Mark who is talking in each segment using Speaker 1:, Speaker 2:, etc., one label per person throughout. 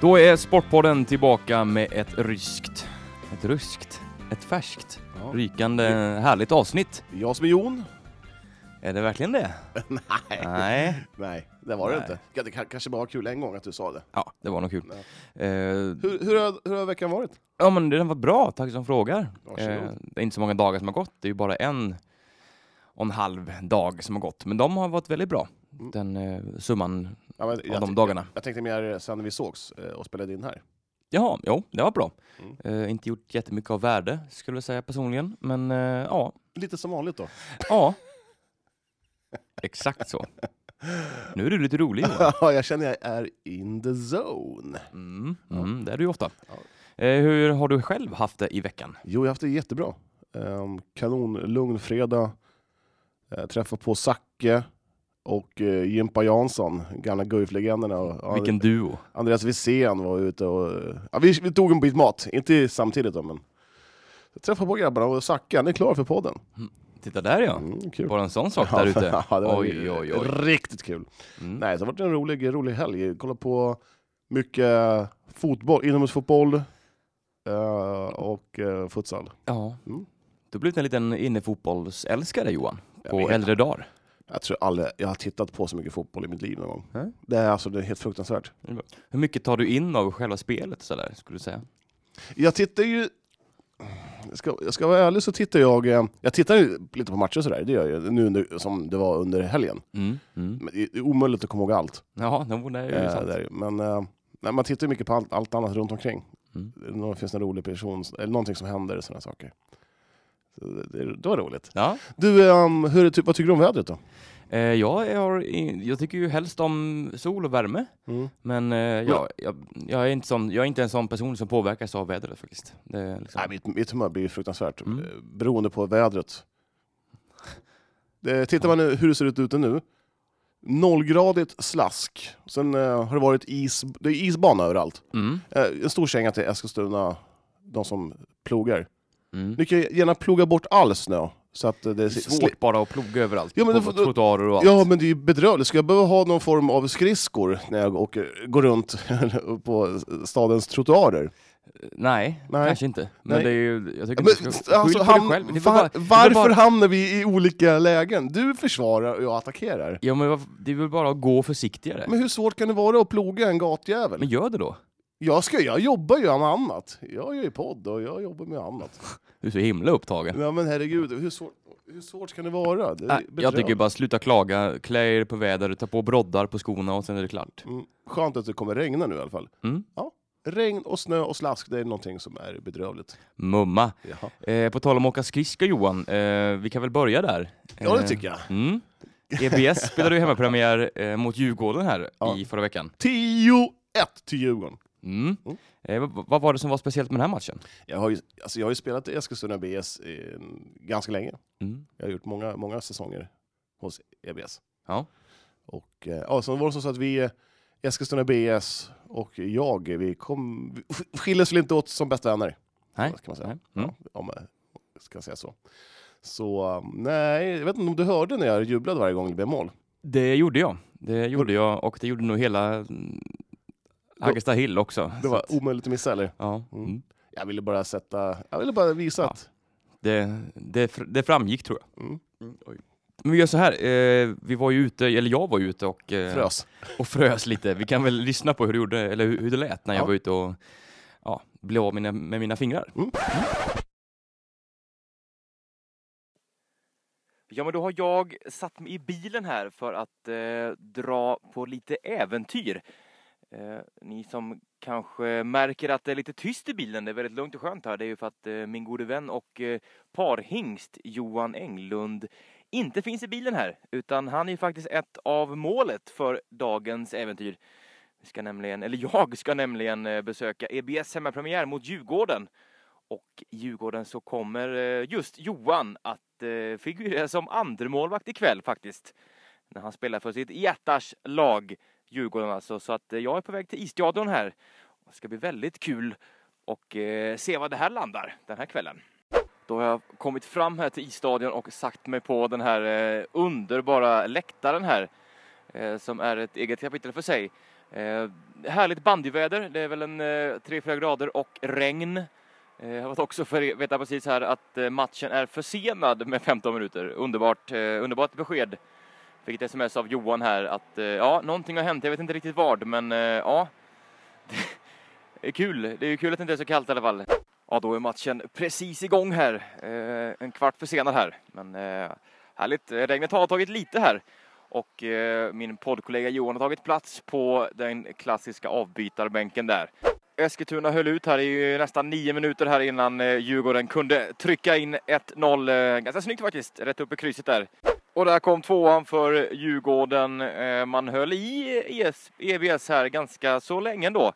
Speaker 1: Då är Sportpodden tillbaka med ett ryskt, ett ryskt, ett färskt,
Speaker 2: Ja.
Speaker 1: rykande, härligt avsnitt.
Speaker 2: Jag som är Jon?
Speaker 1: Är det verkligen det?
Speaker 2: Nej.
Speaker 1: Nej.
Speaker 2: Nej, det var det
Speaker 1: Nej.
Speaker 2: inte. Ja, Det kan- kanske bara var kul en gång att du sa det.
Speaker 1: Ja, det var nog kul. Eh,
Speaker 2: Hur, hur, har, hur har veckan varit?
Speaker 1: ja, men den var bra. Tack som frågar. Eh,
Speaker 2: Varsågod.
Speaker 1: det är inte så många dagar som har gått. Det är ju bara en och en halv dag som har gått, men de har varit väldigt bra. Den eh, summan
Speaker 2: Ja, men
Speaker 1: av
Speaker 2: Mm. jag,
Speaker 1: de
Speaker 2: tänk-
Speaker 1: dagarna.
Speaker 2: jag tänkte mer sen vi sågs eh, och spelade in här.
Speaker 1: Jaha, jo, det var bra.
Speaker 2: Mm.
Speaker 1: Eh, inte gjort jättemycket av värde, skulle jag säga personligen, men eh, ja,
Speaker 2: Lite som vanligt då.
Speaker 1: Ja. Exakt så. Nu är du lite rolig Johan.
Speaker 2: Ja, jag känner jag är in the zone.
Speaker 1: Mm, mm, det är du ju ofta.
Speaker 2: Ja.
Speaker 1: Eh, hur har du själv haft det i veckan?
Speaker 2: Jo, jag har haft det jättebra. Um, kanon, lugn fredag. Eh, träffa på Zacke och eh, Jimpa Jansson, gamla Guif-legenderna. Och, ja,
Speaker 1: Vilken duo.
Speaker 2: Andreas Wisén var ute och... eh, Ja, vi, vi tog en bit mat, inte samtidigt då, men... Jag träffade på grabbarna och Zacke, han är klar för podden.
Speaker 1: Titta där ja.
Speaker 2: Mm, kul.
Speaker 1: Bara en sån sak där ute.
Speaker 2: ja, det var
Speaker 1: Oj, oj, oj.
Speaker 2: riktigt kul.
Speaker 1: Mm.
Speaker 2: Nej, så har det varit en rolig, rolig helg. Kolla på mycket fotboll, inomhusfotboll eh, och eh, futsal.
Speaker 1: Ja.
Speaker 2: Mm.
Speaker 1: Du har blivit en liten innefotbollsälskare Johan.
Speaker 2: Jag
Speaker 1: På
Speaker 2: vet.
Speaker 1: äldre dagar.
Speaker 2: Jag tror aldrig jag har tittat på så mycket fotboll i mitt liv någon gång.
Speaker 1: Nej.
Speaker 2: Det är alltså det är helt fruktansvärt.
Speaker 1: Hur mycket tar du in av själva spelet så där, skulle du säga?
Speaker 2: Jag tittar ju... Jag ska, jag ska vara ärlig så tittar jag... eh, Jag tittar ju lite på matcher och sådär, det gör jag ju, nu under, som det var under helgen.
Speaker 1: Mm. Mm.
Speaker 2: Men det är omöjligt att komma ihåg allt.
Speaker 1: Ja, no, det är ju
Speaker 2: Eh,
Speaker 1: sant.
Speaker 2: det är ju. Men eh, nej, man tittar ju mycket på allt, allt annat runt omkring.
Speaker 1: Mm.
Speaker 2: Nå- finns det en rolig person, eller någonting som händer och sådana saker. Så det, det, det var roligt.
Speaker 1: Ja.
Speaker 2: Du, ehm, hur, är ty- vad tycker du om vädret då?
Speaker 1: Eh, jag, har, jag tycker ju helst om sol och värme.
Speaker 2: Mm.
Speaker 1: Men eh, jag, jag, jag, är inte sån, jag är inte en sån person som påverkas av vädret faktiskt. Det är liksom,
Speaker 2: Nej, mitt, mitt humör blir ju fruktansvärt
Speaker 1: Mm.
Speaker 2: eh, beroende på vädret. Det, tittar man nu, hur det ser ut ute nu, nollgradigt slask. Sen eh, har det varit is, det är isbana överallt.
Speaker 1: mm,
Speaker 2: Eh, en stor känga till Eskilstuna, de som plogar.
Speaker 1: mm.
Speaker 2: Ni kan ju gärna ploga bort all snö. Så att eh, det
Speaker 1: Det är
Speaker 2: är
Speaker 1: svårt bara att ploga överallt.
Speaker 2: Ja, men
Speaker 1: på
Speaker 2: då får- då-
Speaker 1: trottoarer och allt.
Speaker 2: Ja, men det är ju bedrövligt. Ska jag behöva ha någon form av skridskor när jag åker, går runt på stadens trottoarer?
Speaker 1: Nej,
Speaker 2: Nej.
Speaker 1: kanske inte. Men
Speaker 2: Nej.
Speaker 1: det är ju, jag tycker
Speaker 2: Men,
Speaker 1: du ska
Speaker 2: alltså,
Speaker 1: skylla på dig
Speaker 2: ham-
Speaker 1: själv. Det är
Speaker 2: var,
Speaker 1: bara,
Speaker 2: varför
Speaker 1: bara-
Speaker 2: hamnar vi i olika lägen? Du försvarar och jag attackerar.
Speaker 1: ja, men varför- det är väl bara att gå försiktigare. Men,
Speaker 2: Men hur svårt kan det vara att ploga en gatjävel?
Speaker 1: gör det då.
Speaker 2: Jag, ska, jag jobbar ju med annat. Jag gör ju podd och jag jobbar med annat.
Speaker 1: Du är så himla upptagen.
Speaker 2: Ja, men herregud, hur svårt, hur svårt kan det vara? Det är
Speaker 1: Nej, jag
Speaker 2: bedrövligt.
Speaker 1: tycker bara sluta klaga, klä er på vädret, ta på broddar på skorna och sen är det klart.
Speaker 2: Mm, skönt att det kommer regna nu i alla fall.
Speaker 1: Mm.
Speaker 2: Ja, regn och snö och slask, det är någonting som är bedrövligt.
Speaker 1: Mumma.
Speaker 2: Jaha.
Speaker 1: Eh, på tal om att åka skridskor Johan, eh, vi kan väl börja där?
Speaker 2: Ja, det
Speaker 1: Eh,
Speaker 2: tycker jag.
Speaker 1: Mm. EPS spelade ju hemmapremiär eh, mot Djurgården här
Speaker 2: Ja.
Speaker 1: i förra veckan.
Speaker 2: 10-1 till Djurgården.
Speaker 1: Mm.
Speaker 2: Mm.
Speaker 1: Eh, vad- vad var det som var speciellt med den här matchen?
Speaker 2: Jag har ju, alltså jag har ju spelat i Eskilstuna BS eh, ganska länge.
Speaker 1: Mm.
Speaker 2: Jag har gjort många, många säsonger hos EBS.
Speaker 1: Ja.
Speaker 2: Och eh, ja, sen var det så att vi, eh, Eskilstuna BS och jag, eh, vi, kom, vi skildes väl inte åt som bästa vänner.
Speaker 1: Nej.
Speaker 2: Kan man säga.
Speaker 1: Nej. Mm.
Speaker 2: Ja, om jag ska säga så. Så eh, nej, jag vet inte om du hörde när jag jublade varje gång det blev mål.
Speaker 1: Det gjorde jag. Det gjorde jag och det gjorde nog hela mm, Agesta Hill också.
Speaker 2: Det
Speaker 1: Så
Speaker 2: var
Speaker 1: att-
Speaker 2: omöjligt att missa eller?
Speaker 1: Ja.
Speaker 2: Mm.
Speaker 1: Mm.
Speaker 2: Jag ville bara sätta, jag ville bara visa
Speaker 1: Ja.
Speaker 2: att...
Speaker 1: Det, det, fr- det framgick tror jag.
Speaker 2: Mm.
Speaker 1: Men vi gör så här, eh, vi var ju ute, eller jag var ju ute och, eh,
Speaker 2: Frös.
Speaker 1: och frös lite. Vi kan väl lyssna på hur du gjorde, eller hur, hur det lät när jag
Speaker 2: Ja.
Speaker 1: var ute och ja, blev av mina, med mina fingrar.
Speaker 2: Mm.
Speaker 1: Ja, men då har jag satt mig i bilen här för att eh, dra på lite äventyr. Eh, ni som kanske märker att det är lite tyst i bilen, det är väldigt lugnt och skönt här, det är ju för att eh, min gode vän och eh, parhingst Johan Englund inte finns i bilen här, utan han är ju faktiskt ett av målet för dagens äventyr. Vi ska nämligen, eller jag ska nämligen eh, besöka EBS hemmapremiär mot Djurgården. Och i Djurgården så kommer eh, just Johan att eh, figurera som andremålvakt ikväll faktiskt. När han spelar för sitt hjärtars lag, Djurgården alltså. Så att eh, jag är på väg till Isteadion här. Det ska bli väldigt kul och eh, se vad det här landar den här kvällen. Då har jag kommit fram här till Isstadion och sagt mig på den här eh, underbara läktaren här. Eh, som är ett eget kapitel för sig.
Speaker 3: Eh, härligt bandyväder. Det är väl en eh, 3-4 grader och regn. Eh, jag har fått också för veta precis här att eh, matchen är försenad med 15 minuter. Underbart, eh, underbart besked. Fick ett sms av Johan här att eh, ja, någonting har hänt. Jag vet inte riktigt vad, men eh, ja. Det är Eh, kul. Det är ju kul att det inte är så kallt i alla fall. Ja, då är matchen precis igång här. Eh, en kvart försenad här. Men eh, härligt. Eh, Regnet har tagit lite här. Och eh, min poddkollega Johan har tagit plats på den klassiska avbytarbänken där. Eskilstuna höll ut här i nästan nio minuter här innan eh, Djurgården kunde trycka in 1-0. Eh, ganska snyggt faktiskt, rätt upp i krysset där. Och där kom tvåan för Djurgården. Eh, man höll i E ES, EBS här ganska så länge då.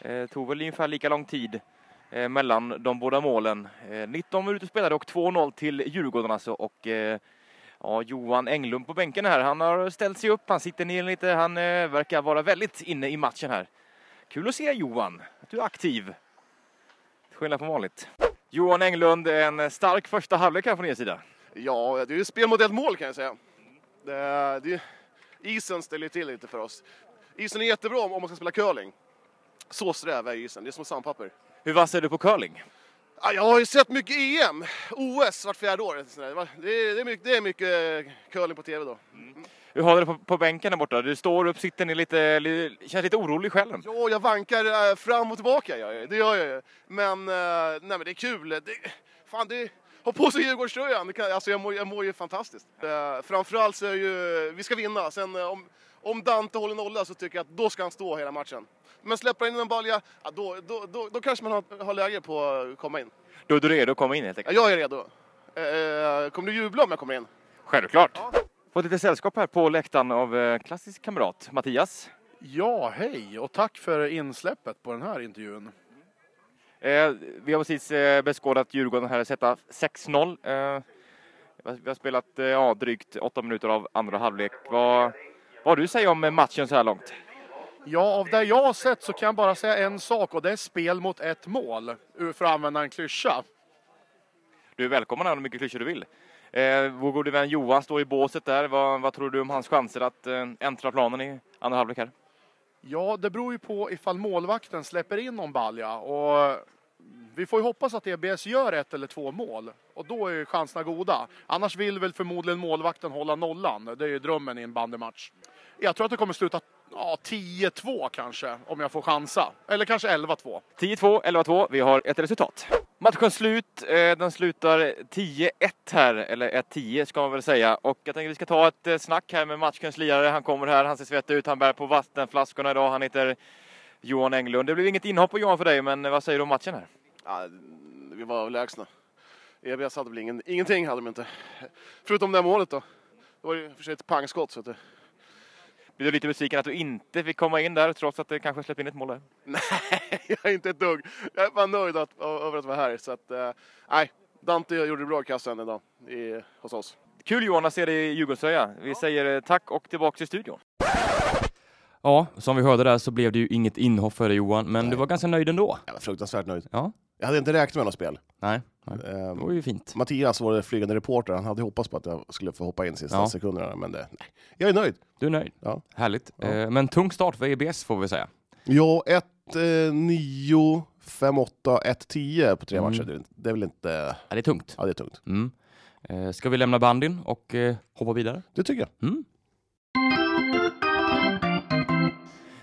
Speaker 3: Eh, tog väl ungefär lika lång tid eh, mellan de båda målen. Eh, 19 minuter spelade och 2-0 till Djurgården alltså. Och, eh, Ja, Johan Englund på bänken här. Han har ställt sig upp, han sitter ner lite. Han eh, verkar vara väldigt inne i matchen här. Kul att se Johan, att du är aktiv. Till skillnad från vanligt. Johan Englund, en stark första halvlek här från er sida.
Speaker 4: Ja, det är ju spel mot ett mål kan jag säga. Det, är- det, är- isen ställer ju till lite för oss. Isen är jättebra om om man ska spela curling. Så sträv är isen, det är som sandpapper.
Speaker 3: Hur vass är du på curling?
Speaker 4: Ja, Jag har ju sett mycket E EM, OS vart fjärde år. sådär. Det var- Det är, det, är mycket, det är mycket curling på tv då.
Speaker 3: Hur har du det på, på bänken där borta? Du står upp, sitter ner lite, li, känns lite orolig i själen.
Speaker 4: Jo, jag vankar eh, fram och tillbaka, gör jag, ju. det gör jag ju. Men, eh, nej, men det är kul. Det, fan, det, ha på sig Djurgårdströjan, Det kan- alltså, jag, mår, jag mår ju fantastiskt. Eh, framförallt så är ju, vi ska vinna. Sen, eh, om, om Dante håller nolla så tycker jag att då ska han stå hela matchen. Men släpper han in en balja, ja, då, då, då, då kanske man har, har läge på att komma in.
Speaker 3: Då är du redo att komma in helt
Speaker 4: Ja,
Speaker 3: enkelt.
Speaker 4: jag är redo. Eh, kommer du jubla om jag kommer in?
Speaker 3: Självklart. Fått lite sällskap här på läktaren av eh, klassisk kamrat Mattias.
Speaker 5: Ja, hej och tack för insläppet på den här intervjun.
Speaker 3: Eh, vi har precis eh, beskådat Djurgården här sätta 6-0. Eh, vi har- vi har spelat eh, ja, drygt 8 minuter av andra halvlek. Vad, vad har du att säga om eh, matchen så här långt?
Speaker 5: Ja, av det jag har sett så kan jag bara säga en sak och det är spel mot ett mål, ur- för att använda en klyscha.
Speaker 3: Du är välkommen att använda hur mycket klyschor du vill. Eh, vår gode vän Johan står i båset där. Vad, vad tror du om hans chanser att eh, äntra planen i andra halvlek här?
Speaker 5: Ja, det beror ju på ifall målvakten släpper in någon balja och vi får ju hoppas att EBS gör ett eller två mål och då är ju chanserna goda. Annars vill väl förmodligen målvakten hålla nollan. Det är ju drömmen i en bandymatch. Jag tror att det kommer sluta ja, 10-2 kanske, om jag får chansa. Eller kanske 11-2.
Speaker 3: 10-2, 11-2. Vi har ett resultat. Matchen slut. Eh, Den slutar 10-1 här, eller 1-10 ska man väl säga. Och jag tänker vi ska ta ett eh, snack här med matchens lirare. Han kommer här, han ser svettig ut, han bär på vattenflaskorna idag. Han heter Johan Englund. Det blev inget inhopp på Johan för dig, men eh, vad säger du om matchen här?
Speaker 4: Ja, vi var överlägsna. EBS hade väl ingen, ingenting hade de inte. Förutom det här målet då. Det var ju i och för sig ett pangskott. Så att det,
Speaker 3: Blir du lite besviken att du inte fick komma in där, trots att det kanske släppte in ett mål där?
Speaker 4: jag är inte ett dugg. Jag är bara nöjd att, ö- över att vara här. Så att, eh, nej, Dante gjorde bra kassen idag i, hos oss.
Speaker 3: Kul Johan att se dig i Djurgårdströja. Vi säger eh, tack och tillbaka till studion.
Speaker 1: Ja, som vi hörde där så blev det ju inget inhopp för dig Johan, men du var ganska nöjd ändå.
Speaker 2: Jag var fruktansvärt nöjd.
Speaker 1: Ja.
Speaker 2: Jag hade inte räknat med något spel.
Speaker 1: Nej, nej.
Speaker 2: Ehm,
Speaker 1: det var ju fint.
Speaker 2: Mattias, vår flygande reporter, han hade hoppats på att jag skulle få hoppa in sista
Speaker 1: Ja.
Speaker 2: sekunderna, men det, nej. jag är nöjd.
Speaker 1: Du är nöjd?
Speaker 2: Ja.
Speaker 1: Härligt. Eh, Men tung start för EBS får vi säga.
Speaker 2: Ja, eh, 1, 9, 5, 8, 1, 10 på tre
Speaker 1: Mm.
Speaker 2: matcher. Det är inte- Det är väl inte...
Speaker 1: Ja, det är tungt.
Speaker 2: Ja, det är tungt.
Speaker 1: Mm. Eh, Ska vi lämna bandin och eh, hoppa vidare?
Speaker 2: Det tycker jag.
Speaker 1: Mm.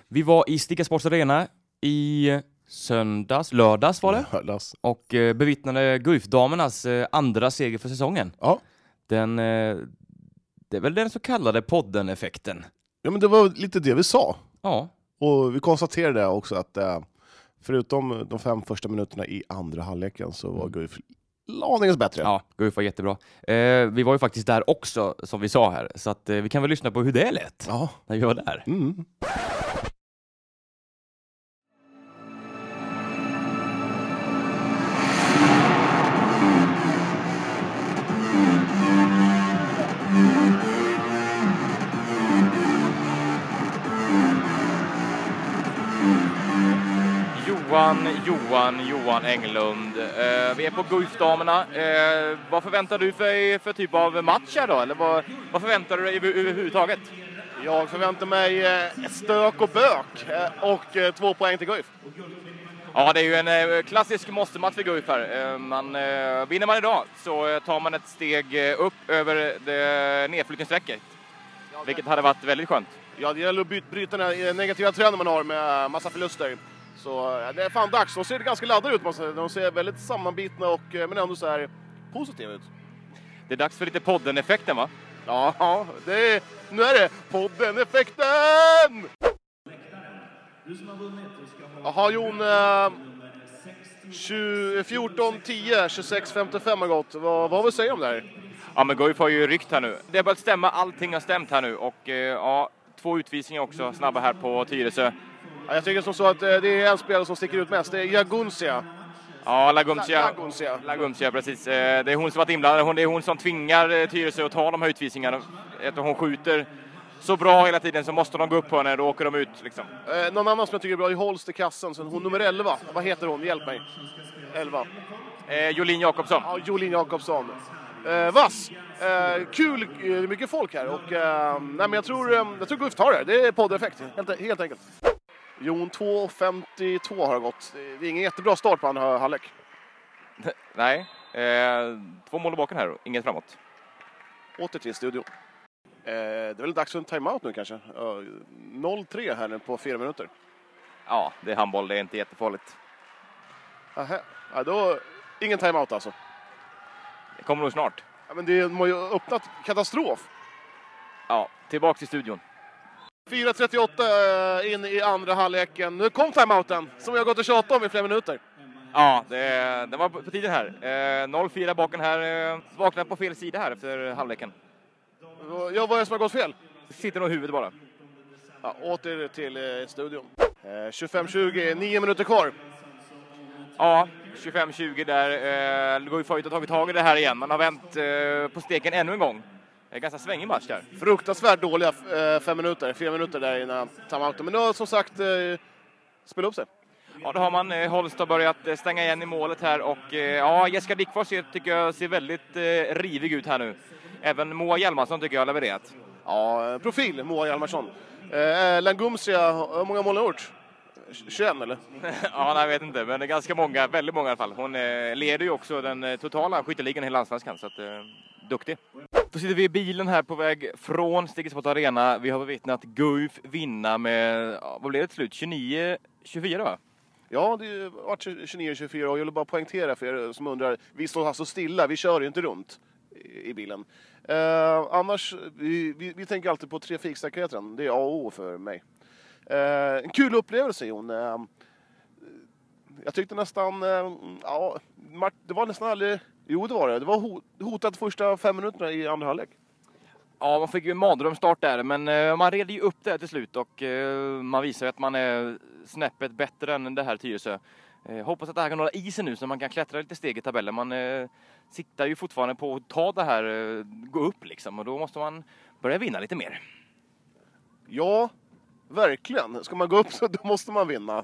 Speaker 1: Vi var i Sticka Sports Arena i söndags, lördags var det,
Speaker 2: Hörlas.
Speaker 1: och eh, bevittnade Guif-damernas eh, andra seger för säsongen.
Speaker 2: Ja.
Speaker 1: Den, eh, det är väl den så kallade podden-effekten.
Speaker 2: Ja, men det var lite det vi sa.
Speaker 1: Ja,
Speaker 2: Och vi konstaterade också att eh, förutom de fem första minuterna i andra halvleken så var Guif aningen bättre.
Speaker 1: Mm. Ja, Guif var jättebra. Eh, vi var ju faktiskt där också, som vi sa här, så att eh, vi kan väl lyssna på hur det lät
Speaker 2: Ja.
Speaker 1: när vi var där.
Speaker 2: Mm.
Speaker 3: Johan, Johan, Johan Englund. Eh, vi är på Guif-damerna. Eh, vad förväntar du dig för typ av match här då? Eller vad, vad förväntar du dig över- överhuvudtaget?
Speaker 4: Jag förväntar mig eh, ett stök och bök eh, och eh, två poäng till Guif.
Speaker 3: Ja, det är ju en eh, klassisk måste-match för Guif här. Eh, Man, eh, vinner man idag så eh, tar man ett steg eh, upp över det eh, nedflyttningsstrecket. Vilket hade varit väldigt skönt.
Speaker 4: Ja, det gäller att by- bryta den här eh, negativa trenden man har med eh, massa förluster. Så eh, det är fan dags. De ser ganska laddade ut måste jag säga. De ser väldigt sammanbitna och eh, men ändå så här positiva ut.
Speaker 3: Det är dags för lite podden-effekten va?
Speaker 4: Ja, ja, det är, nu är det podden-effekten! Jaha Jon, eh, 20 14, 10, 26, 55 har gått. Vad, vad har vi att säga om det här?
Speaker 3: Ja, men Guif har ju ryckt här nu. Det har börjat stämma, allting har stämt här nu. Och eh, ja, två utvisningar också, snabba här på Tyresö.
Speaker 4: Ja, jag tycker som så att eh, det är en spelare som sticker ut mest, det är Jagunsia.
Speaker 3: Ja, Lagumsia.
Speaker 4: Lagunsia.
Speaker 3: Lagumsia, precis. Eh, Det är hon som varit inblandad. Hon, det är hon som tvingar eh, Tyresö att ta de här utvisningarna. Eftersom hon skjuter så bra hela tiden så måste de gå upp på henne, då åker de ut liksom.
Speaker 4: Eh, någon annan som jag tycker är bra är Holst i kassen, sen hon nummer 11. Vad heter hon? Hjälp mig. 11.
Speaker 3: Eh, Jolin Jakobsson.
Speaker 4: Ja, Jolin Jakobsson. Eh, vass! Eh, kul, eh, det är mycket folk här och eh, nej, men jag tror, eh, jag tror Guif tar det. här. Det är poddeffekt, helt, helt enkelt. Jon 2.52 har det gått. Det är ingen jättebra start på andra halvlek.
Speaker 3: Nej. Eh, två mål i baken här, inget framåt.
Speaker 4: Åter till studion. Eh, det är väl dags för en timeout nu kanske. Ja, 0-3 här nu på fyra minuter.
Speaker 3: Ja, det är handboll, det är inte jättefarligt.
Speaker 4: Aha. Ja, då, ingen timeout alltså.
Speaker 3: Det kommer nog snart.
Speaker 4: Ja, men det är- de har ju öppnat katastrof.
Speaker 3: Ja, tillbaks till studion.
Speaker 4: 4.38 eh, in i andra halvleken. Nu kom timeouten som jag har gått och tjatat om i flera minuter.
Speaker 3: Ja, det, den var på tiden här. Eh, 0-4 baken här. Eh, vaknade på fel sida här efter halvleken.
Speaker 4: Jag var det som har gått fel?
Speaker 3: Sitter nog i huvudet bara.
Speaker 4: Ja, åter till eh, studion. Eh, 25.20, nio minuter kvar.
Speaker 3: Ja, 25-20 där. Eh, Guif har ju tagit tag i det här igen. Man har vänt eh, på steken ännu en gång. Det är ganska svängig match där.
Speaker 4: Fruktansvärt dåliga eh, fem minuter, fyra minuter där innan timeouten. Men nu har som sagt eh, spelat upp sig.
Speaker 3: Ja, det har man. Eh, Holst har börjat eh, stänga igen i målet här och eh, ja, Jessica Dickfors ser, tycker jag ser väldigt eh, rivig ut här nu. Även Moa Hjalmarsson tycker jag har levererat.
Speaker 4: Ja, eh, profil Moa Hjalmarsson. Eh, Langumsia, hur många mål har hon gjort? 21 eller?
Speaker 3: ja, nej, jag vet inte, men det är ganska många, väldigt många i alla fall. Hon eh, leder ju också den eh, totala skytteligan i hela allsvenskan, så att, eh, duktig. Då sitter vi i bilen här på väg från Stigesport Arena. Vi har bevittnat Guif vinna med, ja, vad blev det till slut, 29-24 va?
Speaker 4: Ja, det har ju varit 29-24 och jag vill bara poängtera för er som undrar. Vi står alltså stilla, vi kör ju inte runt i i bilen. Eh, annars, vi, vi, vi tänker alltid på trafiksäkerheten. Det är A och O för mig. Eh, en kul upplevelse Jon. Eh, jag tyckte nästan, eh, ja, Mart, det var nästan aldrig, jo det var det. Det var ho- hotat första fem minuterna i andra halvlek.
Speaker 3: Ja, man fick ju en mardrömsstart där, men eh, man redde ju upp det här till slut och eh, man visar ju att man är snäppet bättre än det här Tyresö. Eh, hoppas att det här kan hålla i sig nu så man kan klättra lite steg i tabellen. Man eh, siktar ju fortfarande på att ta det här, eh, gå upp liksom och då måste man börja vinna lite mer.
Speaker 4: Ja, verkligen. Ska man gå upp så då måste man vinna.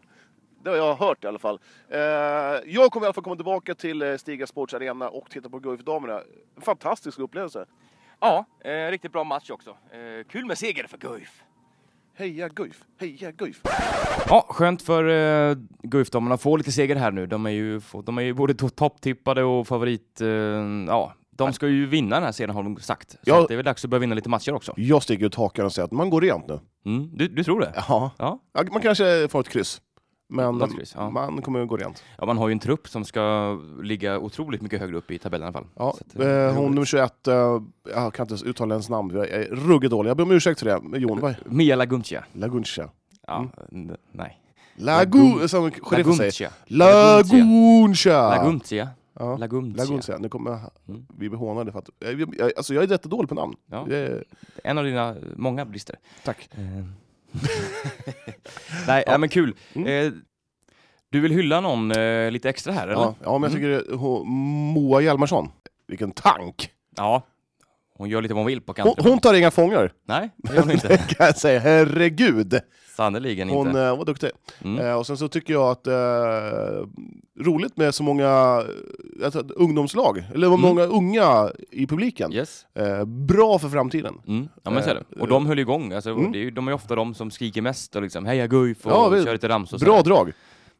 Speaker 4: Det har jag hört i alla fall. Eh, jag kommer i alla fall komma tillbaka till eh, Stiga Sports Arena och titta på Guif damerna. En fantastisk upplevelse.
Speaker 3: Ja, eh, riktigt bra match också. Eh, kul med seger för Guif.
Speaker 4: Heja Guif! Heja Guif!
Speaker 1: Ja, skönt för uh, Guif-damerna att få lite seger här nu. De är ju, få- de är ju både to- topptippade och favorit. eh, ja, de ska ju vinna den här serien har de sagt. Så
Speaker 2: Ja.
Speaker 1: att det är väl dags att börja vinna lite matcher också.
Speaker 2: Jag sticker ut hakan och säger att man går rent nu.
Speaker 1: Mm, du, du tror det?
Speaker 2: Ja.
Speaker 1: Ja.
Speaker 2: Ja, Man kanske får ett kryss. Men
Speaker 1: Något kryss, ja.
Speaker 2: man kommer att gå rent.
Speaker 1: Ja, man har ju en trupp som ska ligga otroligt mycket högre upp i tabellen i alla fall.
Speaker 2: Ja,
Speaker 1: Så att, eh,
Speaker 2: eh, hon
Speaker 1: roligt.
Speaker 2: nummer 21, eh, jag kan inte ens uttala hennes namn, jag är ruggigt dålig. Jag ber om ursäkt för det. Jon, vad
Speaker 1: Mia Laguncia.
Speaker 2: Laguncia.
Speaker 1: Ja, n- nej.
Speaker 2: Lagu... Som Mm. sheriffen säger.
Speaker 1: Laguncia.
Speaker 2: Laguncia!
Speaker 1: Laguncia.
Speaker 2: Ja.
Speaker 1: Laguncia.
Speaker 2: Laguncia. Nu kommer jag
Speaker 1: Mm.
Speaker 2: bli behånade för att... Jag, jag, jag- alltså jag är jättedålig på namn.
Speaker 1: Ja.
Speaker 2: Det är-
Speaker 1: En av dina eh, många brister.
Speaker 2: Tack.
Speaker 1: Eh. nej, ja. men kul.
Speaker 2: Mm.
Speaker 1: Eh, du vill hylla någon eh, lite extra här, eller?
Speaker 2: Ja, ja, men jag tycker det- hon, Moa Hjalmarsson, vilken tank!
Speaker 1: Ja. Hon gör lite vad hon vill på kanten.
Speaker 2: Hon, hon tar inga fångar,
Speaker 1: Nej, det gör hon inte.
Speaker 2: kan jag säga. Herregud!
Speaker 1: Sannerligen
Speaker 2: Hon
Speaker 1: inte.
Speaker 2: eh, var duktig.
Speaker 1: Mm.
Speaker 2: Eh, och sen så tycker jag att eh, roligt med så många eh, alltså, ett ungdomslag, eller
Speaker 1: Mm.
Speaker 2: vad många unga i publiken.
Speaker 1: Yes.
Speaker 2: Eh, bra för framtiden.
Speaker 1: Mm. Ja men så är det. Och de höll igång. Alltså,
Speaker 2: Mm.
Speaker 1: det är, ju- de är ju ofta de som skriker mest och liksom heja Guif och
Speaker 2: Ja, vi-
Speaker 1: kör lite ramsor. och
Speaker 2: Bra
Speaker 1: sådär.
Speaker 2: drag.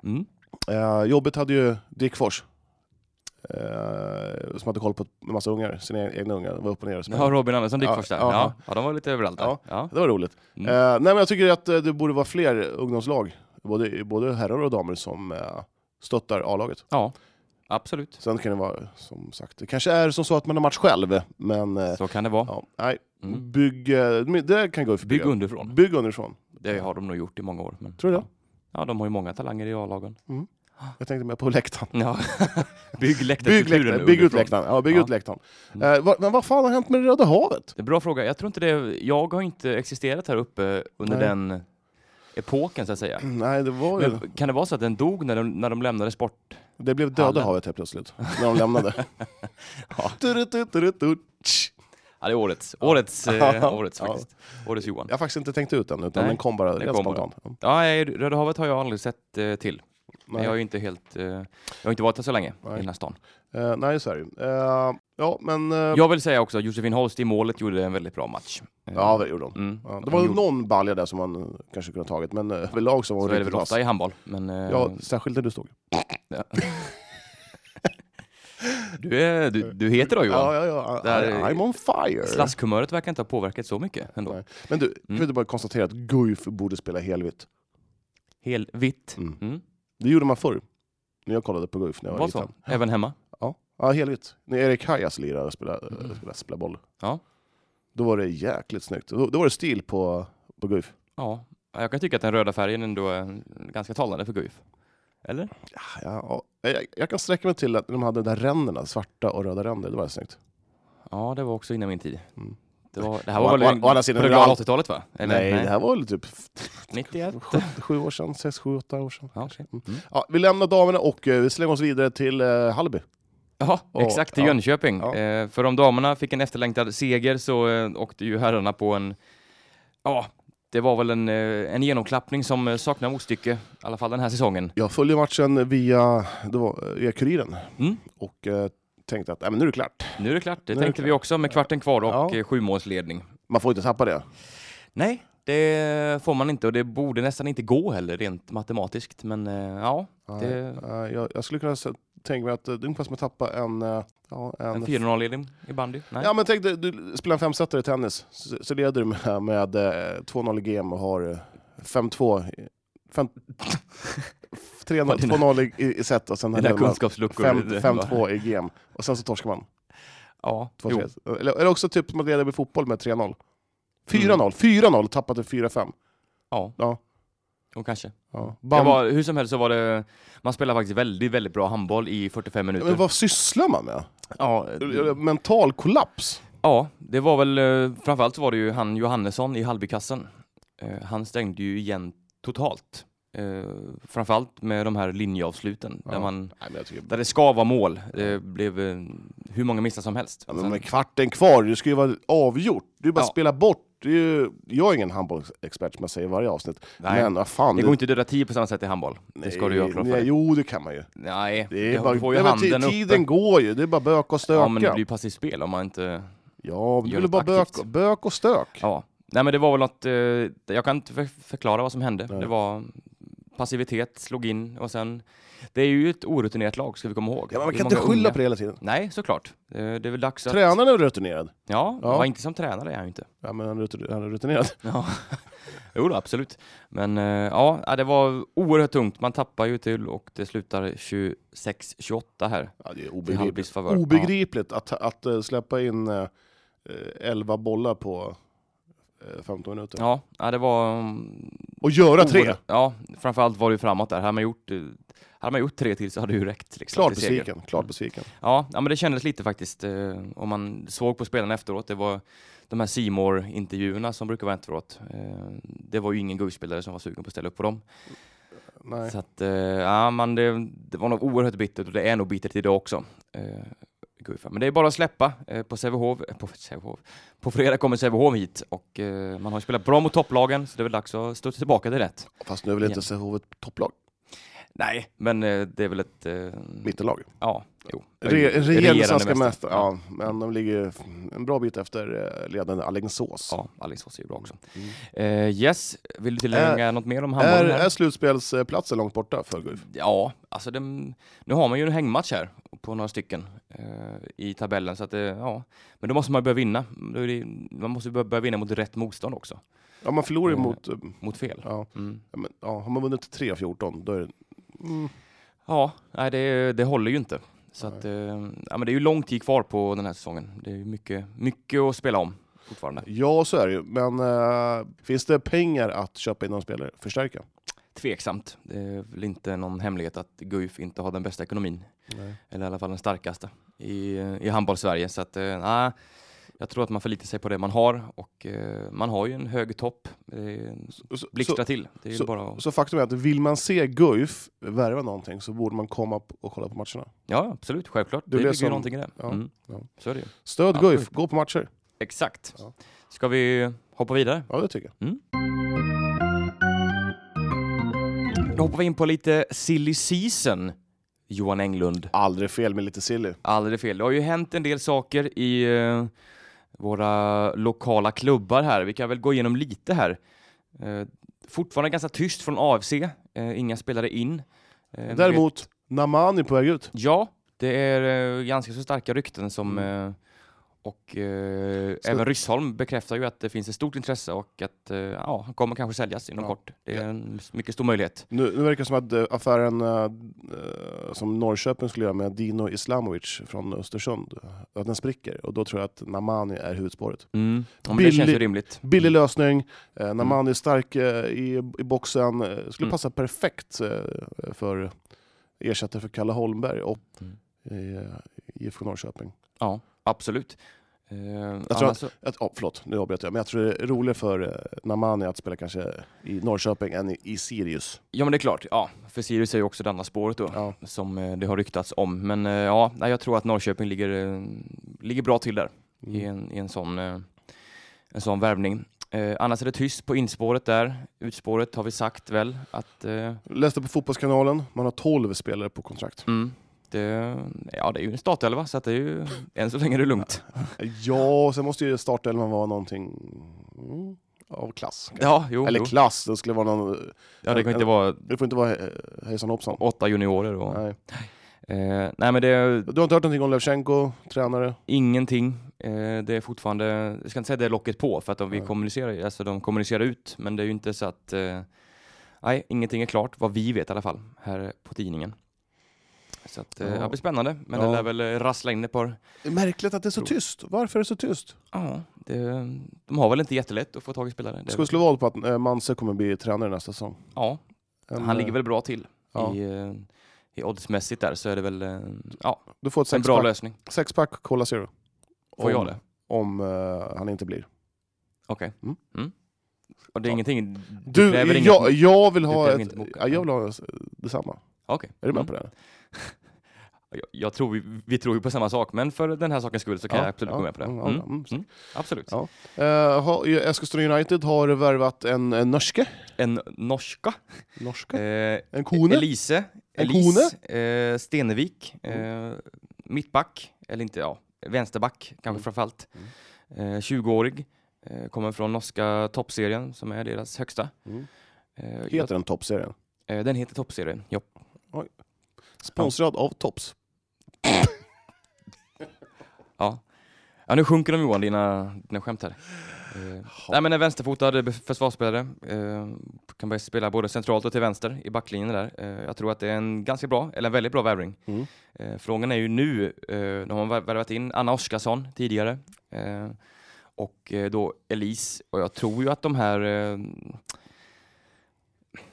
Speaker 1: Mm.
Speaker 2: Eh, jobbet hade ju Dick Fors. Eh, som hade koll på en massa ungar, sina e-, egna ungar. De var upp och ner och
Speaker 1: Ja,
Speaker 2: spelade.
Speaker 1: Robin Andersson gick
Speaker 2: Ja,
Speaker 1: först där.
Speaker 2: ja.
Speaker 1: Ja. ja, de var lite överallt där.
Speaker 2: Ja.
Speaker 1: Ja.
Speaker 2: Det var roligt.
Speaker 1: Mm.
Speaker 2: Eh, nej men jag tycker att eh, det borde vara fler ungdomslag, både, både herrar och damer, som eh, stöttar A-laget.
Speaker 1: ja, absolut.
Speaker 2: Sen kan det vara, som sagt, det kanske är som så att man har match själv, men eh,
Speaker 1: Så kan det vara.
Speaker 2: ja, nej.
Speaker 1: Mm.
Speaker 2: Bygg, eh, men det kan gå i
Speaker 1: Bygg underifrån.
Speaker 2: Bygg underifrån.
Speaker 1: Det har de nog gjort i många år. Men...
Speaker 2: Tror du det?
Speaker 1: Ja, de har ju många talanger i A-lagen.
Speaker 2: Jag tänkte mer på läktaren.
Speaker 1: Ja. Bygg
Speaker 2: Bygg,
Speaker 1: läktarkulturen
Speaker 2: läktaren, bygg ut
Speaker 1: underifrån.
Speaker 2: läktaren. Ja, bygg
Speaker 1: Ja. Mm.
Speaker 2: ut läktaren. Eh, vad- men vad fan har hänt med Röda havet?
Speaker 1: Det är en bra fråga. Jag tror inte det. Jag har inte existerat här uppe under
Speaker 2: Nej.
Speaker 1: den epoken så att säga.
Speaker 2: Mm, Nej, det var ju...
Speaker 1: Men kan det vara så att den dog när de, när de lämnade sport?
Speaker 2: Det blev Döda
Speaker 1: Hallen.
Speaker 2: havet helt plötsligt, när de lämnade.
Speaker 1: Ja.
Speaker 2: Turututututut. Tsch.
Speaker 1: Ja, det är årets. Årets, eh,
Speaker 2: Ja.
Speaker 1: årets faktiskt. Årets Johan.
Speaker 2: Jag har faktiskt inte tänkt ut den, utan
Speaker 1: Nej,
Speaker 2: den kom bara
Speaker 1: den
Speaker 2: rent
Speaker 1: kom bara.
Speaker 2: spontant. Ja,
Speaker 1: Ja, nej, Röda havet har jag aldrig sett eh, till. Men
Speaker 2: nej.
Speaker 1: jag har ju inte helt... Eh, jag har inte varit här så länge
Speaker 2: Nej.
Speaker 1: i den här stan.
Speaker 2: Eh, nej, så är det ju. Eh, Ja, men... eh,
Speaker 1: Jag vill säga också att Josefin Holst i målet gjorde en väldigt bra match. Eh,
Speaker 2: Ja, det gjorde de.
Speaker 1: mm.
Speaker 2: Ja, det
Speaker 1: De
Speaker 2: var ju
Speaker 1: gjorde-
Speaker 2: någon balja där som man eh, kanske kunde ha tagit, men eh, överlag så var
Speaker 1: Så
Speaker 2: hon
Speaker 1: är det väl
Speaker 2: riktigt
Speaker 1: ofta
Speaker 2: vass.
Speaker 1: i handboll. Men, eh,
Speaker 2: Ja, särskilt där du stod.
Speaker 1: du, är, du, du heter då Johan.
Speaker 2: Ja, ja, ja.
Speaker 1: Där
Speaker 2: I,
Speaker 1: är-
Speaker 2: I'm on fire!
Speaker 1: Slaskhumöret verkar inte ha påverkat så mycket ändå.
Speaker 2: Nej. Men du,
Speaker 1: Mm.
Speaker 2: kan vi inte bara konstatera att Guif borde spela helvitt?
Speaker 1: Helt vitt.
Speaker 2: Mm.
Speaker 1: Mm.
Speaker 2: Det gjorde man förr, när jag kollade på Guif när jag var
Speaker 1: Vad så?
Speaker 2: liten.
Speaker 1: Även hemma?
Speaker 2: Ja, ja helvitt. När Erik Hajas lirade och spelade, eh, spelade, spelade boll.
Speaker 1: Mm. Ja.
Speaker 2: Då var det jäkligt snyggt. Då, då var det stil på, på Guif.
Speaker 1: Ja. Jag kan tycka att den röda färgen ändå är ganska talande för Guif. Eller?
Speaker 2: Ja, ja. jag, jag kan sträcka mig till att de hade de där ränderna, svarta och röda ränder. Det var snyggt.
Speaker 1: Ja, det var också innan min tid.
Speaker 2: Mm.
Speaker 1: Det, var, det här
Speaker 2: Å-
Speaker 1: var
Speaker 2: å-
Speaker 1: väl
Speaker 2: å andra sidan,
Speaker 1: på det
Speaker 2: det var
Speaker 1: glada
Speaker 2: allt-
Speaker 1: 80-talet va? Eller?
Speaker 2: Nej, det här var väl typ
Speaker 1: 91.
Speaker 2: 7 år sedan, 6, 7, 8 år sedan.
Speaker 1: Ja, okej. Mm.
Speaker 2: Ja, vi lämnar damerna och eh, vi slänger oss vidare till eh, Hallby.
Speaker 1: Jaha,
Speaker 2: Och-
Speaker 1: exakt till
Speaker 2: ja.
Speaker 1: Jönköping.
Speaker 2: Ja.
Speaker 1: Eh, för om damerna fick en efterlängtad seger så eh, åkte ju herrarna på en, ja, det var väl en, eh, en genomklappning som eh, saknar motstycke, i alla fall den här säsongen.
Speaker 2: Jag följde matchen via, det var, eh, via Kuriren
Speaker 1: Mm.
Speaker 2: och eh, tänkte att nej, men nu är det klart.
Speaker 1: Nu är det klart, det
Speaker 2: Nu är det
Speaker 1: tänkte vi
Speaker 2: klart.
Speaker 1: också med kvarten kvar och
Speaker 2: Ja.
Speaker 1: ja. sjumålsledning.
Speaker 2: Man får inte tappa det.
Speaker 1: Nej, det får man inte och det borde nästan inte gå heller rent matematiskt, men eh, ja,
Speaker 2: Nej,
Speaker 1: det,
Speaker 2: eh, jag, jag skulle kunna se- tänka mig att eh, det är ungefär som att tappa en... eh, Ja, en,
Speaker 1: en 4-0-ledning i bandy. Nej.
Speaker 2: Ja men tänk dig, du spelar en femsetare i tennis, så, så leder du med, med eh, 2-0 i game och har eh, 5-2... i- fem- 3-0
Speaker 1: Dina-
Speaker 2: 2-0 i- i, i set och sen
Speaker 1: Dina
Speaker 2: leder man
Speaker 1: kunskapsluckor. det-
Speaker 2: 5-2 i game. Och sen så torskar man.
Speaker 1: Ja,
Speaker 2: Två,
Speaker 1: jo.
Speaker 2: tre. Eller, eller också typ man leder med fotboll med 3-0.
Speaker 1: Mm.
Speaker 2: 4-0, 4-0 tappade 4-5.
Speaker 1: Ja.
Speaker 2: Ja.
Speaker 1: Jo, kanske.
Speaker 2: Ja.
Speaker 1: Det
Speaker 2: Bam.
Speaker 1: var, hur som helst så var det, man spelar faktiskt väldigt, väldigt bra handboll i 45 minuter.
Speaker 2: Men vad sysslar man
Speaker 1: Mm.
Speaker 2: med?
Speaker 1: ja,
Speaker 2: Eller,
Speaker 1: det,
Speaker 2: Mental kollaps?
Speaker 1: ja, det var väl, eh, framförallt så var det ju han Johannesson i Hallbykassen. Eh, Han stängde ju igen totalt. Eh, Framförallt med de här linjeavsluten, där,
Speaker 2: Ja.
Speaker 1: man,
Speaker 2: Nej, men jag tycker...
Speaker 1: där Mm. det ska vara mål. Det blev eh, hur många missar som helst.
Speaker 2: Ja, men
Speaker 1: Sen-
Speaker 2: med kvarten kvar, det ska ju vara avgjort. Det är bara
Speaker 1: Ja.
Speaker 2: att spela bort. Det är ju... Jag är ingen handbollsexpert som jag säger i varje avsnitt.
Speaker 1: Nej.
Speaker 2: Men vad fan.
Speaker 1: det går inte att döda tid på samma sätt i handboll. det ska du göra klart för
Speaker 2: nej,
Speaker 1: dig.
Speaker 2: Jo, det kan man ju.
Speaker 1: Nej,
Speaker 2: Det är
Speaker 1: du
Speaker 2: bara...
Speaker 1: får ju
Speaker 2: nej, men ti-
Speaker 1: handen
Speaker 2: tiden
Speaker 1: uppe.
Speaker 2: går ju. Det är bara bök och stöka.
Speaker 1: Ja, men det blir ju passivt spel om man inte...
Speaker 2: Ja, men det
Speaker 1: Gör
Speaker 2: blir bara
Speaker 1: något aktivt.
Speaker 2: bök, bök och stök.
Speaker 1: Ja, nej men det var väl något, eh, jag kan inte för- förklara vad som hände.
Speaker 2: Nej.
Speaker 1: Det var passivitet, slog in och sen, det är ju ett orutinerat lag ska vi komma ihåg.
Speaker 2: Ja, men man
Speaker 1: Det är
Speaker 2: kan inte
Speaker 1: många
Speaker 2: skylla
Speaker 1: unga.
Speaker 2: på det hela tiden.
Speaker 1: Nej, såklart. Eh, det är väl dags att...
Speaker 2: Tränaren är rutinerad.
Speaker 1: Ja,
Speaker 2: Ja.
Speaker 1: ja. inte som tränare är han ju inte.
Speaker 2: Ja, men han är rutin- han är rutinerad.
Speaker 1: Ja. jo då, absolut. Men eh, ja, ja, det var oerhört tungt. Man tappar ju till och det slutar 26-28 här.
Speaker 2: Ja, det är
Speaker 1: Till Hallbys
Speaker 2: obegripligt.
Speaker 1: favör.
Speaker 2: Obegripligt att, att eh, släppa in eh, eh, 11 bollar på eh, 15 minuter.
Speaker 1: Ja, ja det var... mm,
Speaker 2: Och göra tre!
Speaker 1: oerhört- Ja, framförallt var det ju framåt där. Hade man gjort, eh, hade man gjort tre till så hade det ju räckt. Liksom,
Speaker 2: Klart
Speaker 1: till seger.
Speaker 2: besviken, klart besviken.
Speaker 1: Ja, ja, men det kändes lite faktiskt. Eh, om man såg på spelarna efteråt, det var de här simor intervjuerna som brukar vara efteråt. Eh, det var ju ingen guldspelare som var sugen på att ställa upp på dem.
Speaker 2: Nej.
Speaker 1: Så att, eh, ja, man, det, det var nog oerhört bittert och det är nog bittert idag också. Eh, Guif. men det är bara att släppa eh, på Sävehof. eh, På, Sävehof. på fredag kommer Sävehof hit och eh, man har ju spelat bra mot topplagen så det är väl dags att stå tillbaka till rätt.
Speaker 2: Fast nu är väl inte
Speaker 1: Igen.
Speaker 2: Sävehof ett topplag?
Speaker 1: Nej, men eh, det är väl ett... eh,
Speaker 2: Mittelag.
Speaker 1: Ja, jo.
Speaker 2: Re, regerande
Speaker 1: mästare.
Speaker 2: svenska mästare. Ja, men de ligger ju en bra bit efter eh, ledande Alingsås.
Speaker 1: Ja, Alingsås är ju bra också.
Speaker 2: Mm. Eh,
Speaker 1: Eh, yes, vill du tillägga något mer om
Speaker 2: Är,
Speaker 1: handbollen? här?
Speaker 2: är slutspelsplatsen långt borta för Guif?
Speaker 1: Ja, alltså den, nu har man ju en hängmatch här på några stycken eh, i tabellen. Så att, det- ja. Men då måste man börja vinna. Då är det, man måste börja börja vinna mot rätt motstånd också,
Speaker 2: Ja, man förlorar ju
Speaker 1: Eh.
Speaker 2: mot... eh,
Speaker 1: mot fel.
Speaker 2: Ja,
Speaker 1: Mm.
Speaker 2: ja, men, ja, har man vunnit 3 av 14, då är det... Mm.
Speaker 1: Ja, nej, det, det håller ju inte. Så att, eh, ja, men det är ju lång tid kvar på den här säsongen. Det är ju mycket, mycket att spela om fortfarande.
Speaker 2: Ja, så är det ju. Men eh, finns det pengar att köpa in någon spelare? Förstärka?
Speaker 1: Tveksamt. Det är väl inte någon hemlighet att Guif inte har den bästa ekonomin. Eller i alla fall den starkaste i, i handbollssverige. Så att, eh, nej, jag tror att man förlitar sig på det man har och eh, man har ju en hög topp. Eh,
Speaker 2: Så- Så,
Speaker 1: blixtra till. Det är ju
Speaker 2: så-
Speaker 1: bara att...
Speaker 2: så faktum är att vill man se Guif värva någonting så borde man komma p- och kolla på matcherna.
Speaker 1: Ja, absolut. Självklart.
Speaker 2: Det
Speaker 1: Det,
Speaker 2: är det
Speaker 1: ligger
Speaker 2: som-
Speaker 1: ju någonting i det.
Speaker 2: ja,
Speaker 1: mm.
Speaker 2: ja.
Speaker 1: Så är det ju.
Speaker 2: Stöd
Speaker 1: Ja,
Speaker 2: Guif,
Speaker 1: sjukt.
Speaker 2: gå på matcher.
Speaker 1: Exakt.
Speaker 2: Ja.
Speaker 1: Ska vi hoppa vidare?
Speaker 2: Ja, det tycker jag.
Speaker 1: Då hoppar vi in på lite silly season, Johan Englund.
Speaker 2: Aldrig fel med lite silly.
Speaker 1: Aldrig fel. Det har ju hänt en del saker i eh, våra lokala klubbar här. Vi kan väl gå igenom lite här. Eh, fortfarande ganska tyst från AFC. Eh, inga spelare in. Eh, vi vet-
Speaker 2: Däremot, Namani på väg ut.
Speaker 1: Ja, det är eh, ganska så starka rykten som...
Speaker 2: Mm.
Speaker 1: eh, och eh,
Speaker 2: Så-
Speaker 1: även Ryssholm bekräftar ju att det finns ett stort intresse och att eh, ja, han kommer kanske säljas inom
Speaker 2: Ja.
Speaker 1: kort. Det är en mycket stor möjlighet.
Speaker 2: Nu, nu verkar det som att eh, affären eh, eh, som Norrköping skulle göra med Dino Islamovic från Östersund, eh, att den spricker. Och då tror jag att Namani är huvudspåret.
Speaker 1: Mm. Ja, men det känns ju
Speaker 2: Billig-
Speaker 1: rimligt.
Speaker 2: Billig lösning, eh, Namani är stark eh, i, i boxen, eh, skulle
Speaker 1: Mm.
Speaker 2: passa perfekt eh, för ersättare för Kalle Holmberg och
Speaker 1: Mm.
Speaker 2: eh, IFK Norrköping.
Speaker 1: Ja, absolut. Eh,
Speaker 2: tror
Speaker 1: annars så-
Speaker 2: Att, oh, förlåt, nu avbröt jag, men jag tror det är roligare för eh, Namani att spela kanske i Norrköping än i, i Sirius.
Speaker 1: Ja men det är klart, ja. För Sirius är ju också det andra spåret då,
Speaker 2: Ja.
Speaker 1: som eh, det har ryktats om. Men eh, ja, nej, jag tror att Norrköping ligger, eh, ligger bra till där i,
Speaker 2: Mm.
Speaker 1: en, i en, sån, eh, en sån värvning. Eh, annars är det tyst på inspåret där. Utspåret har vi sagt väl att eh,
Speaker 2: Läste på Fotbollskanalen, man har 12 spelare på kontrakt.
Speaker 1: mm, det, ja, det är ju en startelva så att det är ju än så länge är det lugnt.
Speaker 2: Ja, sen måste ju startelvan vara någonting mm, av klass. kanske.
Speaker 1: Ja, jo,
Speaker 2: Eller
Speaker 1: jo.
Speaker 2: klass, det skulle vara någon...
Speaker 1: Ja, det kan ju inte vara
Speaker 2: Det får inte vara eh, hejsan hoppsan.
Speaker 1: åtta juniorer. Och,
Speaker 2: Nej.
Speaker 1: eh, nej men det är
Speaker 2: Du har inte hört någonting om Levchenko, tränare?
Speaker 1: Ingenting. Eh, det är fortfarande, jag ska inte säga det är locket på för att de, vi kommunicerar, ju, alltså de kommunicerar ut, men det är ju inte så att, eh, nej, ingenting är klart, vad vi vet i alla fall, här på tidningen. Så att, eh,
Speaker 2: Ja.
Speaker 1: ja. det blir spännande, men
Speaker 2: Ja.
Speaker 1: det lär väl eh, rassla in ett par,
Speaker 2: Det är märkligt att det är så tyst. Varför är det så tyst?
Speaker 1: ja, det, de har väl inte jättelätt att få tag i spelare. Det,
Speaker 2: Ska vi slå vad på att eh, Manse kommer bli tränare nästa säsong?
Speaker 1: ja,
Speaker 2: En,
Speaker 1: han ligger
Speaker 2: eh,
Speaker 1: väl bra till
Speaker 2: ja.
Speaker 1: i, eh, i oddsmässigt där, så är det väl, eh, ja,
Speaker 2: Du får ett
Speaker 1: en bra
Speaker 2: sexpack,
Speaker 1: lösning.
Speaker 2: sexpack Cola Zero.
Speaker 1: Får jag det?
Speaker 2: Om eh, han inte blir.
Speaker 1: Okej.
Speaker 2: Mm.
Speaker 1: Mm. Och det är
Speaker 2: Ja.
Speaker 1: ingenting, det
Speaker 2: Du,
Speaker 1: kräver inget-
Speaker 2: jag, jag vill ha
Speaker 1: kräver
Speaker 2: ett...
Speaker 1: inget motkrav.
Speaker 2: Ja, jag vill ha eh, detsamma.
Speaker 1: Okej.
Speaker 2: Är du med
Speaker 1: Mm.
Speaker 2: på det?
Speaker 1: Jag, jag tror vi, vi tror ju på samma sak, men för den här sakens skull så kan
Speaker 2: Ja,
Speaker 1: jag absolut
Speaker 2: ja,
Speaker 1: gå med på det.
Speaker 2: ja,
Speaker 1: Mm,
Speaker 2: ja, mm.
Speaker 1: absolut.
Speaker 2: Ja. Eh, ha- Eskilstuna United har värvat en, en norske.
Speaker 1: En norska,
Speaker 2: norske.
Speaker 1: eh,
Speaker 2: En kone. Mm.
Speaker 1: Elise,
Speaker 2: En
Speaker 1: Elise eh, Stenevik, eh, mittback, eller inte, ja, vänsterback kanske
Speaker 2: Mm.
Speaker 1: framförallt. Eh, 20-årig, eh, kommer från norska toppserien som är deras högsta.
Speaker 2: Mm.
Speaker 1: Eh,
Speaker 2: Heter den toppserien.
Speaker 1: jag, eh, den heter toppserien, ja.
Speaker 2: Sponsrad av Tops.
Speaker 1: ja. Ja, nu sjunker de Johan, dina, dina skämt här. Eh, nej, men en vänsterfotad be- försvarsspelare. Eh, kan börja spela både centralt och till vänster i backlinjen där. Eh, jag tror att det är en ganska bra, eller en väldigt bra värvning.
Speaker 2: Mm.
Speaker 1: Eh, frågan är ju nu, eh, de har vär- värvat in Anna Oskarsson tidigare. Eh, och eh, då Elise. Och jag tror ju att de här... Eh,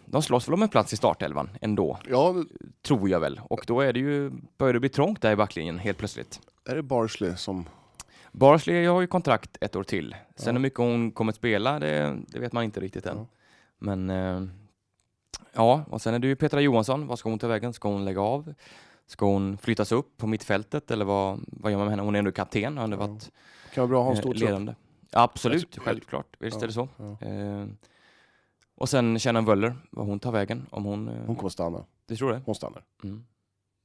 Speaker 1: de slåss väl om en plats i startelvan ändå,
Speaker 2: Ja,
Speaker 1: tror jag väl. Och då är det ju, börjar det bli trångt där i backlinjen helt plötsligt.
Speaker 2: är det Barsley som...
Speaker 1: Barsley har ju kontrakt ett år till. Sen
Speaker 2: Ja.
Speaker 1: hur mycket hon kommer att spela, det, det vet man inte riktigt än.
Speaker 2: Ja.
Speaker 1: Men eh, ja, och sen är det ju Petra Johansson. Vad ska hon ta vägen? Ska hon lägga av? Ska hon flyttas upp på mittfältet eller vad, vad gör man med henne? Hon är ändå kapten, har ändå
Speaker 2: Ja.
Speaker 1: varit
Speaker 2: Kan vara bra att ha en
Speaker 1: eh,
Speaker 2: stor trupp.
Speaker 1: ledande. Absolut,
Speaker 2: Jag-
Speaker 1: självklart. Visst
Speaker 2: Ja,
Speaker 1: är det så.
Speaker 2: ja.
Speaker 1: Eh, och sen Shannon Wöller, vad hon tar vägen. Om hon, eh,
Speaker 2: Hon kommer stanna.
Speaker 1: Du tror det?
Speaker 2: Hon stannar.
Speaker 1: Mm.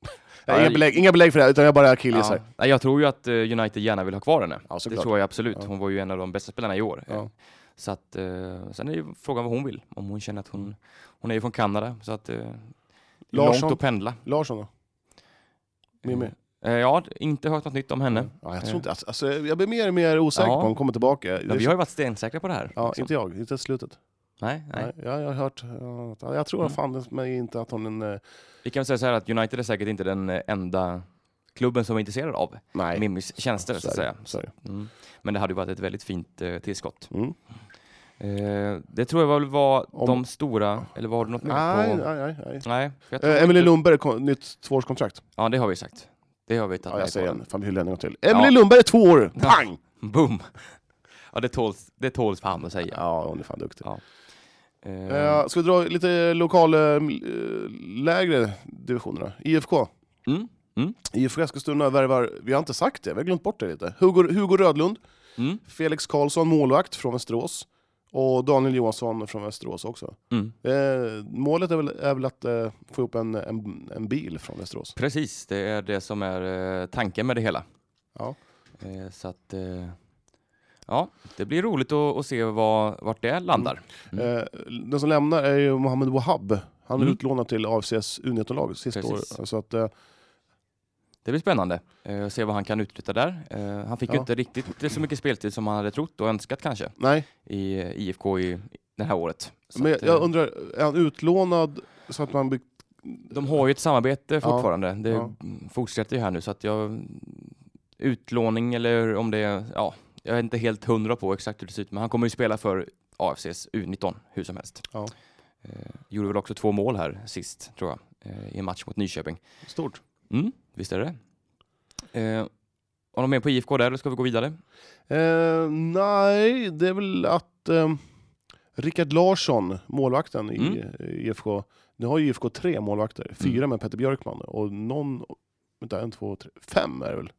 Speaker 2: Nej,
Speaker 1: Ja,
Speaker 2: inga,
Speaker 1: jag-
Speaker 2: belägg, inga belägg för det här, utan jag bara killgissar.
Speaker 1: Ja. Nej, jag tror ju att eh, United gärna vill ha kvar henne.
Speaker 2: Ja,
Speaker 1: det
Speaker 2: såklart.
Speaker 1: tror jag absolut.
Speaker 2: Ja.
Speaker 1: Hon var ju en av de bästa spelarna i år.
Speaker 2: Ja.
Speaker 1: Så att, eh, sen är ju frågan vad hon vill. Om hon känner att hon... Hon är ju från Kanada, så att... Eh, det är
Speaker 2: Mm. Larsson?
Speaker 1: Långt att pendla.
Speaker 2: Larsson då? Mimmi?
Speaker 1: Eh, ja, inte hört något nytt om henne.
Speaker 2: Ja, jag tror inte, alltså, alltså, jag blir mer och mer osäker
Speaker 1: Ja.
Speaker 2: på om hon kommer tillbaka. Det
Speaker 1: Men vi
Speaker 2: kän-
Speaker 1: har ju varit stensäkra på det här.
Speaker 2: ja,
Speaker 1: liksom.
Speaker 2: inte jag, inte slutet.
Speaker 1: Nej, nej.
Speaker 2: Nej. Jag, jag har hört, ja, att- jag tror
Speaker 1: Mm.
Speaker 2: fan mig inte att hon är en... eh,
Speaker 1: Vi kan väl säga så här att United är säkert inte den eh, enda klubben som är intresserad av
Speaker 2: Nej.
Speaker 1: Mimmis tjänster, så att
Speaker 2: är det,
Speaker 1: säga.
Speaker 2: så är det.
Speaker 1: Mm. Men det hade ju varit ett väldigt fint eh, tillskott.
Speaker 2: Mm.
Speaker 1: Eh, det tror jag väl var
Speaker 2: Om-
Speaker 1: de stora, eller var det något mer
Speaker 2: Nej,
Speaker 1: på?
Speaker 2: nej, nej. nej.
Speaker 1: Nej, för jag tror
Speaker 2: Eh, Emily
Speaker 1: inte-
Speaker 2: Lundberg, kon- nytt tvåårskontrakt.
Speaker 1: Ja, det har vi sagt. Det har vi tagit
Speaker 2: Ja,
Speaker 1: med
Speaker 2: jag
Speaker 1: på
Speaker 2: säger
Speaker 1: den.
Speaker 2: en. Fan, vi hyllar henne en gång till. Emily Lundberg, två år! Pang!
Speaker 1: Boom! Ja, det tåls, det tåls fan att säga.
Speaker 2: Ja, hon är fan duktig.
Speaker 1: Eh,
Speaker 2: Eh, ska vi dra lite lokal, eh, lägre divisionerna? IFK.
Speaker 1: Mm, mm.
Speaker 2: IFK Eskilstuna värvar, vi har inte sagt det, vi har glömt bort det lite. Hugo, Hugo Rödlund,
Speaker 1: Mm.
Speaker 2: Felix Karlsson, målvakt från Västerås. Och Daniel Johansson från Västerås också.
Speaker 1: Mm.
Speaker 2: Eh, målet är väl, är väl att eh, få upp en, en, en bil från Västerås.
Speaker 1: Precis, det är det som är eh, tanken med det hela.
Speaker 2: Ja.
Speaker 1: Eh, så att, eh, ja, det blir roligt att, att se vad, vart det landar. Mm.
Speaker 2: Eh, den som lämnar är ju Mohamed Wahab. Han är
Speaker 1: Mm.
Speaker 2: utlånad till AFCs U19-lag sista
Speaker 1: Precis.
Speaker 2: året. Så att, eh,
Speaker 1: Det blir spännande eh, att se vad han kan uträtta där. Eh, han fick ju
Speaker 2: Ja.
Speaker 1: inte riktigt så mycket speltid som han hade trott och önskat kanske
Speaker 2: nej,
Speaker 1: i eh, IFK i det här året. Så
Speaker 2: men
Speaker 1: att, eh,
Speaker 2: jag undrar, är han utlånad så att man byggt...
Speaker 1: de har ju ett samarbete fortfarande. Det
Speaker 2: ja.
Speaker 1: mm, fortsätter ju här nu så att jag... Utlåning eller om det är... Ja, jag är inte helt hundra på exakt hur det ser ut men han kommer ju spela för AFCs U19 hur som helst.
Speaker 2: Ja.
Speaker 1: Eh, gjorde väl också två mål här sist tror jag eh, i en match mot Nyköping.
Speaker 2: Stort.
Speaker 1: Mm, visst är det det. Eh, har de med på IFK där eller ska vi gå vidare?
Speaker 2: Eh, nej, det är väl att eh, Rickard Larsson, målvakten i
Speaker 1: Mm.
Speaker 2: i IFK, nu har ju IFK tre målvakter, fyra med Petter Björkman och någon, vänta, en, två, tre, fem är det väl?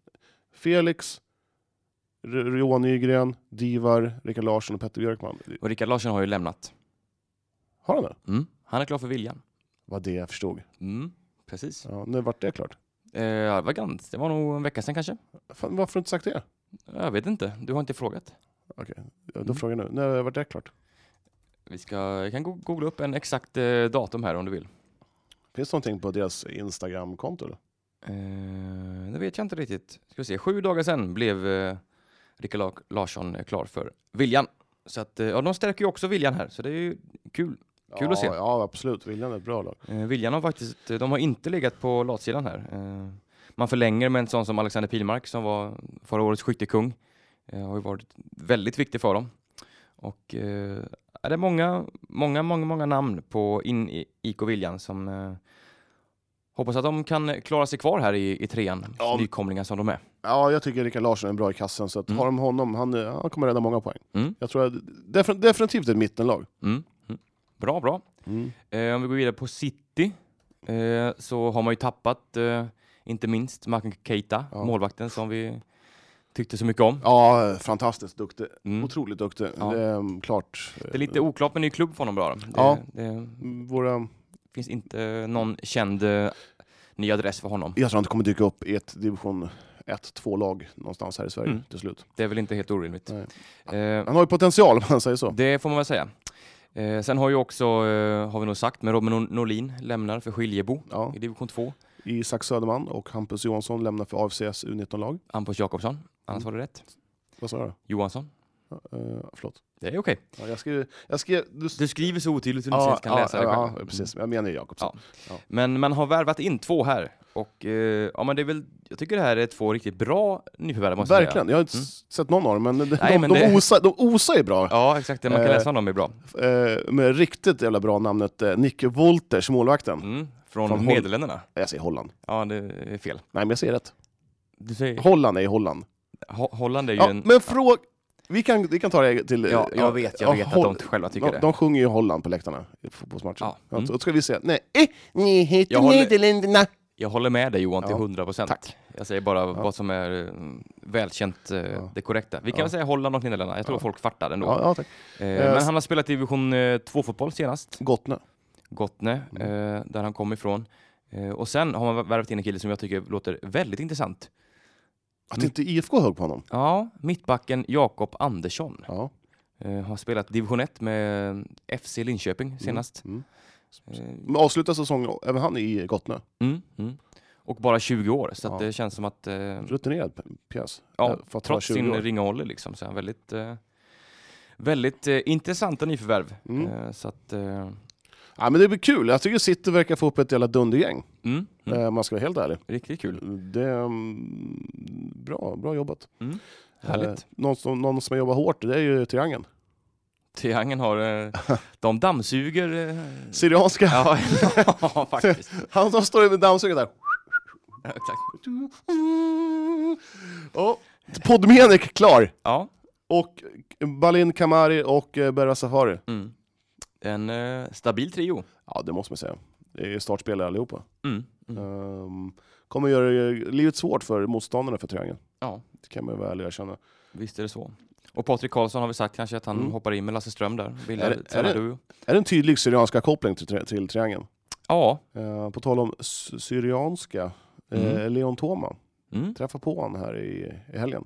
Speaker 2: Felix, R- Johan Nygren, Divar, Rickard Larsson och Petter Björkman.
Speaker 1: Och Rickard Larsson har ju lämnat.
Speaker 2: Har han det?
Speaker 1: Mm. Han är klar för Viljan.
Speaker 2: Vad det jag förstod.
Speaker 1: Mm, precis.
Speaker 2: Ja, nu vart det klart.
Speaker 1: Eh, det, var ganska, det var nog en vecka sedan kanske.
Speaker 2: Fan, varför har du inte sagt det?
Speaker 1: Jag vet inte, du har inte frågat.
Speaker 2: Ja, Då
Speaker 1: Mm.
Speaker 2: frågar jag nu. När vart det klart?
Speaker 1: Vi ska, jag kan go- googla upp en exakt eh, datum här om du vill.
Speaker 2: Finns det någonting på deras Instagramkonto? eller?
Speaker 1: Eh, det vet jag inte riktigt. Ska vi se, sju dagar sedan blev eh, Rickard La- Larsson eh, klar för Viljan. Så att, eh, ja, de stärker ju också Viljan här, så det är ju kul. Kul
Speaker 2: ja,
Speaker 1: att se.
Speaker 2: Ja, absolut. Viljan är ett bra lag.
Speaker 1: Eh, Viljan har faktiskt, eh, de har inte legat på latsidan här. Eh, man förlänger med en sån som Alexander Pilmark som var förra årets skyttekung. Eh, har ju varit väldigt viktig för dem. Och eh, är det är många, många, många, många namn på in i IK Viljan som eh, hoppas att de kan klara sig kvar här i, i trean,
Speaker 2: Ja.
Speaker 1: nykomlingar som de är.
Speaker 2: Ja, jag tycker Rickard Larsson är bra i kassen, så att
Speaker 1: Mm.
Speaker 2: har de honom, han, eh, han kommer rädda många poäng.
Speaker 1: Mm.
Speaker 2: Jag tror att, defin- definitivt ett mittenlag.
Speaker 1: Mm. Mm. Bra, bra.
Speaker 2: Mm.
Speaker 1: Eh, om vi går vidare på City eh, så har man ju tappat, eh, inte minst Martin Keita,
Speaker 2: Ja.
Speaker 1: målvakten som vi tyckte så mycket om.
Speaker 2: Ja, fantastiskt duktig.
Speaker 1: Mm.
Speaker 2: Otroligt duktig.
Speaker 1: Ja.
Speaker 2: Det är, mm, klart.
Speaker 1: Det är lite oklart med ny klubb för honom bara. Det,
Speaker 2: Ja.
Speaker 1: det
Speaker 2: Mm, Våra,
Speaker 1: finns inte eh, någon känd eh, ny adress för honom.
Speaker 2: jag tror han kommer dyka upp i ett division 1-2-lag någonstans här i Sverige
Speaker 1: Mm.
Speaker 2: till slut.
Speaker 1: Det är väl inte helt orimligt. Eh,
Speaker 2: Han har ju potential om man säger så.
Speaker 1: det får man väl säga. Eh, sen har ju också, eh, har vi nog sagt, men Robin Norlin lämnar för Skiljebo
Speaker 2: Ja.
Speaker 1: i division 2.
Speaker 2: Isak Söderman och Hampus Johansson lämnar för AFCs U19-lag.
Speaker 1: Hampus Jakobsson, annars
Speaker 2: Mm.
Speaker 1: var det rätt.
Speaker 2: Vad sa jag?
Speaker 1: Johansson.
Speaker 2: då? Eh, förlåt.
Speaker 1: Det är okej.
Speaker 2: Ja, jag skrev... Jag skrev du,
Speaker 1: Du skriver så otydligt att du inte ens kan läsa det
Speaker 2: ja,
Speaker 1: själv.
Speaker 2: ja, precis. Jag menar ju Jakobsson.
Speaker 1: Men man har värvat in två här. Och eh, ja, men det är väl, jag tycker det här är två riktigt bra nyförvärv måste jag säga.
Speaker 2: Verkligen. Jag har inte
Speaker 1: Mm.
Speaker 2: s- sett någon av dem, men de,
Speaker 1: Nej,
Speaker 2: de,
Speaker 1: men
Speaker 2: de,
Speaker 1: det-
Speaker 2: osar, de osar ju bra.
Speaker 1: Ja, exakt. Det man kan
Speaker 2: Eh.
Speaker 1: läsa om dem är bra.
Speaker 2: eh, med riktigt jävla bra namnet eh, Nick Wolters, målvakten.
Speaker 1: Mm, från
Speaker 2: Från Hol-
Speaker 1: Nederländerna.
Speaker 2: Jag säger Holland.
Speaker 1: Ja, det är fel.
Speaker 2: Nej, men jag säger rätt.
Speaker 1: Du säger,
Speaker 2: Holland är i Holland.
Speaker 1: Ho- Holland är ju
Speaker 2: Ja,
Speaker 1: en...
Speaker 2: men fråga... Vi kan, vi kan ta det till... eh,
Speaker 1: Ja, jag vet, jag
Speaker 2: ja,
Speaker 1: vet att
Speaker 2: Hol-
Speaker 1: de inte själva tycker
Speaker 2: de,
Speaker 1: det.
Speaker 2: de sjunger ju Holland på läktarna i fotbollsmatcher.
Speaker 1: Ja,
Speaker 2: Ja,
Speaker 1: mm.
Speaker 2: Då ska vi se. Nej, eh, ni heter
Speaker 1: Jag håller-
Speaker 2: Nederländerna.
Speaker 1: Jag håller med dig Johan till
Speaker 2: Ja.
Speaker 1: 100 procent.
Speaker 2: Tack.
Speaker 1: Jag säger bara vad som är eh, välkänt, eh, det korrekta. Vi kan väl säga Holland och Nederländerna. Jag tror folk fattar ändå.
Speaker 2: Ja, Eh, ja, tack.
Speaker 1: Eh, men han har spelat i division 2-fotboll eh, senast.
Speaker 2: Gottne.
Speaker 1: Gottne,
Speaker 2: Mm.
Speaker 1: eh, där han kom ifrån. Eh, och sen har man värvat in en kille som jag tycker låter väldigt intressant. Mm.
Speaker 2: Att inte IFK högg på honom.
Speaker 1: Ja, mittbacken Jakob Andersson.
Speaker 2: Ja.
Speaker 1: Eh, har spelat division 1 med FC Linköping senast.
Speaker 2: Mm.
Speaker 1: Eh,
Speaker 2: Men avslutar säsongen, även han i Gottne.
Speaker 1: Mm, mm. Och bara 20 år, så att
Speaker 2: Ja.
Speaker 1: det känns som att... Eh,
Speaker 2: Rutinerad p- pjäs.
Speaker 1: ja,
Speaker 2: Eh, för att
Speaker 1: trots
Speaker 2: vara 20
Speaker 1: sin
Speaker 2: år.
Speaker 1: ringa ålder liksom, så är han väldigt... Eh, väldigt eh, intressanta nyförvärv.
Speaker 2: Mm.
Speaker 1: Eh, så att... Eh,
Speaker 2: Ja, men det blir kul. Jag tycker City verkar få upp ett jävla dundergäng.
Speaker 1: mm, mm.
Speaker 2: Eh, om man ska vara helt ärlig.
Speaker 1: Riktigt kul.
Speaker 2: Det är mm, bra, bra jobbat.
Speaker 1: Mm. Härligt. Mm.
Speaker 2: Eh, någon, som, någon som har jobbat hårt, det är ju Triangeln.
Speaker 1: Triangeln har... Eh, de dammsuger... Eh,
Speaker 2: Syrianska.
Speaker 1: ja, ja, faktiskt.
Speaker 2: Han som står med dammsugaren där.
Speaker 1: Ja, Exakt.
Speaker 2: Oh. Podmenik klar.
Speaker 1: Ja.
Speaker 2: Och Balin Kamari och eh, Berra Safari.
Speaker 1: Mm. En eh, stabil trio.
Speaker 2: Ja, det måste man säga. Det är startspelare allihopa.
Speaker 1: Mm. Mm.
Speaker 2: Ehm, kommer göra eh, livet svårt för motståndarna för Triangeln.
Speaker 1: Ja.
Speaker 2: Det kan man väl erkänna.
Speaker 1: Visst är det så. Och Patrik Karlsson har vi sagt kanske att han
Speaker 2: Mm.
Speaker 1: hoppar in med Lasse Ström där. Vill
Speaker 2: Är det- är det-
Speaker 1: du?
Speaker 2: Är det en tydlig syrianska koppling till, tri- till Triangeln?
Speaker 1: Ja.
Speaker 2: Eh, på tal om sy- syrianska, eh,
Speaker 1: Mm.
Speaker 2: Leon Thoma.
Speaker 1: Mm.
Speaker 2: Träffa på honom här i, i helgen.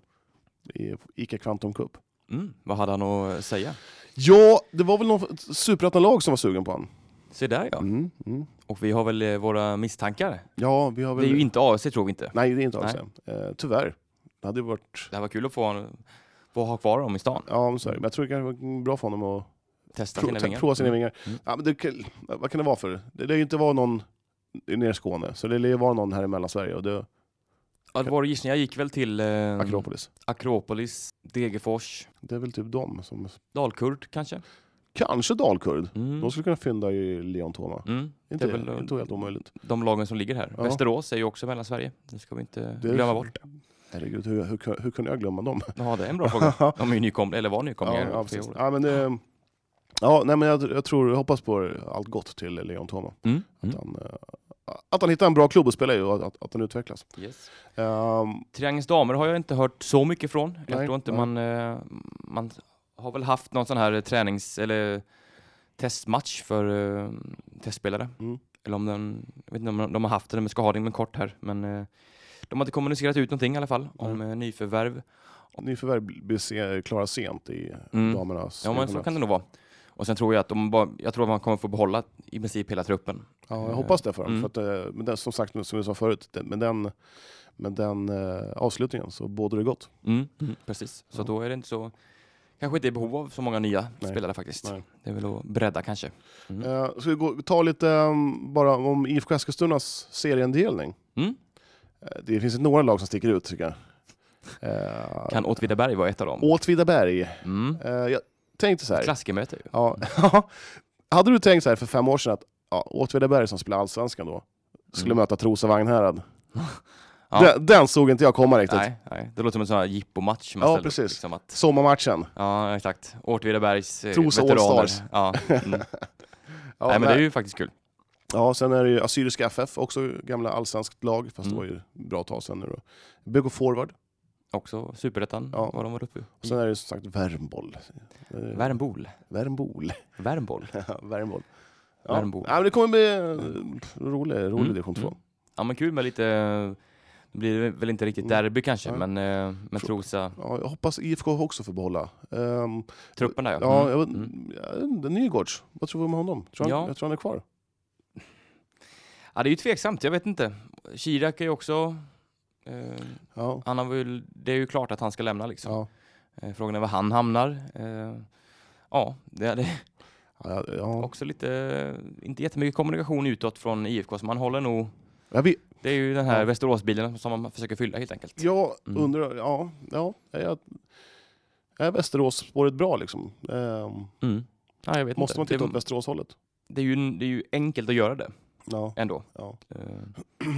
Speaker 2: I Ica Quantum Cup.
Speaker 1: Mm. Vad hade han att säga?
Speaker 2: Ja, det var väl någon superettan-lag som var sugen på honom.
Speaker 1: Se där ja.
Speaker 2: Mm, mm.
Speaker 1: Och vi har väl eh, våra misstankar.
Speaker 2: Ja, vi har
Speaker 1: Det
Speaker 2: väl...
Speaker 1: är ju inte AFC tror vi inte.
Speaker 2: Nej, det är inte alls det. Eh, tyvärr. Det hade ju varit...
Speaker 1: Det här var kul att få, han- få ha kvar dem i stan.
Speaker 2: Ja, men så är det. Men jag tror det kanske var bra för honom att
Speaker 1: Testa
Speaker 2: pro-
Speaker 1: sina
Speaker 2: ta-
Speaker 1: vingar.
Speaker 2: prova sina vingar.
Speaker 1: Mm.
Speaker 2: Ja, men det, kan- vad kan det vara för? Det lär ju inte vara någon nere i Skåne, så det lär ju vara någon här i Mellansverige och det
Speaker 1: Ja, det var gissning. Jag gick väl till eh,
Speaker 2: Akropolis.
Speaker 1: Akropolis, Degerfors,
Speaker 2: Det är väl typ de som...
Speaker 1: Dalkurd kanske.
Speaker 2: Kanske dalkurd.
Speaker 1: Mm.
Speaker 2: De skulle kunna fynda i Leon Toma.
Speaker 1: Mm. Det
Speaker 2: Inte,
Speaker 1: är väl eh,
Speaker 2: inte helt omöjligt.
Speaker 1: de lagen som ligger här.
Speaker 2: Ja.
Speaker 1: Västerås är ju också mellan Sverige. Det ska vi inte
Speaker 2: Det är-
Speaker 1: glömma bort.
Speaker 2: Herregud, hur, hur, hur kunde jag glömma dem?
Speaker 1: Ja, det är en bra fråga. De är ju nykomlingar, eller var nykomlingar.
Speaker 2: ja,
Speaker 1: för
Speaker 2: precis.
Speaker 1: året.
Speaker 2: ja, men det, ja, nej, men jag, jag tror, jag hoppas på allt gott till Leon Toma.
Speaker 1: Mm. Mm.
Speaker 2: Att, han, eh, att han hittar en bra klubb att spela i och att, att, att han utvecklas.
Speaker 1: Yes.
Speaker 2: Ehm,
Speaker 1: Triangelns damer har jag inte hört så mycket från. Jag
Speaker 2: Nej,
Speaker 1: tror inte
Speaker 2: nej.
Speaker 1: man... eh, Man har väl haft någon sån här tränings eller testmatch för eh, testspelare.
Speaker 2: Mm.
Speaker 1: Eller om den... Jag vet inte om de har haft det, men ska ha det men kort här. Men eh, de har inte kommunicerat ut någonting i alla fall om eh, nyförvärv.
Speaker 2: Nyförvärv blir se, klara sent i
Speaker 1: Mm.
Speaker 2: damernas...
Speaker 1: Ja, men så kan det nog vara. Och sen tror jag att de bara, jag tror att man kommer få behålla i princip hela truppen.
Speaker 2: Ja, jag hoppas det för dem.
Speaker 1: Mm.
Speaker 2: För att, eh, men den, som sagt, som vi sa förut, den, med den, med den eh, avslutningen så bådar det gott.
Speaker 1: Mm. Precis, så
Speaker 2: Ja.
Speaker 1: då är det inte så... Kanske inte i behov av så många nya
Speaker 2: Nej.
Speaker 1: spelare faktiskt.
Speaker 2: Nej.
Speaker 1: Det är väl att bredda kanske. Mm.
Speaker 2: Eh, ska vi gå, ta lite eh, bara om IFK Eskilstunas seriendelning?
Speaker 1: Mm.
Speaker 2: Eh, det finns några lag som sticker ut tycker jag. Eh,
Speaker 1: Kan Åtvidaberg vara ett av dem?
Speaker 2: Åtvidaberg.
Speaker 1: Mm.
Speaker 2: Eh, jag tänkte så här.
Speaker 1: Klassikermöte ju.
Speaker 2: Ja. Hade du tänkt så här för fem år sedan att ja, Åtvidaberg som spelar Allsvenskan då skulle
Speaker 1: Mm.
Speaker 2: möta Trosa Vagnhärad?
Speaker 1: Ja.
Speaker 2: den, den såg inte jag komma riktigt.
Speaker 1: Nej, nej, det låter som en sån här jippomatch. man
Speaker 2: Ja,
Speaker 1: ställer upp,
Speaker 2: precis.
Speaker 1: Liksom att,
Speaker 2: Sommarmatchen.
Speaker 1: ja, exakt. Åtvidabergs eh,
Speaker 2: Trosa
Speaker 1: veteraner.
Speaker 2: Allstars.
Speaker 1: Ja, mm.
Speaker 2: Ja,
Speaker 1: nej, men det är
Speaker 2: nej.
Speaker 1: ju faktiskt kul.
Speaker 2: ja, sen är det ju Assyriska FF, också gamla allsvenskt lag,
Speaker 1: Mm.
Speaker 2: fast det var ju bra tag sedan nu då. BK Forward,
Speaker 1: Också superettan
Speaker 2: Ja.
Speaker 1: var de var uppe i.
Speaker 2: och sen är det som sagt Värmboll. Eh,
Speaker 1: Värmbol.
Speaker 2: Värmbol.
Speaker 1: Värmbol.
Speaker 2: Värmboll. Ja.
Speaker 1: Värmboll.
Speaker 2: Ja, men det kommer bli eh, pff, rolig, rolig
Speaker 1: Mm,
Speaker 2: division 2.
Speaker 1: mm. Ja, men kul med lite... eh, Det blir väl inte riktigt
Speaker 2: Mm.
Speaker 1: derby kanske,
Speaker 2: Nej.
Speaker 1: men eh, med Trosa.
Speaker 2: Ja, jag hoppas IFK också får behålla. Ehm,
Speaker 1: Truppen där ja.
Speaker 2: Ja,
Speaker 1: Mm.
Speaker 2: jag, vet-
Speaker 1: Mm.
Speaker 2: jag vet inte, Nygårds, vad tror vi om honom? Tror han,
Speaker 1: Ja.
Speaker 2: Jag tror han är kvar.
Speaker 1: ja, det är ju tveksamt. Jag vet inte. Kirak är ju också... Eh,
Speaker 2: Ja.
Speaker 1: han har väl, det är ju klart att han ska lämna liksom.
Speaker 2: Ja.
Speaker 1: Eh, Frågan är var han hamnar. Eh, Ja, det det är
Speaker 2: Ja, ja, ja.
Speaker 1: också lite, inte jättemycket kommunikation utåt från IFK, så man håller nog,
Speaker 2: Jag, vet,
Speaker 1: det är ju den här
Speaker 2: Ja.
Speaker 1: Västeråsbilen som man försöker fylla helt enkelt.
Speaker 2: jag
Speaker 1: Mm.
Speaker 2: undrar, ja, ja är, jag, är Västerås-spåret bra liksom? Ehm,
Speaker 1: Mm. Ja, jag vet
Speaker 2: måste
Speaker 1: inte.
Speaker 2: man titta åt
Speaker 1: det,
Speaker 2: Västerås-hållet?
Speaker 1: det, är ju, det är ju enkelt att göra det
Speaker 2: Ja.
Speaker 1: ändå.
Speaker 2: Ja.
Speaker 1: Eh,
Speaker 2: ja, nej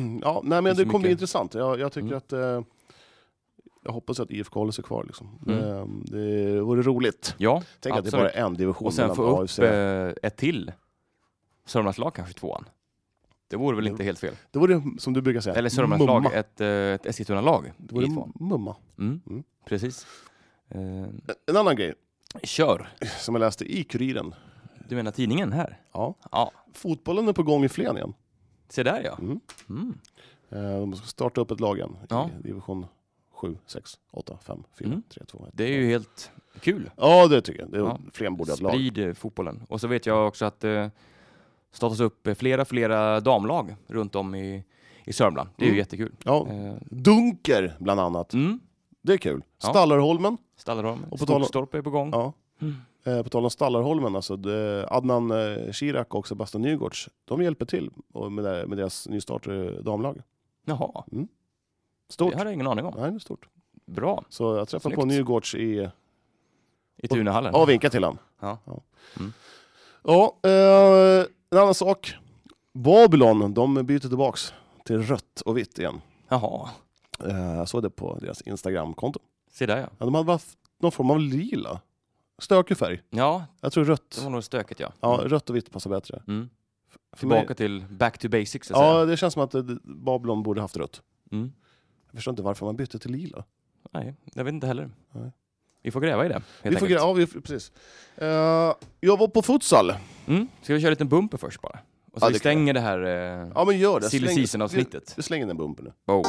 Speaker 2: men
Speaker 1: Finns
Speaker 2: det
Speaker 1: det
Speaker 2: kommer bli
Speaker 1: mycket?
Speaker 2: intressant. Jag, jag tycker
Speaker 1: Mm.
Speaker 2: att eh, jag hoppas att IFK håller sig kvar liksom.
Speaker 1: Mm.
Speaker 2: Ehm, det vore roligt.
Speaker 1: Ja,
Speaker 2: Tänk att det är
Speaker 1: Absolut.
Speaker 2: bara en division
Speaker 1: och sen
Speaker 2: mellan
Speaker 1: få
Speaker 2: AFC.
Speaker 1: upp eh, ett till Sörmlandslag kanske i tvåan. Det vore väl inte helt fel.
Speaker 2: Det vore som du brukar säga,
Speaker 1: Eller Sörmlandslag,
Speaker 2: mumma.
Speaker 1: ett, eh, ett Eskilstuna-lag
Speaker 2: Det
Speaker 1: i
Speaker 2: vore
Speaker 1: tvåan.
Speaker 2: mumma.
Speaker 1: Mm.
Speaker 2: Mm.
Speaker 1: Precis. Eh,
Speaker 2: En annan grej
Speaker 1: kör!
Speaker 2: som jag läste i Kuriren
Speaker 1: Du menar tidningen här?
Speaker 2: Ja.
Speaker 1: Ja,
Speaker 2: Fotbollen är på gång i Flen igen.
Speaker 1: se där ja.
Speaker 2: Mm.
Speaker 1: Mm.
Speaker 2: Eh, De ska starta upp ett lag igen i
Speaker 1: Ja.
Speaker 2: division 7, 6, 8, 5, 4,
Speaker 1: Mm.
Speaker 2: 3, 2, 1.
Speaker 1: Det är ju helt kul.
Speaker 2: Ja, det tycker jag. Det är
Speaker 1: Ja.
Speaker 2: Flen borde ha ett lag.
Speaker 1: Sprid eh, fotbollen. Och så vet jag också att det startas upp eh, flera, flera damlag runt om i, i Sörmland. Det är
Speaker 2: Mm.
Speaker 1: ju jättekul.
Speaker 2: Ja.
Speaker 1: Eh,
Speaker 2: Dunker, bland annat.
Speaker 1: Mm.
Speaker 2: Det är kul.
Speaker 1: Ja.
Speaker 2: Stallarholmen.
Speaker 1: Stallarholmen,
Speaker 2: Och på tal om-
Speaker 1: Skogstorp är på gång.
Speaker 2: Ja.
Speaker 1: Mm.
Speaker 2: Eh, På tal om Stallarholmen, alltså det, Adnan eh, Shirak och Sebastian Nygårds, de hjälper till och med det- med deras nystartade damlag.
Speaker 1: Jaha,
Speaker 2: Stort!
Speaker 1: det hade jag ingen aning om.
Speaker 2: Nej, det är stort.
Speaker 1: Bra,
Speaker 2: Så jag träffade på
Speaker 1: Snyggt.
Speaker 2: Nygårds i...
Speaker 1: i Tunahallen.
Speaker 2: Ja, vinka till han.
Speaker 1: Ja.
Speaker 2: Ja.
Speaker 1: Mm.
Speaker 2: Ja, eh, en annan sak. Babylon, de byter tillbaks till rött och vitt igen.
Speaker 1: Jaha,
Speaker 2: Eh, Jag såg det på deras Instagramkonto.
Speaker 1: se där ja.
Speaker 2: Ja, de hade haft någon form av lila. Stökig färg.
Speaker 1: Ja,
Speaker 2: Jag tror
Speaker 1: det
Speaker 2: rött.
Speaker 1: var nog stökigt ja.
Speaker 2: Ja, rött och vitt passar bättre.
Speaker 1: Mm.
Speaker 2: För mig-
Speaker 1: Tillbaka till back to basics så att
Speaker 2: Ja,
Speaker 1: säga.
Speaker 2: det känns som att eh, Babylon borde haft rött.
Speaker 1: Mm.
Speaker 2: Jag förstår inte varför man bytte till lila.
Speaker 1: Nej, jag vet inte heller.
Speaker 2: Nej.
Speaker 1: Vi får gräva i det, helt
Speaker 2: Vi får,
Speaker 1: enkelt.
Speaker 2: gra- ja, vi, precis. Eh, jag var på futsal.
Speaker 1: Mm. Ska vi köra en liten bumper först bara? Och så
Speaker 2: Ja,
Speaker 1: vi
Speaker 2: det kan
Speaker 1: stänger det här eh,
Speaker 2: Ja, men gör det.
Speaker 1: silly
Speaker 2: Släng-
Speaker 1: season-avsnittet.
Speaker 2: Vi, vi slänger den bumpen nu.
Speaker 1: Oh.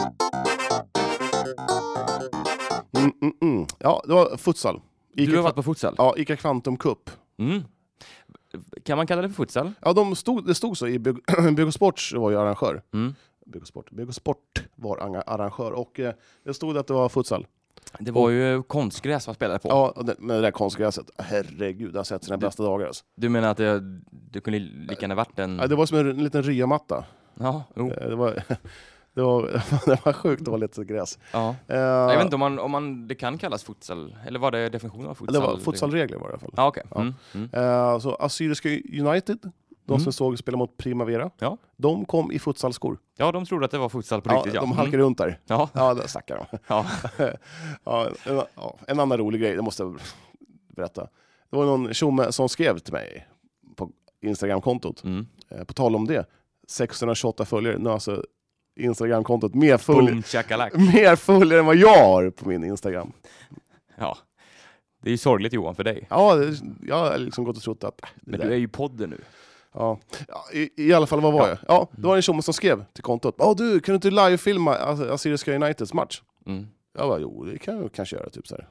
Speaker 2: Mm, mm, mm. Ja, det var futsal. Ica,
Speaker 1: Du har varit på futsal?
Speaker 2: Ja, Ica Quantum Cup.
Speaker 1: Mm. Kan man kalla det för futsal?
Speaker 2: Ja, de stod, det stod så i Bygg- Bygg och Sports var ju arrangör.
Speaker 1: Mm.
Speaker 2: Bygg och Sport, Bygg och Sport var anga- arrangör och eh, det stod att det var futsal.
Speaker 1: Det var ju konstgräs man spelade på.
Speaker 2: Ja, och det, med det där konstgräset. Herregud, det har sett sina bästa dagar. Alltså.
Speaker 1: Du menar att det, det kunde lika gärna varit en...
Speaker 2: Ja, det var som en, liten ryamatta.
Speaker 1: Ja, jo,
Speaker 2: Eh, Det var, det var, det var sjukt dåligt gräs.
Speaker 1: ja.
Speaker 2: Eh,
Speaker 1: Jag vet inte om, man, om man, det kan kallas futsal, eller vad det är definitionen av futsal?
Speaker 2: det var futsalregler var det i alla fall.
Speaker 1: Ja, okej.
Speaker 2: Ja.
Speaker 1: Mm, mm.
Speaker 2: Eh, så Assyriska United, de som
Speaker 1: Mm.
Speaker 2: såg spela mot Primavera,
Speaker 1: Ja.
Speaker 2: de kom i futsalskor.
Speaker 1: ja, de trodde att det var futsal på
Speaker 2: Ja,
Speaker 1: riktigt, ja.
Speaker 2: de
Speaker 1: Mm.
Speaker 2: halkade runt där.
Speaker 1: Ja,
Speaker 2: Ja, där stackar de.
Speaker 1: Ja.
Speaker 2: ja, en, ja, en annan rolig grej, det måste jag berätta. Det var någon tjomme som skrev till mig på Instagramkontot,
Speaker 1: mm.
Speaker 2: eh, på tal om det, 628 följare, nu har alltså Instagramkontot mer, följ-
Speaker 1: boom shakalak.
Speaker 2: mer följare än vad jag har på min Instagram.
Speaker 1: Ja. Det är ju sorgligt Johan för dig.
Speaker 2: Ja, det, jag har liksom gått och trott att... äh, det
Speaker 1: Men
Speaker 2: där-
Speaker 1: du är ju i podden nu.
Speaker 2: Ja. Ja, i, I alla fall, vad var jag? Ja, det var en tjomme som skrev till kontot. Ja du, kan du inte livefilma As- Assyriska Uniteds match?
Speaker 1: Mm.
Speaker 2: Jag bara, jo det kan jag kanske göra. Typ så, här.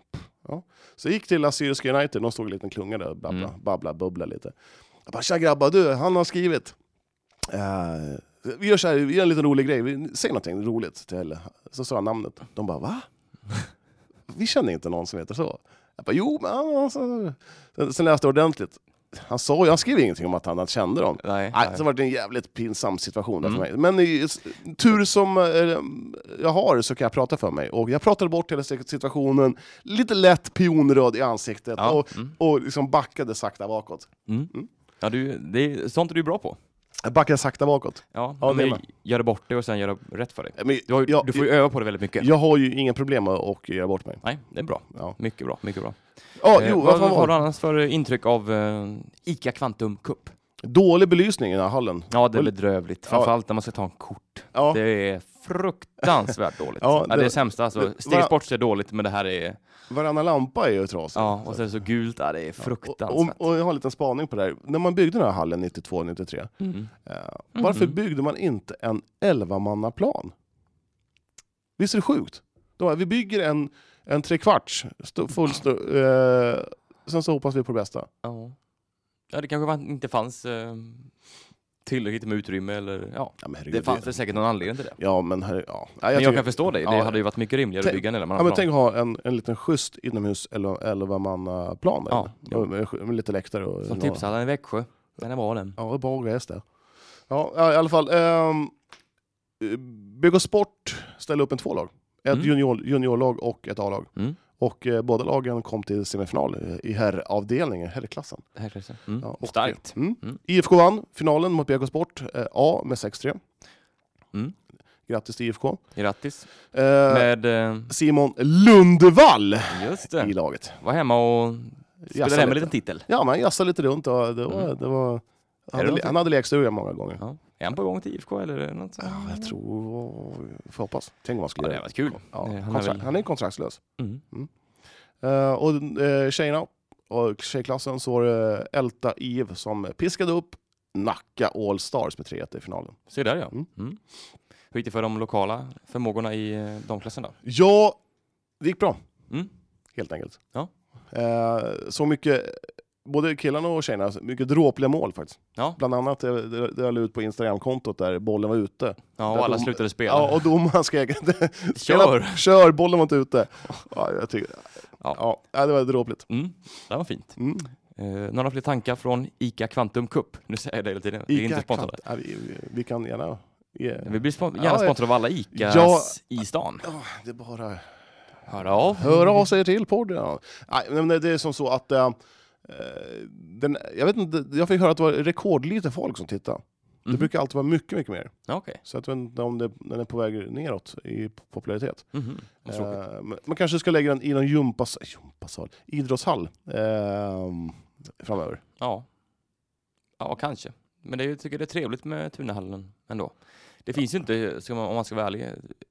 Speaker 2: Ja. så jag gick till Assyriska United, de stod i en liten klunga där och babbla,
Speaker 1: Mm.
Speaker 2: babbla, bubbla lite. Jag bara, tja grabbar du, han har skrivit. Eh, vi gör så här, vi gör en liten rolig grej, vi, säg någonting roligt till Så sa han namnet. De bara, va? Vi känner inte någon som heter så. Jag bara, jo men han- han... sa-" Sen, sen läste jag ordentligt. Han sa ju, han skrev ingenting om att han kände dem.
Speaker 1: Nej.
Speaker 2: Nej, så var det en jävligt pinsam situation där
Speaker 1: Mm.
Speaker 2: för mig. Men i, s- tur som eh, jag har så kan jag prata för mig. Och jag pratade bort hela situationen, lite lätt pionröd i ansiktet
Speaker 1: Ja,
Speaker 2: och,
Speaker 1: mm.
Speaker 2: och liksom backade sakta bakåt.
Speaker 1: Mm. Ja, du, det är, sånt är du bra på.
Speaker 2: Jag backade sakta bakåt.
Speaker 1: Ja,
Speaker 2: Ja, det
Speaker 1: men
Speaker 2: är man.
Speaker 1: gör det bort det och sen gör det rätt för dig.
Speaker 2: Men,
Speaker 1: Du, har, ju-
Speaker 2: jag,
Speaker 1: du får ju öva på det väldigt mycket.
Speaker 2: jag har ju inga problem med att göra bort mig.
Speaker 1: Nej, det är bra.
Speaker 2: Ja,
Speaker 1: Mycket bra, mycket bra.
Speaker 2: ja
Speaker 1: Eh,
Speaker 2: jo,
Speaker 1: vad vad
Speaker 2: vad fan
Speaker 1: har
Speaker 2: var
Speaker 1: du
Speaker 2: det?
Speaker 1: annars för intryck av eh, ICA Quantum Cup?
Speaker 2: Dålig belysning i den här hallen.
Speaker 1: Ja, det är
Speaker 2: Och-
Speaker 1: bedrövligt. Framförallt när man ska ta en kort.
Speaker 2: Ja.
Speaker 1: Det är fruktansvärt dåligt.
Speaker 2: Ja,
Speaker 1: ja, det, är
Speaker 2: det-
Speaker 1: det sämsta. Alltså,
Speaker 2: det-
Speaker 1: Steg sport är dåligt, men det här är...
Speaker 2: Varannan lampa är ju trasig.
Speaker 1: Ja, och sen är det så gult. Ja, det är fruktansvärt.
Speaker 2: och, och, och jag har en liten spaning på det här. När man byggde den här hallen 92-93,
Speaker 1: Mm.
Speaker 2: Eh, Varför
Speaker 1: Mhm.
Speaker 2: byggde man inte en 11-mannaplan? Visst är det sjukt? Då, vi bygger en, en trekvarts, stå- full stå, eh, sen så hoppas vi på det bästa.
Speaker 1: Ja. ja, det kanske var- inte fanns eh, tillräckligt med utrymme eller... Ja,
Speaker 2: Ja, men herregud,
Speaker 1: det fanns väl säkert någon anledning till det.
Speaker 2: Ja, men herre, ja. Ja,
Speaker 1: Men jag
Speaker 2: tycker-
Speaker 1: kan förstå dig.
Speaker 2: Ja.
Speaker 1: Det hade ju varit mycket rimligare att
Speaker 2: Tänk-
Speaker 1: bygga en
Speaker 2: Ja, men
Speaker 1: elmanaplan.
Speaker 2: tänk att ha en, en liten schysst inomhus 11-mannaplan där
Speaker 1: Ja,
Speaker 2: inne. med, med, med lite läktare och...
Speaker 1: Som typ tipsade i Växjö. Den är bra den.
Speaker 2: Ja, det är bra gräs där. Ja, ja, i alla fall. ehm, Bygg och Sport ställde upp en två lag. Ett
Speaker 1: Mm.
Speaker 2: junior, juniorlag och ett A-lag.
Speaker 1: Mm.
Speaker 2: Och eh, båda lagen kom till semifinal eh, i herravdelningen, herrklassen.
Speaker 1: Det här klassen. Mm.
Speaker 2: Ja, och-
Speaker 1: Starkt.
Speaker 2: Mm.
Speaker 1: Mm.
Speaker 2: IFK vann finalen mot BK Sport eh, A med 6-3.
Speaker 1: Mm.
Speaker 2: Grattis till IFK.
Speaker 1: Grattis.
Speaker 2: Eh,
Speaker 1: Med... Eh,
Speaker 2: Simon Lundevall
Speaker 1: just
Speaker 2: i
Speaker 1: det.
Speaker 2: laget.
Speaker 1: Var hemma och
Speaker 2: Jassade
Speaker 1: spelade hem en
Speaker 2: lite.
Speaker 1: liten titel.
Speaker 2: Ja, men han jassade lite runt och det var...
Speaker 1: Mm.
Speaker 2: Det var han, hade,
Speaker 1: något-
Speaker 2: han hade lekstuga många gånger.
Speaker 1: Ja. Är han på gång till IFK eller något sånt?
Speaker 2: Ja, jag tror... Får hoppas. Tänk om man
Speaker 1: Mm. Ja,
Speaker 2: skulle
Speaker 1: det
Speaker 2: göra
Speaker 1: har varit kul. Mm.
Speaker 2: Ja,
Speaker 1: Eh, han är väl-
Speaker 2: han, kontrakt, han är kontraktslös.
Speaker 1: Mm.
Speaker 2: Eh, och uh, tjejerna Och tjejklassen så var det Elta Eve som piskade upp Nacka All Stars med 3-1 i finalen.
Speaker 1: Se där ja.
Speaker 2: Mm.
Speaker 1: Mm. Hur gick det för de lokala förmågorna i eh, damklassen då?
Speaker 2: Ja, det gick bra
Speaker 1: Mm.
Speaker 2: helt enkelt.
Speaker 1: Ja.
Speaker 2: Eh, så mycket, både killarna och tjejerna, mycket dråpliga mål faktiskt.
Speaker 1: Ja,
Speaker 2: Bland annat eh, det, det, det jag la ut på Instagram-kontot där bollen var ute.
Speaker 1: ja
Speaker 2: Där
Speaker 1: och alla
Speaker 2: dom-
Speaker 1: slutade spela.
Speaker 2: Ja, och domaren skrek
Speaker 1: Kör!
Speaker 2: kör, bollen var inte ute. Ja, jag tycker, ja.
Speaker 1: Ja.
Speaker 2: det var dråpligt.
Speaker 1: Mm. Det var fint.
Speaker 2: Mm.
Speaker 1: Eh, några fler tankar från Ica Quantum Cup? Nu säger jag det hela tiden. Vi är inte sponsrade.
Speaker 2: Ja, vi, vi- vi kan gärna... ge-
Speaker 1: Vi blir spon-
Speaker 2: Ja,
Speaker 1: gärna sponsrade av alla Icas
Speaker 2: Ja.
Speaker 1: i stan.
Speaker 2: Ja, det är bara...
Speaker 1: Hör av.
Speaker 2: Hör av sig till podden. Ja. Nej, men det är som så att... eh, den, jag, vet inte, jag fick höra att det var rekordlite folk som tittade. Det
Speaker 1: Mhm.
Speaker 2: brukar alltid vara mycket, mycket mer.
Speaker 1: Ja, Okej.
Speaker 2: Så att jag vet inte om det, den är på väg neråt i popularitet.
Speaker 1: Mhm. Vad tråkigt.
Speaker 2: Eh, men man kanske ska lägga den i någon gympas, gympasal, idrottshall ehm, framöver.
Speaker 1: Ja. Ja, kanske. Men det är, ju- tycker det är trevligt med Tunahallen ändå. Det finns ju inte, ska man, om man ska vara ärlig,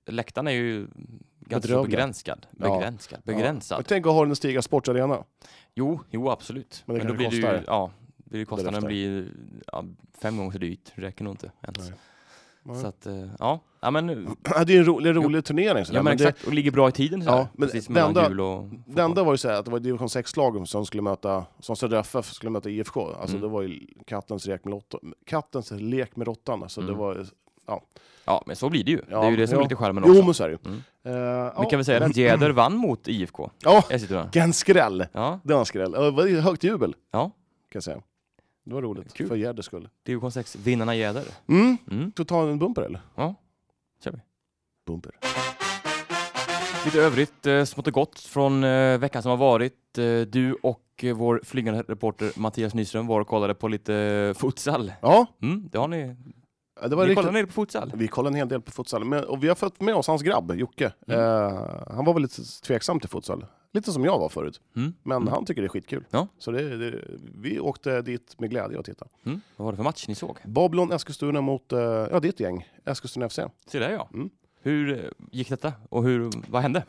Speaker 1: läktaren är ju ganska så
Speaker 2: Bedrövlig.
Speaker 1: begränsad.
Speaker 2: Ja.
Speaker 1: Begränsad.
Speaker 2: Ja.
Speaker 1: Begränsad.
Speaker 2: Och tänk att ha den stiga sportarena.
Speaker 1: Jo, jo absolut.
Speaker 2: Men det kanske
Speaker 1: blir
Speaker 2: kostar
Speaker 1: ju, ja, blir ju kostnaden
Speaker 2: därefter.
Speaker 1: blir ja, fem gånger så dyrt. Det räcker nog inte ens.
Speaker 2: Nej. Nej.
Speaker 1: Så att, eh, ja. ja men, ja,
Speaker 2: det är en rolig, rolig turnering. Sådär.
Speaker 1: men,
Speaker 2: men det,
Speaker 1: exakt. Och ligger bra i tiden så
Speaker 2: Ja,
Speaker 1: här,
Speaker 2: men
Speaker 1: precis
Speaker 2: det
Speaker 1: mellan
Speaker 2: enda-
Speaker 1: jul och
Speaker 2: det enda var ju så här att det var division 6-lag som skulle möta, som Södra FF skulle möta IFK. Alltså
Speaker 1: Mm.
Speaker 2: det var ju kattens lek med, lotto, kattens lek med råttan. Alltså det
Speaker 1: Mm.
Speaker 2: var...
Speaker 1: Ja, men så blir det ju.
Speaker 2: Ja,
Speaker 1: det är ju det som
Speaker 2: ja.
Speaker 1: är lite charmen också.
Speaker 2: Jo men så är det ju.
Speaker 1: Mm.
Speaker 2: Eh,
Speaker 1: Vi kan väl säga det att Jäder vann mot IFK
Speaker 2: Ja,
Speaker 1: Eskilstuna.
Speaker 2: vilken skräll!
Speaker 1: Ja,
Speaker 2: Det var en skräll. Eh, Det var ju högt jubel, kan
Speaker 1: ja.
Speaker 2: jag säga. Det var roligt,
Speaker 1: Kul.
Speaker 2: för Gärdes skull.
Speaker 1: Division 6, vinnarna Jäder.
Speaker 2: Mm.
Speaker 1: Mm.
Speaker 2: Ska vi ta en bumper eller?
Speaker 1: Ja, kör vi.
Speaker 2: Bumper.
Speaker 1: Lite övrigt eh, smått och gott från eh, veckan som har varit. Eh, du och eh, vår flygande reporter Mattias Nyström var och kollade på lite eh, futsal.
Speaker 2: Ja,
Speaker 1: Mm, det har ni.
Speaker 2: det var
Speaker 1: Ni
Speaker 2: riktigt...
Speaker 1: kollade ner på futsal?
Speaker 2: Vi kollar en hel del på futsal, men, och vi har fått med oss hans grabb, Jocke.
Speaker 1: Mm.
Speaker 2: Eh, han var väl lite tveksam till futsal, lite som jag var förut.
Speaker 1: Mm.
Speaker 2: Men
Speaker 1: mm.
Speaker 2: han tycker det är skitkul.
Speaker 1: Ja.
Speaker 2: Så det, det, vi åkte dit med glädje och tittade.
Speaker 1: Mm. Vad var det för match ni såg?
Speaker 2: Babylon Eskilstuna mot, eh, ja ditt gäng, Eskilstuna FC.
Speaker 1: Se där ja.
Speaker 2: Mm.
Speaker 1: Hur eh, gick detta och hur, vad hände?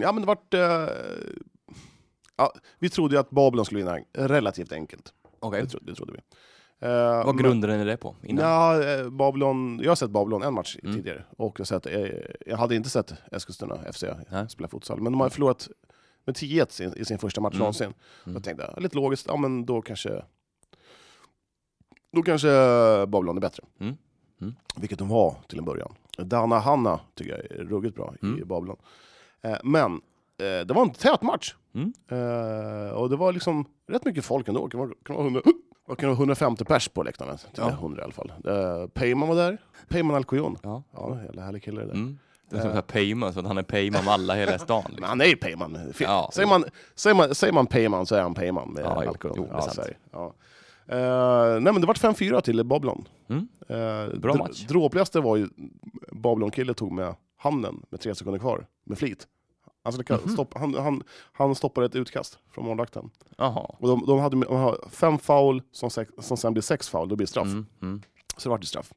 Speaker 2: ja men det vart... Eh, ja, vi trodde ju att Babylon skulle vinna relativt enkelt.
Speaker 1: Okej.
Speaker 2: Det, tro, det trodde vi. Eh,
Speaker 1: Vad grundade ni det på? Innan?
Speaker 2: Ja, eh, Babylon, jag har sett Babylon en match
Speaker 1: Mm.
Speaker 2: tidigare och jag, har sett, eh, jag hade inte sett Eskilstuna FC
Speaker 1: Nej.
Speaker 2: spela futsal, men de har förlorat med 10-1 i, i sin första match
Speaker 1: Mm.
Speaker 2: någonsin.
Speaker 1: Mm.
Speaker 2: Jag tänkte, lite logiskt, ja men då kanske då kanske Babylon är bättre.
Speaker 1: Mm. Mm.
Speaker 2: Vilket de var till en början. Dana Hanna tycker jag är ruggigt bra i
Speaker 1: Mm.
Speaker 2: Babylon. Eh, Men eh, det var en tät match.
Speaker 1: Mm.
Speaker 2: Eh, Och det var liksom rätt mycket folk ändå. Det kan vara- kan vara 100 vad kan det vara, 150 pers på läktaren.
Speaker 1: Ja.
Speaker 2: Ja. 100 i alla fall. Eh, Peyman var där. Peyman Alcoyon.
Speaker 1: Ja.
Speaker 2: Ja, jävla härlig kille det där.
Speaker 1: Mm. Det
Speaker 2: Eh.
Speaker 1: är som uh. Payman, så att han är Payman med alla i hela stan. Liksom.
Speaker 2: Men han är ju Peyman. Fin-
Speaker 1: Ja.
Speaker 2: Säger, man, säger, man, säger man Peyman så är han Peyman med
Speaker 1: Ja, jo.
Speaker 2: Alcoyon.
Speaker 1: Jo, det är
Speaker 2: ja,
Speaker 1: sant.
Speaker 2: så är det. ja. Eh, nej men det vart 5-4 till Babylon.
Speaker 1: Mm.
Speaker 2: Eh,
Speaker 1: Bra
Speaker 2: dr-
Speaker 1: match.
Speaker 2: Dråpligaste var ju Babylon-kille tog med handen med tre sekunder kvar, med flit. Alltså, det kan
Speaker 1: Mhm.
Speaker 2: stoppa, han, han, han stoppade ett utkast från målvakten.
Speaker 1: Jaha.
Speaker 2: Och de, de hade de har fem foul som, sex, som sen blir sex foul, då blir det straff.
Speaker 1: Mm. Mm.
Speaker 2: Så det vart ju straff.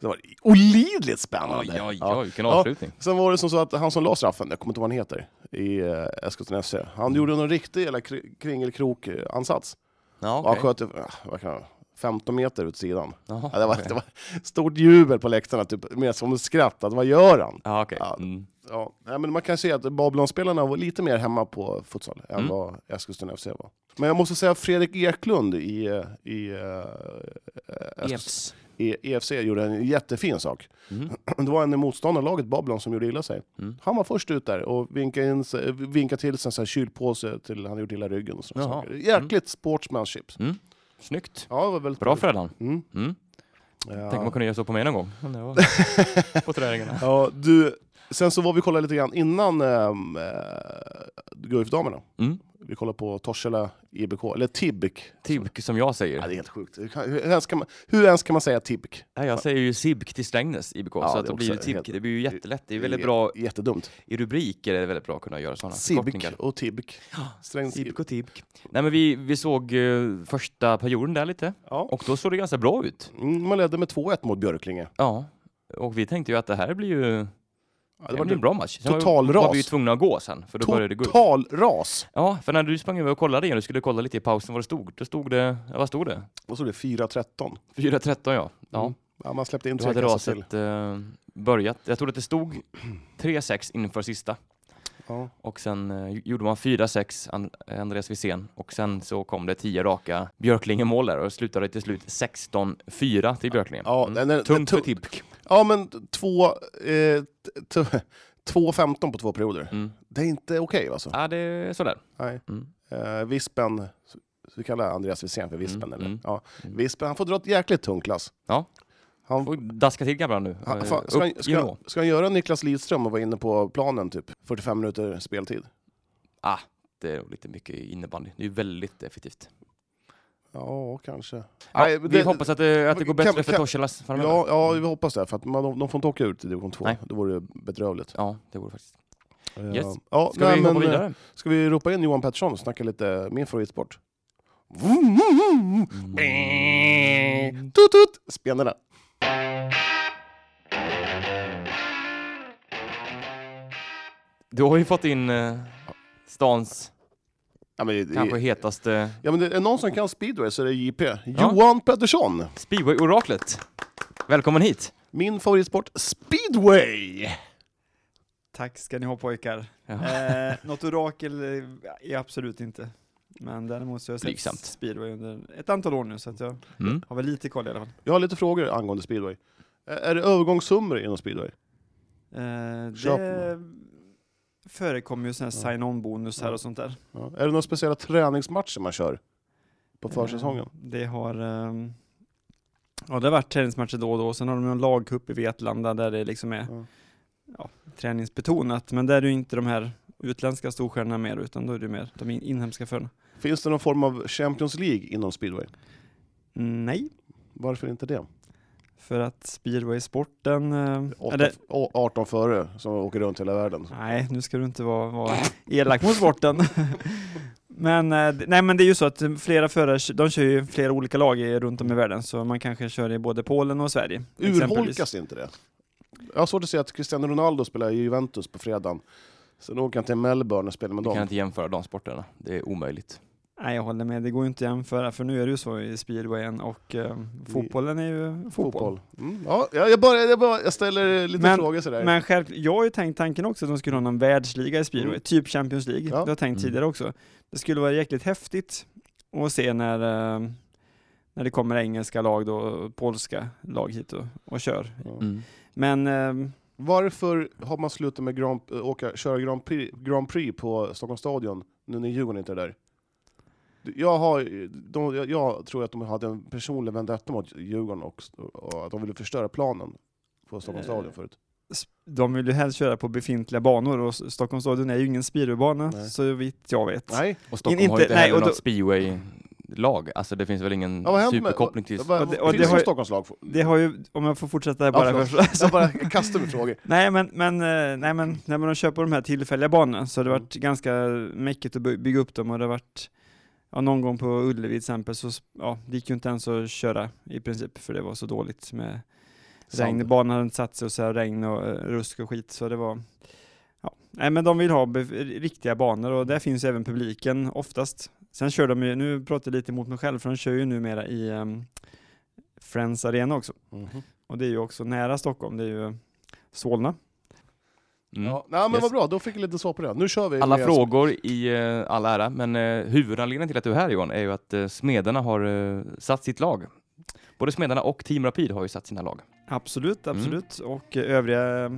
Speaker 2: Det var olidligt spännande!
Speaker 1: Oj, oj,
Speaker 2: Ja.
Speaker 1: oj, vilken
Speaker 2: Ja.
Speaker 1: avslutning.
Speaker 2: Sen var det som så att han som la straffen, jag kommer inte ihåg vad han heter, i eh, Eskilstuna FC, han
Speaker 1: Mm.
Speaker 2: gjorde någon riktig jävla kri- kringelkrok-ansats.
Speaker 1: Ja,
Speaker 2: Och Han
Speaker 1: okej.
Speaker 2: sköt eh, vad kan det, 15 meter ut sidan.
Speaker 1: Jaha,
Speaker 2: Ja, det, var,
Speaker 1: okej.
Speaker 2: det var stort jubel på läktarna, typ, mer som ett skratt, att vad gör han?
Speaker 1: Ja, okej.
Speaker 2: Ja.
Speaker 1: Mm.
Speaker 2: Ja, nej, men man kan se att Babylonspelarna var lite mer hemma på futsal än
Speaker 1: Mm.
Speaker 2: vad Eskilstuna FC var. Men jag måste säga Fredrik Eklund i, eh, i, eh, Eskilstuna-
Speaker 1: Yes.
Speaker 2: i EFC E gjorde en jättefin sak.
Speaker 1: Mm.
Speaker 2: Det var en i motståndarlaget, Babylon, som gjorde illa sig.
Speaker 1: Mm.
Speaker 2: Han var först ut där och vinkade, in, sig- vinkade till sig en sån här kylpåse till han gjorde illa ryggen och såna
Speaker 1: Jaha.
Speaker 2: saker. Jäkligt sportsmanship.
Speaker 1: Snyggt.
Speaker 2: Ja, det var väldigt
Speaker 1: Bra Fredan.
Speaker 2: Mm.
Speaker 1: Mm.
Speaker 2: Ja.
Speaker 1: Tänk om man kunde göra så på mig någon gång. Men det var... på träningarna.
Speaker 2: Ja, du, sen så var vi och kollade lite grann innan ähm, äh, Guif-damerna.
Speaker 1: Mm.
Speaker 2: Vi kollade på Torshälla IBK, eller Tibk.
Speaker 1: Tibk som jag
Speaker 2: Ja,
Speaker 1: säger.
Speaker 2: det är helt sjukt. Hur, kan, hur, ens, kan man, hur ens kan man säga Tibk?
Speaker 1: Nej, jag säger ju Sibk till Strängnäs IBK.
Speaker 2: Ja,
Speaker 1: så att det,
Speaker 2: det är
Speaker 1: blir ju
Speaker 2: också
Speaker 1: Tibk.
Speaker 2: helt-
Speaker 1: Det blir ju jättelätt. Det är
Speaker 2: är
Speaker 1: väldigt bra.
Speaker 2: Jättedumt.
Speaker 1: I rubriker är det väldigt bra att kunna göra sådana
Speaker 2: Sibk och Tibk. Strängs-
Speaker 1: Sibk och Tibk. Nej, men vi, vi såg eh, första perioden där lite.
Speaker 2: Ja.
Speaker 1: Och då såg det ganska bra ut.
Speaker 2: Mm, Man ledde med 2-1 mot Björklinge.
Speaker 1: Ja. Och vi tänkte ju att det här blir ju
Speaker 2: Ja,
Speaker 1: Det
Speaker 2: det
Speaker 1: var
Speaker 2: var
Speaker 1: en bra match. Sen var-
Speaker 2: total
Speaker 1: var
Speaker 2: ras.
Speaker 1: vi ju tvungna att gå sen, för då började det gå upp.
Speaker 2: total ras.
Speaker 1: Ja, för när du sprang över och kollade igen, du skulle kolla lite i pausen vad det stod. Då stod det, ja, vad stod det?
Speaker 2: Vad stod det? 4-13.
Speaker 1: 4.13 ja. ja.
Speaker 2: Mm. Ja, man släppte in
Speaker 1: Då
Speaker 2: tre
Speaker 1: hade
Speaker 2: kassar till.
Speaker 1: raset eh, börjat. Jag tror att det stod 3-6 inför sista.
Speaker 2: Ja.
Speaker 1: Och sen eh, gjorde man 4-6, An- Andreas Wisén. Och sen så kom det 10 raka Björklinge-mål där och slutade till slut 16-4 till Björklinge.
Speaker 2: Ja,
Speaker 1: Mm.
Speaker 2: den, den,
Speaker 1: Tungt
Speaker 2: den-
Speaker 1: för Tipk.
Speaker 2: Ja, men två, eh, t- t- 2.15 på två perioder.
Speaker 1: Mm.
Speaker 2: Det är inte okej alltså.
Speaker 1: Ja, det är sådär.
Speaker 2: Nej.
Speaker 1: Mm.
Speaker 2: Eh, vispen, så- så vi kallar Andreas Wisén för Vispen
Speaker 1: Mm,
Speaker 2: eller?
Speaker 1: mm.
Speaker 2: Ja.
Speaker 1: Mm.
Speaker 2: Vispen, han får dra ett jäkligt tungt lass.
Speaker 1: Ja.
Speaker 2: Han,
Speaker 1: Får daska till grabbarna nu.
Speaker 2: han,
Speaker 1: Eh,
Speaker 2: fan, ska,
Speaker 1: upp,
Speaker 2: han, ska,
Speaker 1: you know.
Speaker 2: han, ska han göra Niklas Lidström och vara inne på planen typ 45 minuter speltid?
Speaker 1: Ah, det är nog lite mycket innebandy. Det är ju väldigt effektivt.
Speaker 2: Ja, kanske.
Speaker 1: Ja,
Speaker 2: Nej,
Speaker 1: vi
Speaker 2: det-
Speaker 1: hoppas att, det- att det går
Speaker 2: kan-
Speaker 1: bättre för
Speaker 2: kan-
Speaker 1: Torshällas framöver.
Speaker 2: Ja, ja, vi hoppas det. För att man, de får inte åka ut i division 2.
Speaker 1: Mm. Nej.
Speaker 2: Då vore det bedrövligt.
Speaker 1: Ja, det vore faktiskt.
Speaker 2: Eh,
Speaker 1: Yes.
Speaker 2: Ja,
Speaker 1: Ska
Speaker 2: nej,
Speaker 1: vi hoppa
Speaker 2: men, eh,
Speaker 1: vidare?
Speaker 2: Ska vi ropa in Johan Pettersson och snacka lite min favoritsport?
Speaker 1: Mm.
Speaker 2: Tut, tut. Spenarna.
Speaker 1: Du har ju fått in eh, stans
Speaker 2: Ja, men, det-
Speaker 1: kanske hetaste
Speaker 2: ja, men det är någon som kan speedway så är det JP.
Speaker 1: Ja.
Speaker 2: Johan Pettersson.
Speaker 1: speedway-oraklet. Välkommen hit!
Speaker 2: Min favoritsport, speedway!
Speaker 6: Tack ska ni ha pojkar.
Speaker 1: Ja.
Speaker 6: Eh, något orakel eh, är jag absolut inte. Men däremot så har jag sett
Speaker 1: Blygsamt.
Speaker 6: speedway under ett antal år nu, så att jag
Speaker 1: Mm.
Speaker 6: har väl lite koll i alla fall.
Speaker 2: Jag har lite frågor angående speedway. Ä- Är det övergångssummor inom speedway?
Speaker 6: Eh,
Speaker 2: Köp
Speaker 6: det förekommer ju sådana här
Speaker 2: Ja.
Speaker 6: sign-on-bonusar
Speaker 2: Ja.
Speaker 6: och sånt där.
Speaker 2: Ja. Är det några speciella träningsmatcher man kör på försäsongen?
Speaker 6: Eh, det har... Eh, ja, det har varit träningsmatcher då och då, sen har de ju en lagcup i Vetlanda där det liksom är
Speaker 2: Ja.
Speaker 6: ja, träningsbetonat, men där är det ju inte de här utländska storstjärnorna mer, utan då är det ju mer de in- inhemska förarna.
Speaker 2: Finns det någon form av Champions League inom speedway?
Speaker 6: Nej,
Speaker 2: Varför inte det?
Speaker 6: för att speedway-sporten... Eh,
Speaker 2: Åtta-
Speaker 6: eller-
Speaker 2: å- 18 före som åker runt hela världen.
Speaker 6: Nej, nu ska du inte vara, vara elak mot sporten. men, eh, d- nej, men det är ju så att eh, flera förare, k- de kör ju flera olika lag i, runt om i världen, så man kanske kör i både Polen och Sverige. exempelvis.
Speaker 2: Urholkas inte det? Jag har svårt att se att Cristiano Ronaldo spelar i Juventus på fredagen. Sen åker han till Melbourne och spelar med
Speaker 1: Du kan
Speaker 2: dem.
Speaker 1: inte jämföra de sporterna, det är omöjligt.
Speaker 6: Nej, jag håller med. Det går ju inte att jämföra, för nu är det ju så i speedwayen och eh, fotbollen är ju fotboll.
Speaker 2: Fotboll. Mm. Ja, jag, jag, bara, jag, bara, jag ställer lite
Speaker 6: Men-
Speaker 2: frågor sådär.
Speaker 6: Men själv, jag har ju tänkt tanken också att de skulle ha någon världsliga i speedway,
Speaker 2: Mm.
Speaker 6: typ Champions League.
Speaker 2: Ja.
Speaker 6: Det har jag tänkt
Speaker 1: Mm.
Speaker 6: tidigare också. Det skulle vara jäkligt häftigt att se när, eh, när det kommer engelska lag då, och polska lag hit och, och kör. Men eh,
Speaker 2: Varför har man slutat med Grand, äh, åka, köra Grand Prix, Grand Prix på Stockholms stadion nu när Djurgården inte är där? Jag, har, de, jag, jag tror att de hade en personlig vendetta mot Djurgården och, och att de ville förstöra planen på Stockholms
Speaker 6: Eh,
Speaker 2: stadion förut.
Speaker 6: s- de vill ju helst köra på befintliga banor och S- Stockholms stadion är ju ingen speedwaybana,
Speaker 2: Nej.
Speaker 6: så vitt jag vet.
Speaker 2: Nej.
Speaker 1: Och Stockholm
Speaker 6: In-
Speaker 1: har ju inte
Speaker 6: inte- nej,
Speaker 1: heller
Speaker 6: och då-
Speaker 1: något speedway-lag, alltså det finns väl ingen
Speaker 2: Ja, vad har hänt med-
Speaker 1: superkoppling till...
Speaker 2: Vad-
Speaker 6: och det- och
Speaker 2: finns
Speaker 6: det har
Speaker 2: något
Speaker 6: ju-
Speaker 2: Stockholmslag?
Speaker 6: Det har ju, om jag får fortsätta här bara
Speaker 2: Ja,
Speaker 6: för,
Speaker 2: förlåt. Jag bara kastar med frågor.
Speaker 6: Nej men, men, eh, nej, men när man kör på de här tillfälliga banorna så har det varit ganska mäckigt att by- bygga upp dem och det har varit ja, någon gång på Ullevi till exempel så s- ja, det gick ju inte ens att köra i princip för det var så dåligt med regn. Banan hade inte satt sig och så här regn och eh, rusk och skit så det var ja. Nej men de vill ha be- riktiga banor och där finns ju även publiken oftast. Sen kör de ju, nu pratar jag lite emot mig själv för de kör ju numera i ehm, Friends Arena också
Speaker 2: Mhm.
Speaker 6: och det är ju också nära Stockholm, det är ju Solna.
Speaker 1: Mm.
Speaker 2: Ja, nej, men
Speaker 1: Yes.
Speaker 2: vad bra, då fick jag lite svar på det. Nu kör vi.
Speaker 1: Alla
Speaker 2: med-
Speaker 1: frågor i eh, all ära, men eh, huvudanledningen till att du är här Johan är ju att eh, Smederna har eh, satt sitt lag. Både Smederna och Team Rapid har ju satt sina lag.
Speaker 6: Absolut, absolut. Och eh, övriga eh,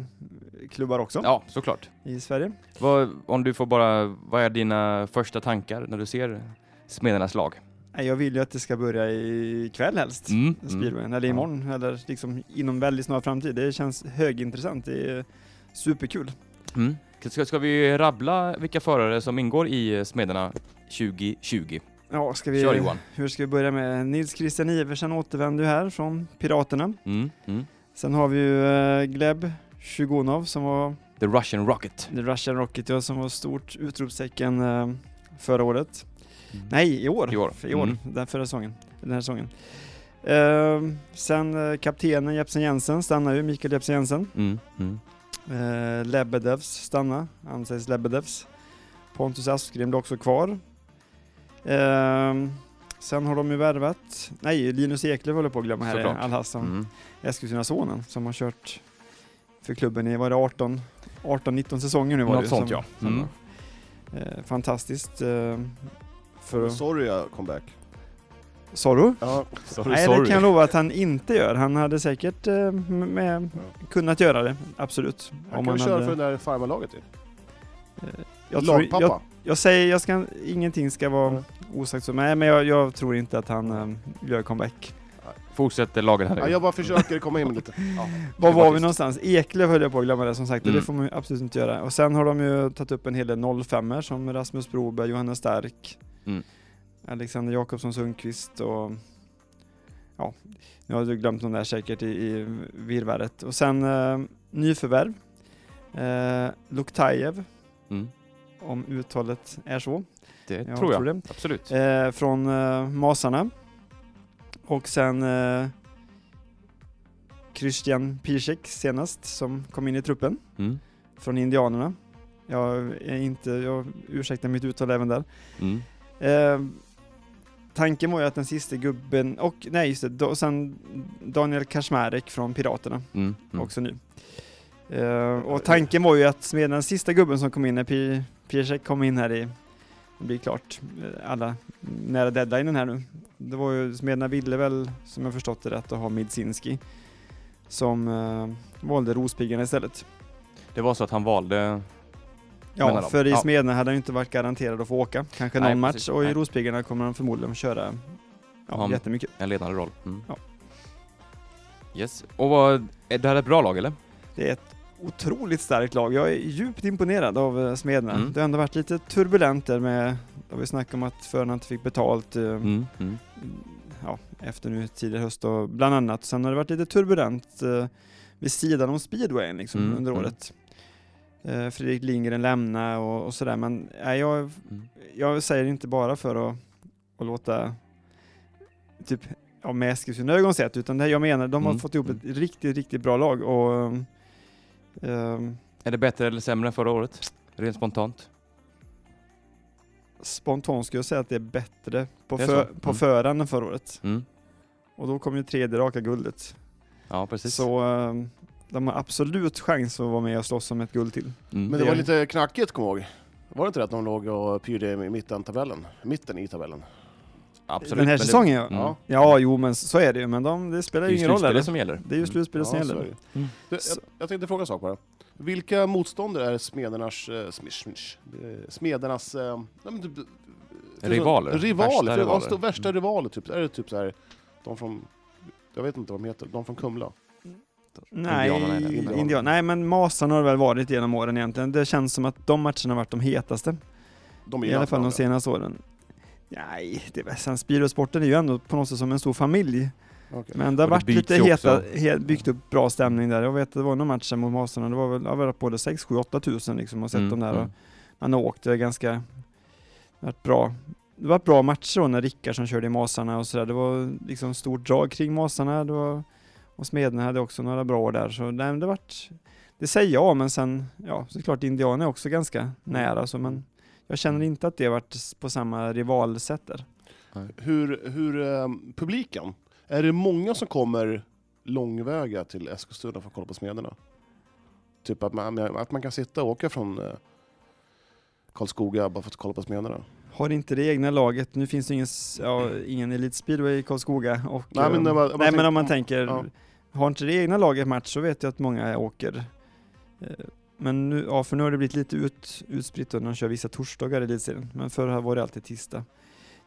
Speaker 6: klubbar också
Speaker 1: Mm. Ja, såklart.
Speaker 6: i Sverige.
Speaker 1: Vad, om du får bara, vad är dina första tankar när du ser Smedernas lag?
Speaker 6: Nej, Jag vill ju att det ska börja ikväll helst,
Speaker 1: Mm, mm.
Speaker 6: speedwayen, eller
Speaker 1: Ja.
Speaker 6: imorgon, eller liksom inom väldigt snar framtid. Det känns högintressant, det är superkul.
Speaker 1: Mm. Ska, ska vi rabbla vilka förare som ingår i eh, Smederna 2020?
Speaker 6: Ja, ska vi,
Speaker 1: Kör Johan.
Speaker 6: hur ska vi börja med? Nils Christian Iversen återvänder ju här från Piraterna.
Speaker 1: Mm, mm.
Speaker 6: Sen har vi ju eh, Gleb Shugunov som var
Speaker 1: The Russian Rocket.
Speaker 6: The Russian Rocket, ja, som var stort utropstecken eh, förra året. Mm. Nej, i år.
Speaker 1: I år.
Speaker 6: För I år.
Speaker 1: Mm.
Speaker 6: Den förra säsongen. Den här säsongen. Ehm, sen eh, kaptenen Jepsen Jensen stannar ju, Mikael Jepsen Jensen.
Speaker 1: Mm, mm.
Speaker 6: Eh, Lebedevs stanna, han sägs Lebedevs. Pontus Aspgren blir också kvar. Ehm, sen har de ju värvat, nej Linus Eklöf håller på att glömma här, eh,
Speaker 1: Såklart.
Speaker 6: Al-Hassan,
Speaker 1: Mm.
Speaker 6: Eskilstuna-sonen som har kört för klubben i, var det 18, 18-19 säsonger nu var det
Speaker 1: Något
Speaker 6: ju,
Speaker 1: sånt
Speaker 6: som,
Speaker 1: ja.
Speaker 6: som
Speaker 1: Mm.
Speaker 6: var. Eh, fantastiskt. Eh, för att-
Speaker 2: Sorry jag kom back.
Speaker 6: Sorro?
Speaker 2: Ja,
Speaker 6: Nej, det kan jag lova att han inte gör. Han hade säkert eh, m- med, kunnat göra det, absolut.
Speaker 2: han kan väl köra
Speaker 6: hade- Eh,
Speaker 2: för det där farmarlaget ju.
Speaker 6: jag, tror,
Speaker 2: Lagpappa.
Speaker 6: jag, jag säger, jag ska, ingenting ska vara osagt så, nej men jag, jag tror inte att han eh, gör comeback.
Speaker 1: Fortsätter lagen här.
Speaker 2: Ja, jag bara försöker komma in lite. Ja.
Speaker 6: Var var vi
Speaker 1: faktiskt-
Speaker 6: någonstans? Eklöf höll jag på att glömma det som sagt, och
Speaker 1: Mm.
Speaker 6: det får man ju absolut inte göra. Och sen har de ju tagit upp en hel del 05 er som Rasmus Broberg, Johannes Stark,
Speaker 1: Mm.
Speaker 6: Alexander Jakobsson Sundqvist och ja, nu har du glömt någon där säkert i, i virrvarret. Och sen eh, nyförvärv, eh, Luktajev,
Speaker 1: Mm.
Speaker 6: om uttalet är så.
Speaker 1: Det
Speaker 6: Jag
Speaker 1: tror jag.
Speaker 6: tror det.
Speaker 1: Absolut.
Speaker 6: Eh, från eh, Masarna. Och sen eh, Christian Piszek senast som kom in i truppen
Speaker 1: Mm.
Speaker 6: från Indianerna. Jag är inte, jag ursäktar mitt uttal även där.
Speaker 1: Mm.
Speaker 6: Eh, tanken var ju att den sista gubben, och nej just det, då, sen Daniel Kashmarek från Piraterna,
Speaker 1: Mm. Mm.
Speaker 6: också ny. Eh, och tanken var ju att med den sista gubben som kom in när Pi- Piesek kom in här i, det blir klart, eh, alla nära deadlinen här nu. Det var ju, Smederna ville väl, som jag förstått det rätt, att ha Midzinski som eh, valde Rospiggarna istället.
Speaker 1: Det var så att han valde... menar
Speaker 6: Ja,
Speaker 1: de.
Speaker 6: för i
Speaker 1: Ja.
Speaker 6: Smederna hade han ju inte varit garanterad att få åka, kanske någon
Speaker 1: Nej,
Speaker 6: match,
Speaker 1: precis.
Speaker 6: och i
Speaker 1: Nej.
Speaker 6: Rospiggarna kommer han förmodligen köra ja,
Speaker 1: Ja, men-
Speaker 6: jättemycket.
Speaker 1: en ledande roll. Mm.
Speaker 6: Ja.
Speaker 1: Yes. Och vad, är det här ett bra lag eller?
Speaker 6: Det är ett otroligt starkt lag. Jag är djupt imponerad av eh, Smederna.
Speaker 1: Mm.
Speaker 6: Det har ändå varit lite turbulent där med, då vi snackade om att förarna inte fick betalt eh,
Speaker 1: Mm. Mm.
Speaker 6: ja, efter nu tidigare höst och bland annat. Sen har det varit lite turbulent eh, vid sidan om speedwayen liksom
Speaker 1: Mm,
Speaker 6: under
Speaker 1: mm.
Speaker 6: året. Eh, Fredrik Lindgren lämna och, och sådär men nej, jag,
Speaker 1: Mm.
Speaker 6: jag säger inte bara för att, att låta typ ja, med Eskilstuna-ögon sett utan det jag menar, de har
Speaker 1: Mm,
Speaker 6: fått ihop
Speaker 1: mm.
Speaker 6: ett riktigt, riktigt bra lag och ehm, ehm,
Speaker 1: Är det bättre eller sämre än förra året? Rent spontant?
Speaker 6: spontant skulle jag säga att det är bättre på,
Speaker 1: Det är
Speaker 6: för,
Speaker 1: så?
Speaker 6: på
Speaker 1: Mm.
Speaker 6: föraren än förra året.
Speaker 1: Mm.
Speaker 6: Och då kom ju tredje raka guldet.
Speaker 1: Ja, precis.
Speaker 6: Så eh, de har absolut chans att vara med och slåss om ett guld till.
Speaker 1: Mm.
Speaker 2: Men det var lite knackigt kom jag ihåg. Var det inte rätt när de låg och pyrde i mitten, tabellen? mitten i tabellen?
Speaker 1: Absolut.
Speaker 6: Den här
Speaker 1: men
Speaker 6: säsongen ja.
Speaker 1: Mm.
Speaker 2: Ja.
Speaker 6: Ja, jo men så är det ju, men de, det
Speaker 1: Det
Speaker 6: spelar
Speaker 1: är
Speaker 6: ju
Speaker 1: ju
Speaker 6: ingen roll.
Speaker 1: slutspelet
Speaker 6: Eller?
Speaker 1: som gäller.
Speaker 6: Det är ju slutspelet som gäller.
Speaker 1: Mm.
Speaker 2: Du, jag, jag tänkte fråga en sak bara. Vilka motståndare är smedernas... eh, smish, smish, eh, smedernas... eh, nej, men typ, eh,
Speaker 1: Rivaler.
Speaker 2: Rivaler.
Speaker 1: Värsta
Speaker 2: Värsta rivaler.
Speaker 1: rivaler.
Speaker 2: Värsta, värsta rivaler typ. Är det typ så här, de från... Jag vet inte vad de heter. De från Kumla.
Speaker 6: Nej,
Speaker 1: Indianerna är det.
Speaker 6: indian,
Speaker 2: Indianerna.
Speaker 6: Nej, men Masarna har det väl varit genom åren egentligen. Det känns som att de matcherna har varit de hetaste.
Speaker 2: De är
Speaker 6: I alla fall de
Speaker 2: landskamrater.
Speaker 6: senaste åren. Nej, det är väl, sen Spirosporten är ju ändå på något sätt som en stor familj.
Speaker 2: Okej.
Speaker 6: Men det har
Speaker 1: Och det
Speaker 6: varit
Speaker 1: byts
Speaker 6: lite
Speaker 1: ju
Speaker 6: heta,
Speaker 1: också.
Speaker 6: he, byggt upp bra stämning där. Jag vet att det var någon match där mot Masarna, det var väl, jag var både 6, 7, 8 tusen liksom och sett
Speaker 1: Mm,
Speaker 6: dem där. Och
Speaker 1: mm.
Speaker 6: man har åkt, det är ganska, det har varit bra. Det var bra matcher då när Rickardsson körde i Masarna och sådär. Det var liksom stort drag kring Masarna. Det var, och Smederna hade också några bra år där. Så nej, men det vart, det säger jag, men sen, ja såklart Indianerna är också ganska nära. Så, men jag känner inte att det varit s- på samma rivalsätt där.
Speaker 2: Hur, hur eh, publiken? Är det många som kommer långväga till Eskilstuna för att kolla på Smederna? Typ att man, att man kan sitta och åka från eh, Karlskoga bara för att kolla på Smederna?
Speaker 6: Har inte det egna laget, nu finns det ingen, s- ja, ingen elitspeedway i Karlskoga och...
Speaker 2: Nej, men
Speaker 6: eh,
Speaker 2: när man- om man
Speaker 6: nej,
Speaker 2: tänker-
Speaker 6: men om man
Speaker 2: om-
Speaker 6: tänker,
Speaker 2: ja.
Speaker 6: har inte det egna laget match så vet jag att många åker. Eh, Men nu, ja, för nu har det blivit lite ut, utspritt och de kör vissa torsdagar i elitserien, men förr här var det alltid tisdag.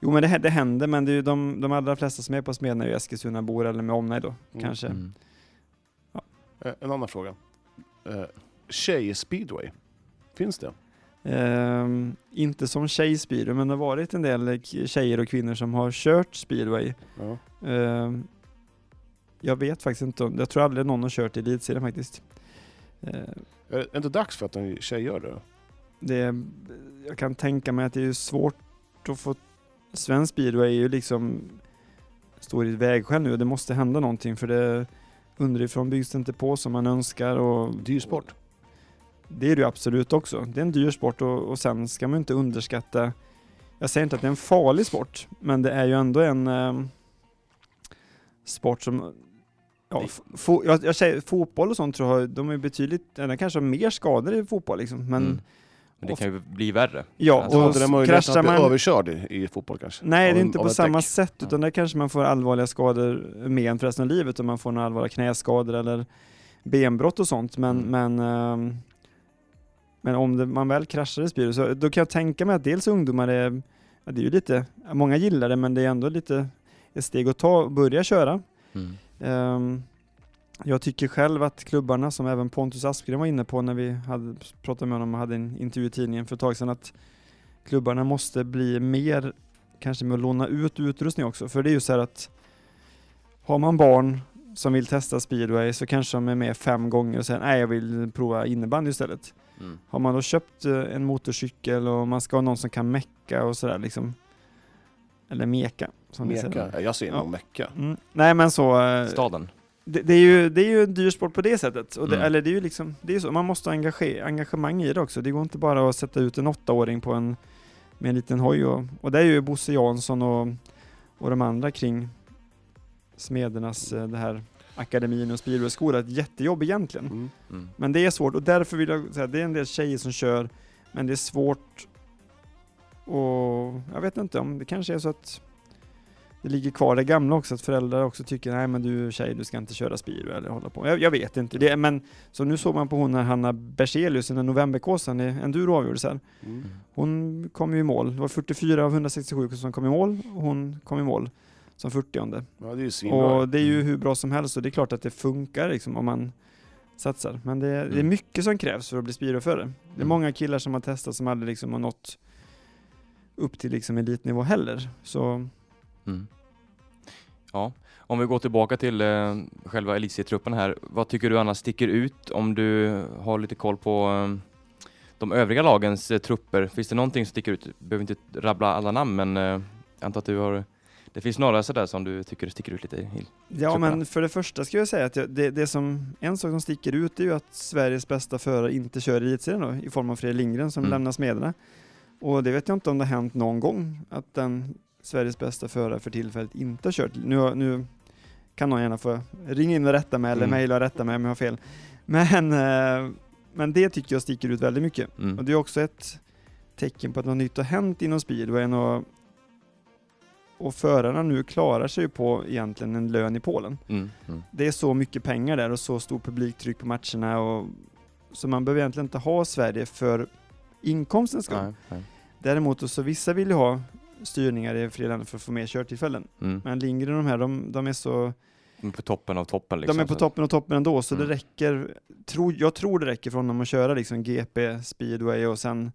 Speaker 6: Jo men det, hä- det händer, men det är ju de, de allra flesta som är på Smeden är ju Eskilstuna-bor eller med omnejd då,
Speaker 2: Mm.
Speaker 6: kanske.
Speaker 1: Mm.
Speaker 2: Eh, En annan fråga. Eh, Tjej-speedway, finns det?
Speaker 6: Ehm, inte som tjej speedway, men det har varit en del k- tjejer och kvinnor som har kört speedway.
Speaker 2: Ja.
Speaker 6: Ehm, jag vet faktiskt inte, om- jag tror aldrig någon har kört i elitserien faktiskt. Ehm,
Speaker 2: Är det inte dags för att en tjej gör det?
Speaker 6: det är, jag kan tänka mig att det är ju svårt att få... Svensk speedway är ju liksom... Står i ett vägskäl nu och det måste hända någonting för det underifrån byggs det inte på som man önskar och...
Speaker 2: Dyr sport.
Speaker 6: Det är det ju absolut också. Det är en dyr sport och, och sen ska man inte underskatta, jag säger inte att det är en farlig sport, men det är ju ändå en eh, sport som Ja, f- fo- jag, jag säger, fotboll och sånt tror jag, de är betydligt, eller kanske har mer skador i fotboll liksom, men
Speaker 1: Mm. Men det kan ju bli värre.
Speaker 6: ja,
Speaker 1: Alltså,
Speaker 2: Och
Speaker 6: och
Speaker 2: hade den möjligheten
Speaker 6: kraschar
Speaker 2: att bli
Speaker 6: man
Speaker 2: överkörd i, i fotboll kanske?
Speaker 6: Nej,
Speaker 2: Av
Speaker 6: det är
Speaker 2: en-
Speaker 6: inte
Speaker 2: av
Speaker 6: på
Speaker 2: ett
Speaker 6: samma
Speaker 2: däck.
Speaker 6: sätt, utan där kanske man får allvarliga skador, men för resten av livet, om man får några allvarliga knäskador eller benbrott och sånt. Men,
Speaker 2: Mm.
Speaker 6: men, ehm, men om det, man väl kraschar i Spiro, så då kan jag tänka mig att dels ungdomar är, ja, det är ju lite, många gillar det, men det är ändå lite ett steg att ta och börja köra.
Speaker 1: Mm.
Speaker 6: Ehm, jag tycker själv att klubbarna, som även Pontus Aspgren var inne på när vi hade, pratade med honom och hade en intervju i tidningen för ett tag sedan, att klubbarna måste bli mer, kanske med att låna ut utrustning också, för det är ju så här att har man barn som vill testa speedway så kanske de är med fem gånger och säger nej jag vill prova innebandy istället.
Speaker 1: Mm.
Speaker 6: Har man då köpt eh, en motorcykel och man ska ha någon som kan mecka och sådär liksom, eller meka som vi säger.
Speaker 2: Meka. Ja, Jag ser
Speaker 6: Ja.
Speaker 2: nog mecka.
Speaker 6: Mm. Nej men så, eh,
Speaker 1: Staden.
Speaker 6: det, det, är ju, det är ju en dyr sport på det sättet. Och det,
Speaker 1: Mm.
Speaker 6: Eller det är ju liksom, det är så, man måste ha engage, engagemang i det också. Det går inte bara att sätta ut en åttaåring på en, med en liten hoj. Och, och det är ju Bosse Jansson och, och de andra kring Smedernas, eh, det här akademin och speedwayskola, ett jättejobb egentligen.
Speaker 2: Mm.
Speaker 1: Mm.
Speaker 6: Men det är svårt och därför vill jag säga att det är en del tjejer som kör, men det är svårt och jag vet inte om det kanske är så att det ligger kvar det gamla också, att föräldrar också tycker nej men du tjej, du ska inte köra spiro eller hålla på. Jag, jag vet inte, det, men så nu såg man på hon här Hanna Berzelius, den här novemberkåsan i enduro avgjordes här.
Speaker 2: Mm.
Speaker 6: Hon kom ju i mål, det var 44 av 167 som kom i mål och hon kom i mål som 40
Speaker 2: Ja, det är ju svinbra.
Speaker 6: och det är ju
Speaker 1: Mm.
Speaker 6: hur bra som helst och det är klart att det funkar liksom om man satsar. Men det, det är
Speaker 1: Mm.
Speaker 6: mycket som krävs för att bli speedwayförare. Det är
Speaker 1: Mm.
Speaker 6: många killar som har testat som aldrig liksom har nått upp till liksom elitnivå heller. Så
Speaker 1: Mm. Ja, om vi går tillbaka till eh, själva Elitserietrupperna här. Vad tycker du annars sticker ut om du har lite koll på eh, de övriga lagens eh, trupper? Finns det någonting som sticker ut? Du behöver inte rabbla alla namn, men eh, jag antar att du har... Det finns några sådär som du tycker sticker ut lite. i-
Speaker 6: ja,
Speaker 1: Superbra.
Speaker 6: men för det första ska jag säga att jag, det, det som, en sak som sticker ut är ju att Sveriges bästa förare inte kör i elitserien då, i form av Fredrik Lindgren som
Speaker 1: Mm.
Speaker 6: lämnar Smederna. Och det vet jag inte om det har hänt någon gång att den Sveriges bästa förare för tillfället inte har kört. Nu, nu kan någon gärna få ringa in och rätta mig eller
Speaker 1: Mm.
Speaker 6: mejla och rätta mig om jag har fel. Men, eh, men det tycker jag sticker ut väldigt mycket. Och
Speaker 1: Mm.
Speaker 6: det är också ett tecken på att något nytt har hänt inom speedwayen och, och förarna nu klarar sig ju på egentligen en lön i Polen.
Speaker 1: Mm. Mm.
Speaker 6: Det är så mycket pengar där och så stor publiktryck på matcherna och, så man behöver egentligen inte ha Sverige för inkomstens skull.
Speaker 1: Nej, nej.
Speaker 6: Däremot så vissa vill ju ha styrningar i fler länder för att få mer körtillfällen.
Speaker 1: Mm.
Speaker 6: Men Lindgren och de här, de, de är så
Speaker 1: De är På toppen av toppen liksom.
Speaker 6: de är på
Speaker 1: så-
Speaker 6: toppen och toppen ändå, så
Speaker 1: Mm.
Speaker 6: det räcker. Tro, jag tror det räcker för honom att köra liksom GP, speedway och sen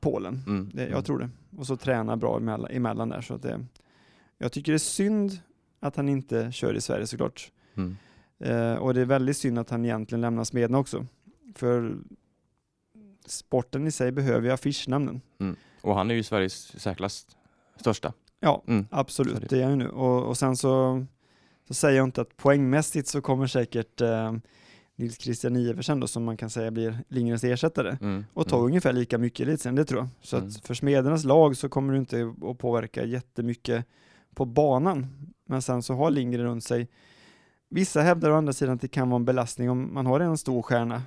Speaker 6: Polen.
Speaker 1: Mm.
Speaker 6: Det,
Speaker 1: Mm.
Speaker 6: jag tror det. Och så träna bra emellan, emellan där. Så att det, jag tycker det är synd att han inte kör i Sverige såklart.
Speaker 1: Mm.
Speaker 6: Eh, och det är väldigt synd att han egentligen lämnar Smederna också. För sporten i sig behöver ju affischnamnen.
Speaker 1: Och han är ju Sveriges särklass största.
Speaker 6: Ja,
Speaker 1: Mm. Så det-
Speaker 6: absolut. Det är jag ju nu. Och, och sen så, så säger jag inte att poängmässigt så kommer säkert eh, Nils Christian Iversen då, som man kan säga blir Lindgrens ersättare
Speaker 1: Mm.
Speaker 6: och tar
Speaker 1: Mm.
Speaker 6: ungefär lika mycket elitserien, det tror jag. Så
Speaker 1: Mm.
Speaker 6: att för Smedernas lag så kommer det inte att påverka jättemycket på banan. Men sen så har Lindgren runt sig. Vissa hävdar å andra sidan att det kan vara en belastning om man har en stor stjärna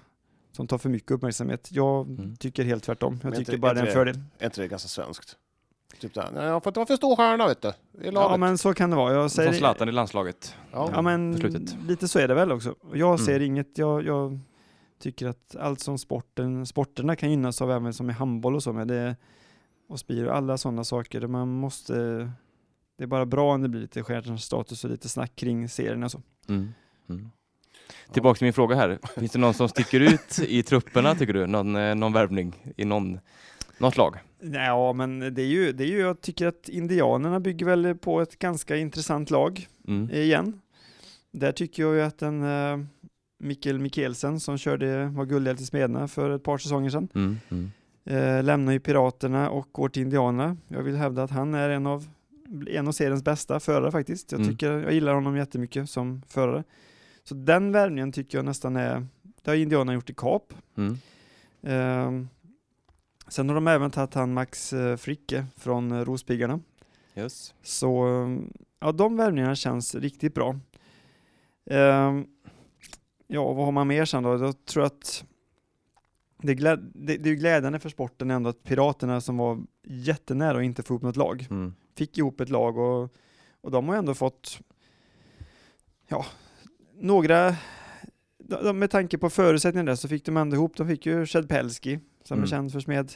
Speaker 6: som tar för mycket uppmärksamhet. Jag
Speaker 1: Mm.
Speaker 6: tycker helt tvärtom. Jag
Speaker 2: Men
Speaker 6: tycker
Speaker 2: inte-
Speaker 6: bara det är en
Speaker 2: inte
Speaker 6: fördel.
Speaker 2: Är inte det ganska svenskt? Typ det här, "Nej, jag får inte vara för stor stjärna vet du, i laget.
Speaker 6: Ja men så kan det vara. Jag säger
Speaker 1: Som Zlatan i landslaget.
Speaker 2: Ja.
Speaker 6: Ja men
Speaker 1: på slutet.
Speaker 6: lite så är det väl också. Och Jag ser
Speaker 1: Mm.
Speaker 6: inget, jag, jag tycker att allt som sporten, sporterna kan gynnas av, även som i handboll och så, men det, och spir och alla sådana saker, man måste, det är bara bra om det blir lite stjärnans status och lite snack kring serierna och så.
Speaker 1: Mm. Mm. Tillbaka till min fråga här. Finns det någon som sticker ut i trupperna tycker du? Någon, eh, någon värvning i någon, något lag?
Speaker 6: Ja men det är, ju, det är ju, jag tycker att indianerna bygger väl på ett ganska intressant lag
Speaker 1: Mm.
Speaker 6: igen. Där tycker jag ju att den eh, Mikkel Mikkelsen som körde, var guldhjälte i Smederna för ett par säsonger sedan,
Speaker 1: Mm. Mm.
Speaker 6: Eh, lämnar ju Piraterna och går till Indianerna. Jag vill hävda att han är en av, en av seriens bästa förare faktiskt. Jag,
Speaker 1: Mm.
Speaker 6: tycker, jag gillar honom jättemycket som förare. Så den värvningen tycker jag nästan är Det har Indiana gjort i kap.
Speaker 1: Mm.
Speaker 6: Ehm, sen har de även tagit han Max eh, Fricke från eh, Rospiggarna.
Speaker 1: Yes.
Speaker 6: Så ehm, ja, de värvningarna känns riktigt bra. Ehm, ja, vad har man mer sen då? Jag tror att det är, gläd- det, det är ju glädjande för sporten ändå att Piraterna som var jättenära att inte få upp något lag,
Speaker 1: Mm.
Speaker 6: fick ihop ett lag och, och de har ju ändå fått, ja, några, de, de, med tanke på förutsättningarna där så fick de ändå ihop, de fick ju Szedpelski som
Speaker 1: Mm.
Speaker 6: är känd för smed,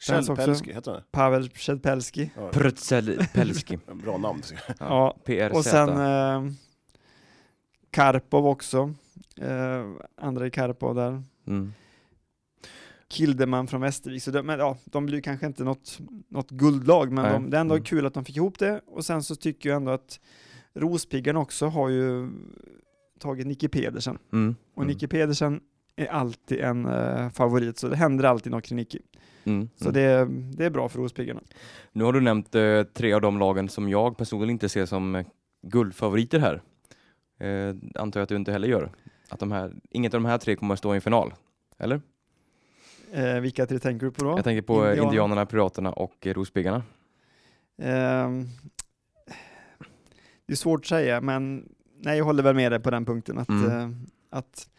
Speaker 6: Känns också-
Speaker 2: Kjellpelski heter han
Speaker 6: Pavel Szedpelski.
Speaker 2: Ja,
Speaker 1: Prutzel Pelski.
Speaker 2: en Bra namn.
Speaker 6: Ja,
Speaker 1: PRZ.
Speaker 6: Och sen eh, Karpov också. Eh, Andrei Karpov där.
Speaker 1: mm.
Speaker 6: Kildeman från Västervik. Så de, men, ja, de blir ju kanske inte något, något guldlag, men
Speaker 1: Nej.
Speaker 6: de, det är ändå
Speaker 1: Mm.
Speaker 6: kul att de fick ihop det. Och sen så tycker jag ändå att Rospiggarna också har ju tagit Nicky Pedersen.
Speaker 1: Mm.
Speaker 6: Och
Speaker 1: mm.
Speaker 6: Nicky Pedersen är alltid en eh, favorit, så det händer alltid något kring Nicky.
Speaker 1: Mm.
Speaker 6: Så
Speaker 1: mm.
Speaker 6: det, det är bra för Rospiggarna.
Speaker 1: Nu har du nämnt eh, tre av de lagen som jag personligen inte ser som eh, guldfavoriter här. Eh, antar jag att du inte heller gör. Att de här, inget av de här tre kommer att stå i en final. Eller?
Speaker 6: Eh, vilka tre tänker du på då?
Speaker 1: jag tänker på
Speaker 6: Indianerna.
Speaker 1: Indianerna, Indianerna Piraterna och eh, Rospiggarna.
Speaker 6: Ehm, det är svårt att säga, men nej, jag håller väl med dig på den punkten. Att,
Speaker 1: Mm.
Speaker 6: eh, att,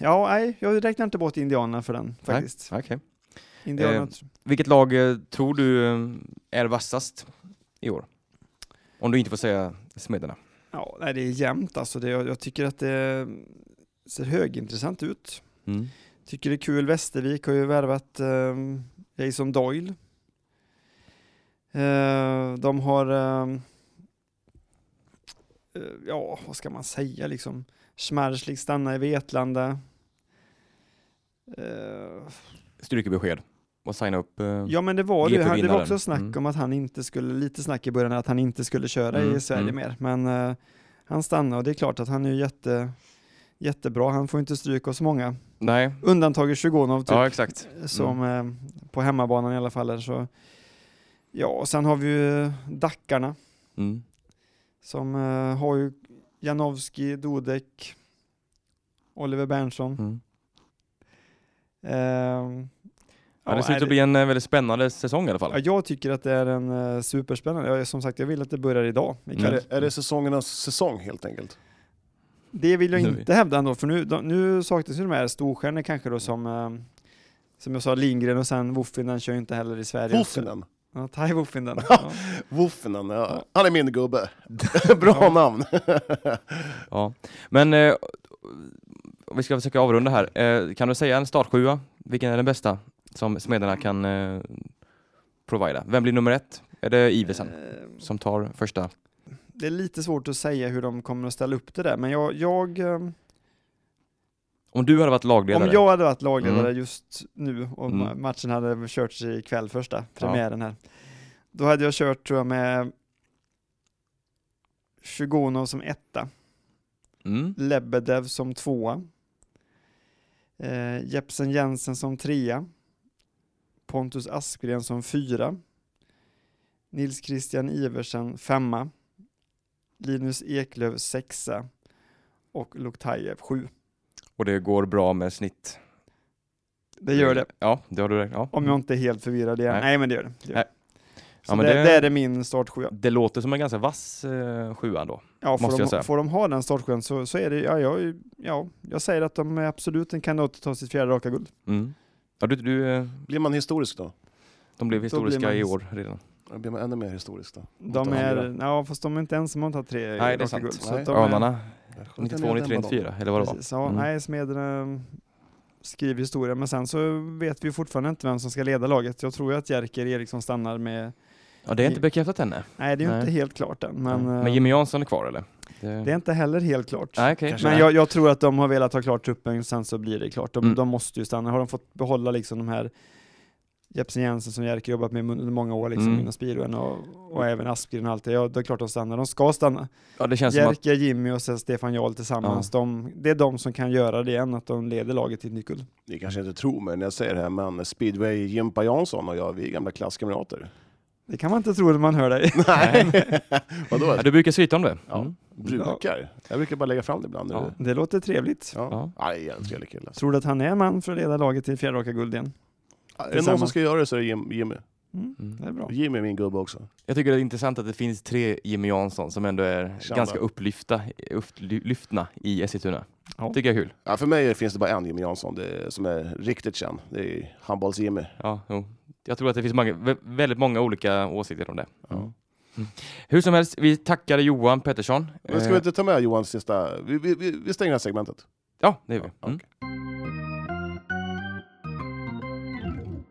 Speaker 6: ja, nej, jag räknar inte bort indianerna för den faktiskt.
Speaker 1: Ah, Okej.
Speaker 6: Indianerna,
Speaker 1: Eh, Vilket lag eh, tror du eh, är vassast i år? Om du inte får säga Smederna.
Speaker 6: ja, nej, det är jämnt alltså. Det, jag, jag tycker att det ser högintressant ut.
Speaker 1: Mm.
Speaker 6: Tycker det är kul, Västervik har ju värvat um, Jason Doyle. Eh, de har, ehm, eh, ja vad ska man säga liksom, Schmarzlik stannar i Vetlanda. Eh,
Speaker 1: Styrkebesked och signa upp. eh,
Speaker 6: ja men det var det, ju. Han- det var
Speaker 1: GP-vinnaren.
Speaker 6: också snack
Speaker 1: Mm.
Speaker 6: om att han inte skulle, lite snack i början att han inte skulle köra i
Speaker 1: Mm,
Speaker 6: Sverige
Speaker 1: mm.
Speaker 6: mer, men eh, han stannar och det är klart att han är ju jätte, jättebra, han får inte stryk av så många.
Speaker 1: Nej,
Speaker 6: Undantaget Sjugonov typ
Speaker 1: ja exakt.
Speaker 6: som eh, på hemmabanan i alla fall. Är, så. Ja, och sen har vi ju Dackarna
Speaker 1: Mm.
Speaker 6: som eh, har ju Janowski, Dodek, Oliver Berntsson.
Speaker 1: Mm.
Speaker 6: Eh,
Speaker 1: Ja, det ser
Speaker 6: är
Speaker 1: ut att bli en eh, väldigt spännande säsong i alla
Speaker 6: ja,
Speaker 1: fall.
Speaker 6: jag tycker att det är en eh, superspännande, jag, som sagt jag vill att det börjar idag.
Speaker 1: Mm.
Speaker 2: Är
Speaker 6: ikväll.
Speaker 2: det, är det säsongernas säsong helt enkelt?
Speaker 6: Det vill jag
Speaker 1: Nu-
Speaker 6: inte hävda ändå, för nu, de, nu saknas ju de här storstjärnor kanske då som eh, som jag sa, Lindgren och sen Woffinen kör ju inte heller i Sverige.
Speaker 2: Woffinen.
Speaker 6: Ja, Tai Woffinen. Ja.
Speaker 2: Woffinen, ja. Han är min gubbe. Bra namn.
Speaker 1: Ja. Men eh, om vi ska försöka avrunda här. Eh, kan du säga en startsjua? Vilken är den bästa som Smederna kan eh, provida? Vem blir nummer ett? Är det Iversen
Speaker 6: Eh,
Speaker 1: som tar första?
Speaker 6: det är lite svårt att säga hur de kommer att ställa upp det där, men jag, jag eh,
Speaker 1: Om du hade varit lagledare?
Speaker 6: om jag hade varit lagledare
Speaker 1: Mm.
Speaker 6: just nu och
Speaker 1: Mm.
Speaker 6: ma- matchen hade körts ikväll första premiären här, då hade jag kört tror jag med Shugonov som etta,
Speaker 1: Mm.
Speaker 6: Lebedev som tvåa, eh, Jepsen Jensen som trea, Pontus Aspgren som fyra, Nils Christian Iversen femma, Linus Eklöf sexa och Luktajev sju.
Speaker 1: Och det går bra med snitt?
Speaker 6: Det gör det,
Speaker 1: Ja, det har du rätt ja.
Speaker 6: om jag inte är helt förvirrad igen. Nej,
Speaker 1: Nej.
Speaker 6: men det gör det. det, gör
Speaker 1: Nej.
Speaker 6: det. Så
Speaker 1: men
Speaker 6: det,
Speaker 1: det-
Speaker 6: det är det min startsjua.
Speaker 1: Det låter som en ganska vass eh, sjua då.
Speaker 6: Ja, får,
Speaker 1: Måste
Speaker 6: de,
Speaker 1: jag säga.
Speaker 6: får de ha den startsjuan så, så är det, ja jag, ja, jag säger att de är absolut en kandidat att ta sitt fjärde raka guld.
Speaker 1: Mm. Ja, du, du, eh,
Speaker 2: Blir man historisk då?
Speaker 1: de blev historiska
Speaker 6: man-
Speaker 1: i år redan.
Speaker 2: Då Blir man ännu mer historisk då?
Speaker 6: De
Speaker 2: Mot andra.
Speaker 6: är, ja, fast de är inte ensamma om att ha tre
Speaker 1: Nej, det är
Speaker 6: raka
Speaker 1: sant.
Speaker 6: guld. Så
Speaker 2: Nej.
Speaker 6: att de är,
Speaker 1: Örnarna,
Speaker 2: Jag skjuter
Speaker 1: 92,
Speaker 2: ner
Speaker 1: 93,
Speaker 2: den bara då.
Speaker 1: 94 eller vad det var.
Speaker 6: Precis, ja,
Speaker 1: Mm.
Speaker 6: nej, Smederna skriver historia, men sen så vet vi fortfarande inte vem som ska leda laget. Jag tror ju att Jerker Eriksson stannar med,
Speaker 1: Ja, det är inte bekräftat ännu.
Speaker 6: nej det är ju
Speaker 1: Nej.
Speaker 6: inte helt klart än, men,
Speaker 1: Men,
Speaker 6: eh,
Speaker 1: Jimmy Jansson är kvar eller? Det-
Speaker 6: det är inte heller helt klart.
Speaker 1: Nej, okej.
Speaker 2: Kanske
Speaker 6: Men
Speaker 1: Nej.
Speaker 6: jag, jag tror att de har velat ha klart truppen, sen så blir det klart. De,
Speaker 1: Mm.
Speaker 6: de måste ju stanna. Har de fått behålla liksom de här Jepsen Jensen som Jerker jobbat med under många år liksom
Speaker 1: Mm.
Speaker 6: inom Spiroen och, och även Aspgren och allt det. Ja, det är klart de stannar. De ska stanna.
Speaker 1: Ja, det känns som att
Speaker 6: Jerker, Jimmy och sen Stefan Jarl tillsammans. De, det är de som kan göra det igen, att de leder laget till ett nytt guld.
Speaker 2: Ni kanske inte tror mig när jag säger det här, men speedway Jimpa Jansson och jag, vi är gamla klasskamrater.
Speaker 6: Det kan man inte tro när man hör dig.
Speaker 2: Nej. Vadå?
Speaker 1: Ja, du brukar skryta om det.
Speaker 2: Ja.
Speaker 1: Mm.
Speaker 2: Brukar? Jag brukar bara lägga fram det ibland.
Speaker 1: Ja.
Speaker 2: Ja.
Speaker 6: Det låter trevligt.
Speaker 2: Ja.
Speaker 1: Ja.
Speaker 2: Nej, jag är en trevlig kille.
Speaker 6: Tror du att han är en man för att leda laget till fjärde raka guld igen?
Speaker 2: Är det någon
Speaker 6: Detsamma.
Speaker 2: som ska göra det så är det Jim- Jimmy.
Speaker 6: Mm,
Speaker 1: Mm.
Speaker 6: det är bra.
Speaker 2: Jimmy är min gubbe också.
Speaker 1: Jag tycker det är intressant att det finns tre Jimmy Jansson som ändå är
Speaker 2: Tjena.
Speaker 1: ganska upplyfta, upplyftna i Eskilstuna.
Speaker 6: Ja.
Speaker 1: Tycker jag är kul.
Speaker 2: Ja, för mig finns det bara en Jimmy Jansson det är, som är riktigt känd. Det är handbolls-Jimmy.
Speaker 1: Ja, jo. Jag tror att det finns många, vä- väldigt många olika åsikter om det.
Speaker 2: Ja.
Speaker 1: Mm. Hur som helst, vi tackar Johan Pettersson.
Speaker 2: Men ska
Speaker 1: Eh,
Speaker 2: vi inte ta med Johans sista... Vi, vi, vi, vi stänger det här segmentet.
Speaker 1: Ja, det gör vi. Mm.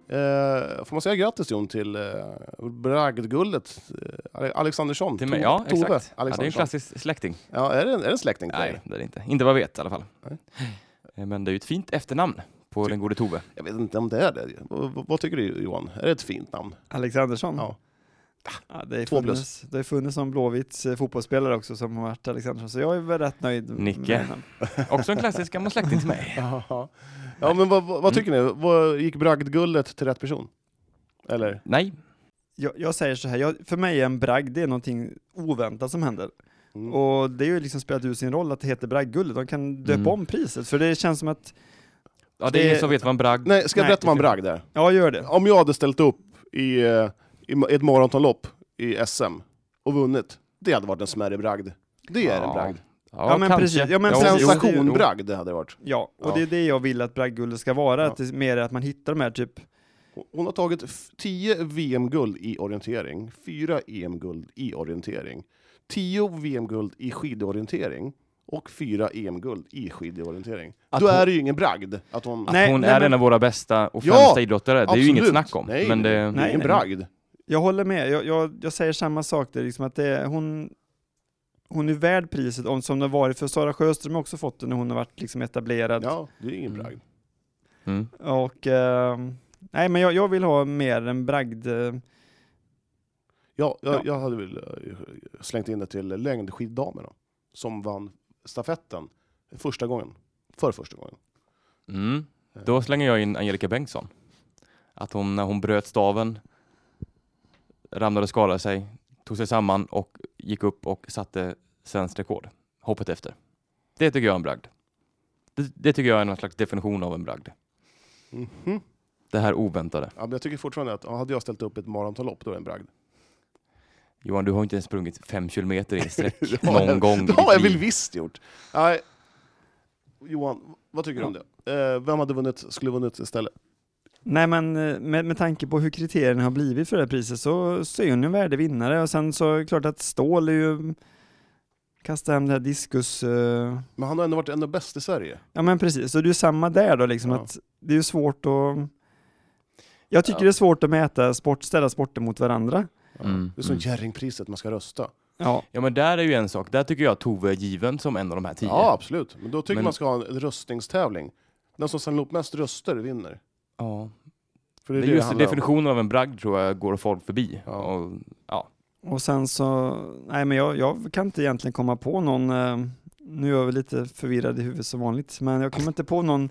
Speaker 2: Eh, får man säga grattis Jon till eh, bragdguldet? Eh, Ale- Alexandersson?
Speaker 1: Till mig,
Speaker 2: To-
Speaker 1: ja exakt.
Speaker 2: Tove
Speaker 1: Ja, det är en
Speaker 2: Alexandersson.
Speaker 1: klassisk släkting.
Speaker 2: Ja, är, det en, är det en släkting till
Speaker 1: Nej,
Speaker 2: dig?
Speaker 1: det är det inte. Inte vad jag vet i alla fall.
Speaker 2: Nej.
Speaker 1: Eh, Men det är ju ett fint efternamn på den gode Tove.
Speaker 2: Jag vet inte om det är det. Vad, vad- vad tycker du Johan? Är det ett fint namn?
Speaker 1: Mm.
Speaker 6: Alexandersson?
Speaker 2: Ja.
Speaker 6: Ja, det, är
Speaker 2: Två plus.
Speaker 6: funnits, det har funnits någon Blåvitts eh, fotbollsspelare också som har varit Alexandersson, så jag är väl rätt nöjd. med
Speaker 1: Nicke.
Speaker 6: honom.
Speaker 1: Också en klassisk gammal släkting till mig.
Speaker 2: ja, men vad,
Speaker 1: Mm.
Speaker 2: vad, vad tycker ni? Vad, gick bragdguldet till rätt person? Eller?
Speaker 1: Nej,
Speaker 6: Jag, jag säger så här, jag, för mig är en bragd det är någonting oväntat som händer.
Speaker 2: Mm.
Speaker 6: Och det är ju liksom spelat ut sin roll att det heter bragdguldet, de kan döpa
Speaker 1: Mm.
Speaker 6: om priset, för det känns som att,
Speaker 1: ja, det
Speaker 2: Det-
Speaker 1: är ingen som vet vad en bragd...
Speaker 2: Nej, ska jag
Speaker 6: Nej,
Speaker 2: berätta vad en
Speaker 6: det-
Speaker 2: bragd är?
Speaker 6: ja gör det.
Speaker 2: Om jag hade ställt upp i, eh, i ma- ett maratonlopp i SM och vunnit, det hade varit en smärre bragd. Det är en
Speaker 1: Ja.
Speaker 2: bragd.
Speaker 1: Ja,
Speaker 6: Ja, men
Speaker 1: kanske.
Speaker 6: precis. Ja, men
Speaker 1: jo, jo, jo.
Speaker 2: Sensationbragd det hade det varit.
Speaker 6: Ja, och
Speaker 2: Ja.
Speaker 6: det är det jag vill att bragdguldet ska vara,
Speaker 2: Ja.
Speaker 6: att det är mer att man hittar de här typ,
Speaker 2: Hon har tagit f- 10 VM-guld i orientering, 4 EM-guld i orientering, 10 VM-guld i skidorientering och 4 EM-guld i skidorientering.
Speaker 1: Att
Speaker 2: Då
Speaker 1: hon-
Speaker 2: är det ju ingen bragd att hon...
Speaker 1: Att
Speaker 6: Nej,
Speaker 1: hon
Speaker 6: nej,
Speaker 1: är
Speaker 6: men-
Speaker 1: en av våra bästa och
Speaker 2: Ja,
Speaker 1: främsta idrottare, det är ju inget
Speaker 2: Absolut.
Speaker 1: snack om.
Speaker 2: Nej,
Speaker 1: men
Speaker 2: det
Speaker 1: det, Mm.
Speaker 2: är ingen
Speaker 6: nej.
Speaker 2: bragd.
Speaker 6: jag håller med, jag, jag, jag säger samma sak, det är liksom att det är, hon, hon är värd priset, om, som det har varit för Sara Sjöström har också fått det när hon har varit liksom etablerad.
Speaker 2: Ja, det är ingen
Speaker 1: Mm.
Speaker 2: bragd.
Speaker 1: Mm.
Speaker 6: Och, ehm, nej men jag, jag vill ha mer en bragd, eh,
Speaker 2: Ja, jag,
Speaker 6: Ja.
Speaker 2: jag hade väl eh, slängt in det till längdskiddamerna som vann stafetten första gången. För första gången.
Speaker 1: Mm. Då slänger jag in Angelica Bengtsson. Att hon, när hon bröt staven, ramlade och skadade sig, tog sig samman och gick upp och satte svenskt rekord. Hoppet efter. Det tycker jag är en bragd. Det, det tycker jag är någon slags definition av en bragd.
Speaker 2: Mhm.
Speaker 1: Det här oväntade.
Speaker 2: Ja, men jag tycker fortfarande att ja, hade jag ställt upp ett maratonlopp, då är det en bragd.
Speaker 1: Johan, du har inte ens sprungit fem kilometer i sträck
Speaker 2: Det har
Speaker 1: någon
Speaker 2: jag-
Speaker 1: gång i
Speaker 2: Det har jag
Speaker 1: ditt liv.
Speaker 2: väl visst gjort. Nej. Johan, vad tycker du om det? Eh, vem hade vunnit, skulle vunnit istället?
Speaker 6: Nej men eh, med, med tanke på hur kriterierna har blivit för det här priset så, så är hon en värdig vinnare och sen så är det klart att stål är ju kasta hem det här diskus... eh,
Speaker 2: Men han har ändå varit ändå bäst i Sverige.
Speaker 6: ja men precis, så det är ju samma där då liksom
Speaker 2: Ja.
Speaker 6: att det är ju svårt att... Jag tycker
Speaker 1: Ja.
Speaker 6: det är svårt att mäta sport, ställa sporter mot varandra.
Speaker 2: Ja.
Speaker 1: Mm,
Speaker 2: Det är som
Speaker 1: mm.
Speaker 2: Jerringpriset, man ska rösta.
Speaker 6: Ja,
Speaker 1: Ja men där är ju en sak, där tycker jag att Tove är given som en av de här tio.
Speaker 2: Ja, absolut. Men då tycker
Speaker 1: Men-
Speaker 2: man ska ha en röstningstävling. Den som samlar upp mest röster vinner.
Speaker 1: Ja.
Speaker 2: För
Speaker 1: Det är
Speaker 2: det
Speaker 1: just
Speaker 2: handlar om.
Speaker 1: definitionen av en bragd tror jag går folk förbi.
Speaker 2: Ja.
Speaker 1: Och,
Speaker 6: och sen så... Nej men jag, jag kan inte egentligen komma på någon... eh, nu är jag väl lite förvirrad i huvudet som vanligt, men jag kommer inte på någon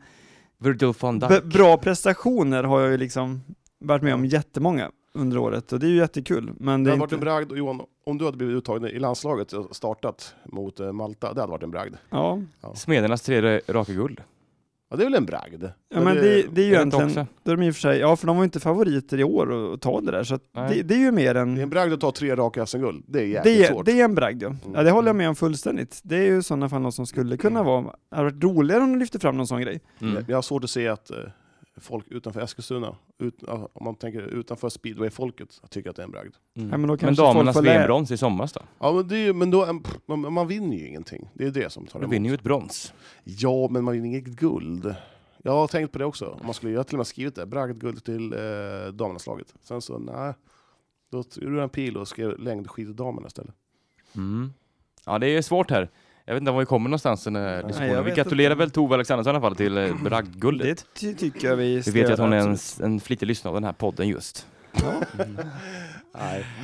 Speaker 1: Virgil van Dijk.
Speaker 6: B- bra prestationer har jag ju liksom varit med om jättemånga under året och det är ju jättekul. Men
Speaker 2: Det
Speaker 6: det är
Speaker 2: hade varit
Speaker 6: inte...
Speaker 2: en bragd, och Johan, om du hade blivit uttagen i landslaget och startat mot eh, Malta, det hade varit en bragd.
Speaker 6: Ja,
Speaker 1: Smedernas tredje raka guld.
Speaker 2: Ja, det är väl en bragd?
Speaker 6: ja men det, det är ju
Speaker 1: Är det inte
Speaker 6: egentligen,
Speaker 1: också?
Speaker 6: då är de i och för sig, ja för de var ju inte favoriter i år och, och ta det där så att
Speaker 1: Nej.
Speaker 6: det, det är ju mer en,
Speaker 2: det är
Speaker 6: det,
Speaker 2: en bragd att ta tre raka SM-guld. Det är jävligt
Speaker 6: är-
Speaker 2: svårt. Mm.
Speaker 6: det är en bragd ja. ja. Det håller jag med om fullständigt. Det är ju i sådana fall något som skulle kunna
Speaker 2: Mm.
Speaker 6: vara, det hade varit roligare om de lyfte fram någon sån grej.
Speaker 1: Mm.
Speaker 2: Jag- Jag har svårt att se att eh, folk utanför Eskilstuna, ut, ja, om man tänker utanför speedway-folket, tycker att det är en bragd.
Speaker 6: Ja, men då kanske
Speaker 1: Mm. men
Speaker 6: folk
Speaker 1: damernas
Speaker 6: får lä-
Speaker 1: VM-brons i somras då?
Speaker 2: Ja, men, det är, ju- men då, en- pff, man, man vinner ju ingenting. Det är det som tar
Speaker 1: Du
Speaker 2: emot.
Speaker 1: vinner ju ett brons.
Speaker 2: Ja, men man vinner inget guld. Jag har tänkt på det också. Om Man skulle, jag har till och med skrivit det, bragd guld till eh, damernaslaget. Sen så, nej. Då gjorde jag en pil och skrev längdskiddamerna istället.
Speaker 1: Mm. Ja, det är svårt här. Jag vet inte var vi kommer någonstans i den här
Speaker 6: jag
Speaker 1: diskussionen. Vi
Speaker 6: vet
Speaker 1: gratulerar
Speaker 6: inte.
Speaker 1: väl Tove Alexandersson i alla fall till eh, bragdguldet.
Speaker 6: Det ty- tycker jag vi
Speaker 1: Vi
Speaker 6: ska
Speaker 1: vet ju att
Speaker 6: göra,
Speaker 1: hon är en,
Speaker 6: absolut.
Speaker 1: en flitig lyssnare av den här podden just.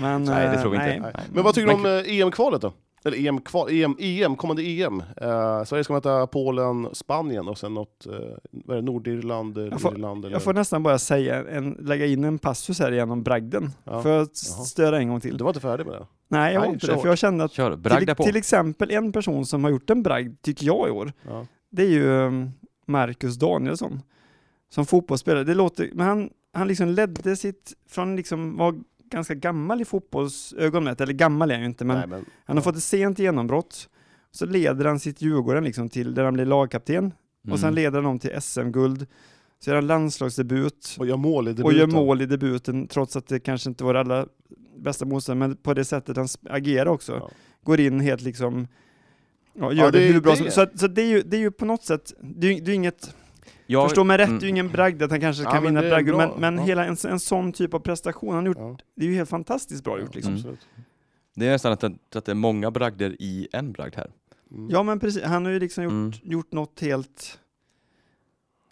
Speaker 6: Men,
Speaker 1: Nej, det tror vi
Speaker 6: eh,
Speaker 1: inte.
Speaker 6: nej.
Speaker 1: Nej.
Speaker 2: Men vad tycker du
Speaker 1: Men
Speaker 2: om eh, EM-kvalet då? Eller EM, kvar, EM, EM kommande EM. Eh, Sverige ska möta Polen, Spanien och sen något, eh, vad är det, Nordirland, eh,
Speaker 6: Jag får-
Speaker 2: Irland eller...
Speaker 6: Jag får nästan bara säga en, lägga in en passus här igen om bragden.
Speaker 2: Ja.
Speaker 6: För att s-
Speaker 2: Jaha.
Speaker 6: störa en gång till.
Speaker 2: Du var inte färdig med det?
Speaker 6: Nej, jag var
Speaker 2: Nej,
Speaker 6: inte
Speaker 2: kör.
Speaker 6: det. För jag kände att
Speaker 1: Kör, bragda
Speaker 6: till,
Speaker 1: på.
Speaker 6: till exempel en person som har gjort en bragd, tycker jag i år,
Speaker 2: Ja.
Speaker 6: det är ju um, Marcus Danielsson. Som fotbollsspelare. Det låter, men han, han liksom ledde sitt, från liksom var ganska gammal i fotbollsögonmätt, eller gammal är han ju inte, men
Speaker 2: Nej, men
Speaker 6: han har fått ett sent genombrott. Så leder han sitt Djurgården liksom till där han blir lagkapten och
Speaker 2: Mm.
Speaker 1: Mm.
Speaker 6: sen leder han dem till SM-guld. Så gör han landslagsdebut
Speaker 2: och gör mål i debuten.
Speaker 6: och gör mål i debuten trots att det kanske inte var det allra bästa motståndet, men på det sättet han sp- agerar också.
Speaker 2: Ja.
Speaker 6: Går in helt liksom, ja, gör
Speaker 2: Ja,
Speaker 6: det,
Speaker 2: det är
Speaker 6: hur bra
Speaker 2: det.
Speaker 6: som Så, att- så det, är ju, det är ju på något sätt, det är ju det är inget,
Speaker 1: jag,
Speaker 6: förstå mig rätt, det är ju
Speaker 1: Mm.
Speaker 6: ingen bragd att han kanske
Speaker 2: Ja,
Speaker 6: kan
Speaker 2: men
Speaker 6: vinna
Speaker 2: det är
Speaker 6: ett bragd,
Speaker 2: bra.
Speaker 6: men, men
Speaker 2: Ja.
Speaker 6: hela en, en sån typ av prestation han gjort,
Speaker 2: Ja.
Speaker 6: det är ju helt fantastiskt bra gjort liksom.
Speaker 1: Mm.
Speaker 2: Absolut.
Speaker 1: Det är nästan att, det- att det är många bragder i en bragd här.
Speaker 2: Mm.
Speaker 6: Ja men precis, han har ju liksom gjort,
Speaker 1: Mm.
Speaker 6: gjort något helt,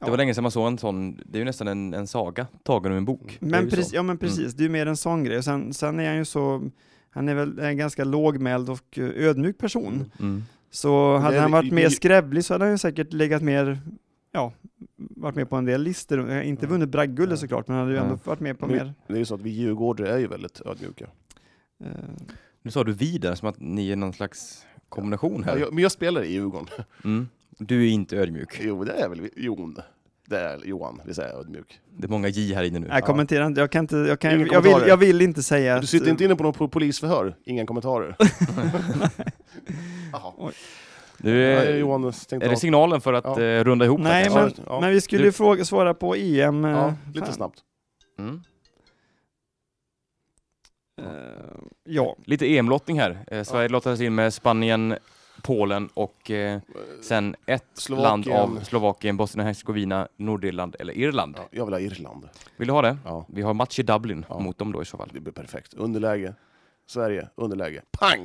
Speaker 1: Det
Speaker 6: Ja.
Speaker 1: var länge sedan man såg en sån, det är ju nästan en, en saga tagen ur en
Speaker 2: Mm.
Speaker 1: bok. Det är
Speaker 6: men
Speaker 1: ju så.
Speaker 6: precis, ja men precis, det är ju mer en sån grej. Och sen, sen är han ju så, han är väl en ganska lågmäld och eh, ödmjuk person.
Speaker 1: Mm.
Speaker 6: Så
Speaker 2: Men
Speaker 6: hade
Speaker 2: det-
Speaker 6: han varit
Speaker 2: i-
Speaker 6: mer
Speaker 2: i-
Speaker 6: skrävlig så hade han ju säkert legat mer, ja, varit med på en del listor. Eh, Inte
Speaker 2: Ja.
Speaker 6: vunnit
Speaker 2: Ja.
Speaker 6: Bragguldet såklart, men han hade ju
Speaker 1: Ja.
Speaker 6: ändå varit med på
Speaker 2: Nu-
Speaker 6: mer.
Speaker 2: Det är ju så att vi djurgårdare är ju väldigt ödmjuka.
Speaker 6: eh,
Speaker 1: Nu sa du vi där, som att ni är någon slags kombination
Speaker 2: Ja,
Speaker 1: här.
Speaker 2: jag, men jag spelar i Djurgården.
Speaker 1: Mm. Du är inte ödmjuk.
Speaker 2: Jo, det är väl vi- Jon. Det är Johan, vi säger ödmjuk.
Speaker 1: Det är många J här inne nu.
Speaker 6: Nej, kommentera inte. Jag kan inte, jag, kan,
Speaker 2: Ingen
Speaker 6: jag, vill,
Speaker 2: kommentarer.
Speaker 6: jag vill inte säga
Speaker 2: Du
Speaker 6: att...
Speaker 2: sitter
Speaker 1: eh,
Speaker 2: inte inne på något po- polisförhör? Inga kommentarer? Jaha.
Speaker 1: Du,
Speaker 2: Ja,
Speaker 1: är,
Speaker 2: Johan tänkte
Speaker 1: är det
Speaker 2: ha-
Speaker 1: signalen för att
Speaker 2: Ja.
Speaker 1: eh, runda ihop? det
Speaker 6: Nej,
Speaker 1: här?
Speaker 6: men,
Speaker 2: Ja, ja.
Speaker 6: men vi skulle
Speaker 1: Du-
Speaker 6: ju fråga, svara på EM. eh,
Speaker 2: ja, lite
Speaker 6: fan.
Speaker 2: snabbt.
Speaker 1: Mm.
Speaker 6: Eh, ja,
Speaker 1: Lite EM-lottning här. Eh, Sverige lottades in med Spanien, Polen och eh, sen ett land
Speaker 2: Slovakien.
Speaker 1: av Slovakien, Bosnien och Hercegovina, Nordirland eller Irland.
Speaker 2: Ja, jag vill ha Irland.
Speaker 1: Vill du ha det?
Speaker 2: Ja,
Speaker 1: Vi har match i Dublin
Speaker 2: Ja.
Speaker 1: mot dem då i så fall.
Speaker 2: det blir perfekt. Underläge. Sverige, underläge. Pang!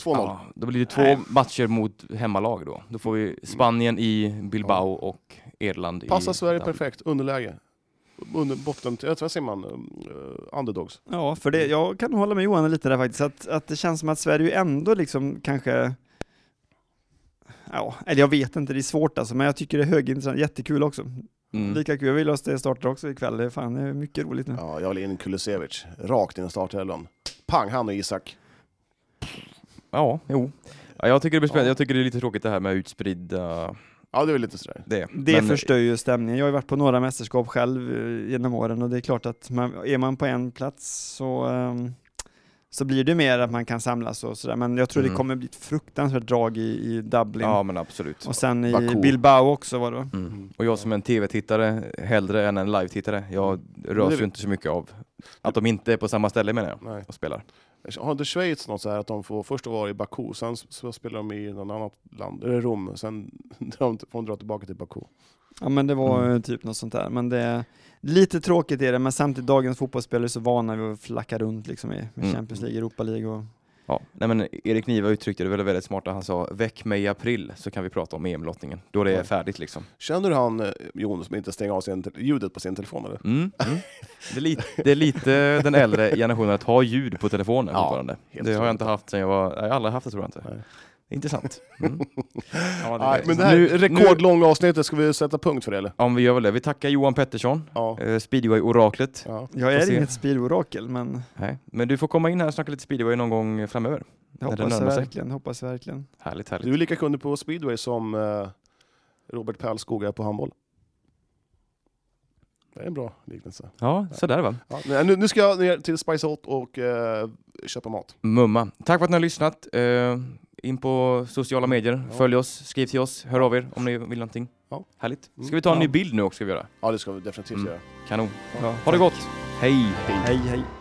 Speaker 2: 2-0.
Speaker 1: Ja, då blir det två matcher mot hemmalag då. Då får
Speaker 2: Mm.
Speaker 1: vi Spanien i Bilbao och Irland
Speaker 2: Passar
Speaker 1: i
Speaker 2: Sverige
Speaker 1: Dublin.
Speaker 2: perfekt. Underläge. Under, botten, jag tror jag säger man, eh, underdogs.
Speaker 6: ja, för
Speaker 1: Mm.
Speaker 6: det, jag kan hålla med Johan lite där faktiskt, att, att det känns som att Sverige ändå liksom kanske... Ja, eller jag vet inte, det är svårt alltså, men jag tycker det är högintressant, jättekul också.
Speaker 1: Mm.
Speaker 6: Lika kul, jag vill ha det startar också ikväll. Det är fan det är mycket roligt nu.
Speaker 2: Ja, jag vill in Kulusevich. Rakt in i startelvan. Pang, han och Isak.
Speaker 1: Ja, jo. Ja, jag tycker det blir spännande.
Speaker 2: Ja.
Speaker 1: Jag tycker det är lite tråkigt det här med utspridda
Speaker 2: Ja, det är väl lite sådär.
Speaker 1: det.
Speaker 6: Det
Speaker 1: Men-
Speaker 6: förstör ju stämningen. Jag har ju varit på några mästerskap själv eh, genom åren och det är klart att man, är man på en plats så, ehm, så blir det mer att man kan samlas och sådär. Men jag tror
Speaker 1: Mm.
Speaker 6: det kommer bli ett fruktansvärt drag i, i Dublin
Speaker 1: Ja, men absolut.
Speaker 6: och sen i
Speaker 2: Baku.
Speaker 6: Bilbao också var det va?
Speaker 1: Mm. Och jag som är en tv-tittare, hellre än en live-tittare, jag
Speaker 2: Mm.
Speaker 1: rörs ju inte så mycket av att de inte är på samma ställe menar jag,
Speaker 2: Nej.
Speaker 1: och spelar.
Speaker 2: Har inte Schweiz något så här att de får först vara i Baku, sen så spelar de i något annat land, eller Rom, sen drar de- får de dra tillbaka till Baku.
Speaker 6: Ja men det var
Speaker 1: Mm.
Speaker 6: eh, typ något sånt där. Men det är lite tråkigt är det, men samtidigt dagens fotbollsspelare är så vana vid att flacka runt liksom i
Speaker 1: Mm.
Speaker 6: Champions League, Europa League och
Speaker 1: Ja. Nej, men Erik Niva uttryckte det väldigt, väldigt smart när han sa väck mig i april så kan vi prata om EM-lottningen, då det är
Speaker 2: Ja.
Speaker 1: färdigt liksom.
Speaker 2: Känner du han eh, Jon som inte stänger av sin te- ljudet på sin telefon eller?
Speaker 1: Mm. Mm. Det, är lite, det är lite den äldre generationen att ha ljud på telefonen
Speaker 2: Ja,
Speaker 1: fortfarande.
Speaker 2: helt
Speaker 1: Det har jag inte
Speaker 2: otroligt.
Speaker 1: haft sen jag var, nej, jag har aldrig haft det tror jag inte.
Speaker 2: Nej.
Speaker 1: Intressant. Mm. Ja, det är
Speaker 2: Nej,
Speaker 1: det.
Speaker 2: men det här
Speaker 1: Nu-
Speaker 2: rekordlånga avsnittet, ska vi sätta punkt för det eller?
Speaker 1: Ja, men vi gör väl det. Vi tackar Johan Pettersson,
Speaker 2: Ja.
Speaker 1: eh, speedway-oraklet.
Speaker 2: ja.
Speaker 6: Jag
Speaker 1: Får
Speaker 6: är
Speaker 1: se.
Speaker 6: inget speedorakel, men
Speaker 1: Nej, men du får komma in här och snacka lite speedway någon gång framöver.
Speaker 6: jag
Speaker 1: När det
Speaker 6: hoppas
Speaker 1: närmar sig.
Speaker 6: verkligen, hoppas verkligen.
Speaker 1: Härligt, härligt.
Speaker 2: Du är lika kunnig på speedway som eh, Robert Pärlskog är på handboll. Det är en bra liknelse.
Speaker 1: Ja, sådär va.
Speaker 2: Ja, nej, nu, nu ska jag ner till Spice Hot och eh, köpa mat.
Speaker 1: Mumma. Tack för att ni har lyssnat. Eh, in på sociala medier,
Speaker 2: Ja.
Speaker 1: följ oss, skriv till oss, hör av er om ni vill någonting.
Speaker 2: Ja.
Speaker 1: Härligt.
Speaker 2: Mm.
Speaker 1: Ska vi ta en
Speaker 6: Ja.
Speaker 1: ny bild nu också? Ska vi göra?
Speaker 2: Ja, det ska vi definitivt
Speaker 1: Mm.
Speaker 2: göra.
Speaker 1: Kanon.
Speaker 6: Ja,
Speaker 1: Ha det gott. Hej.
Speaker 6: Hej, hej.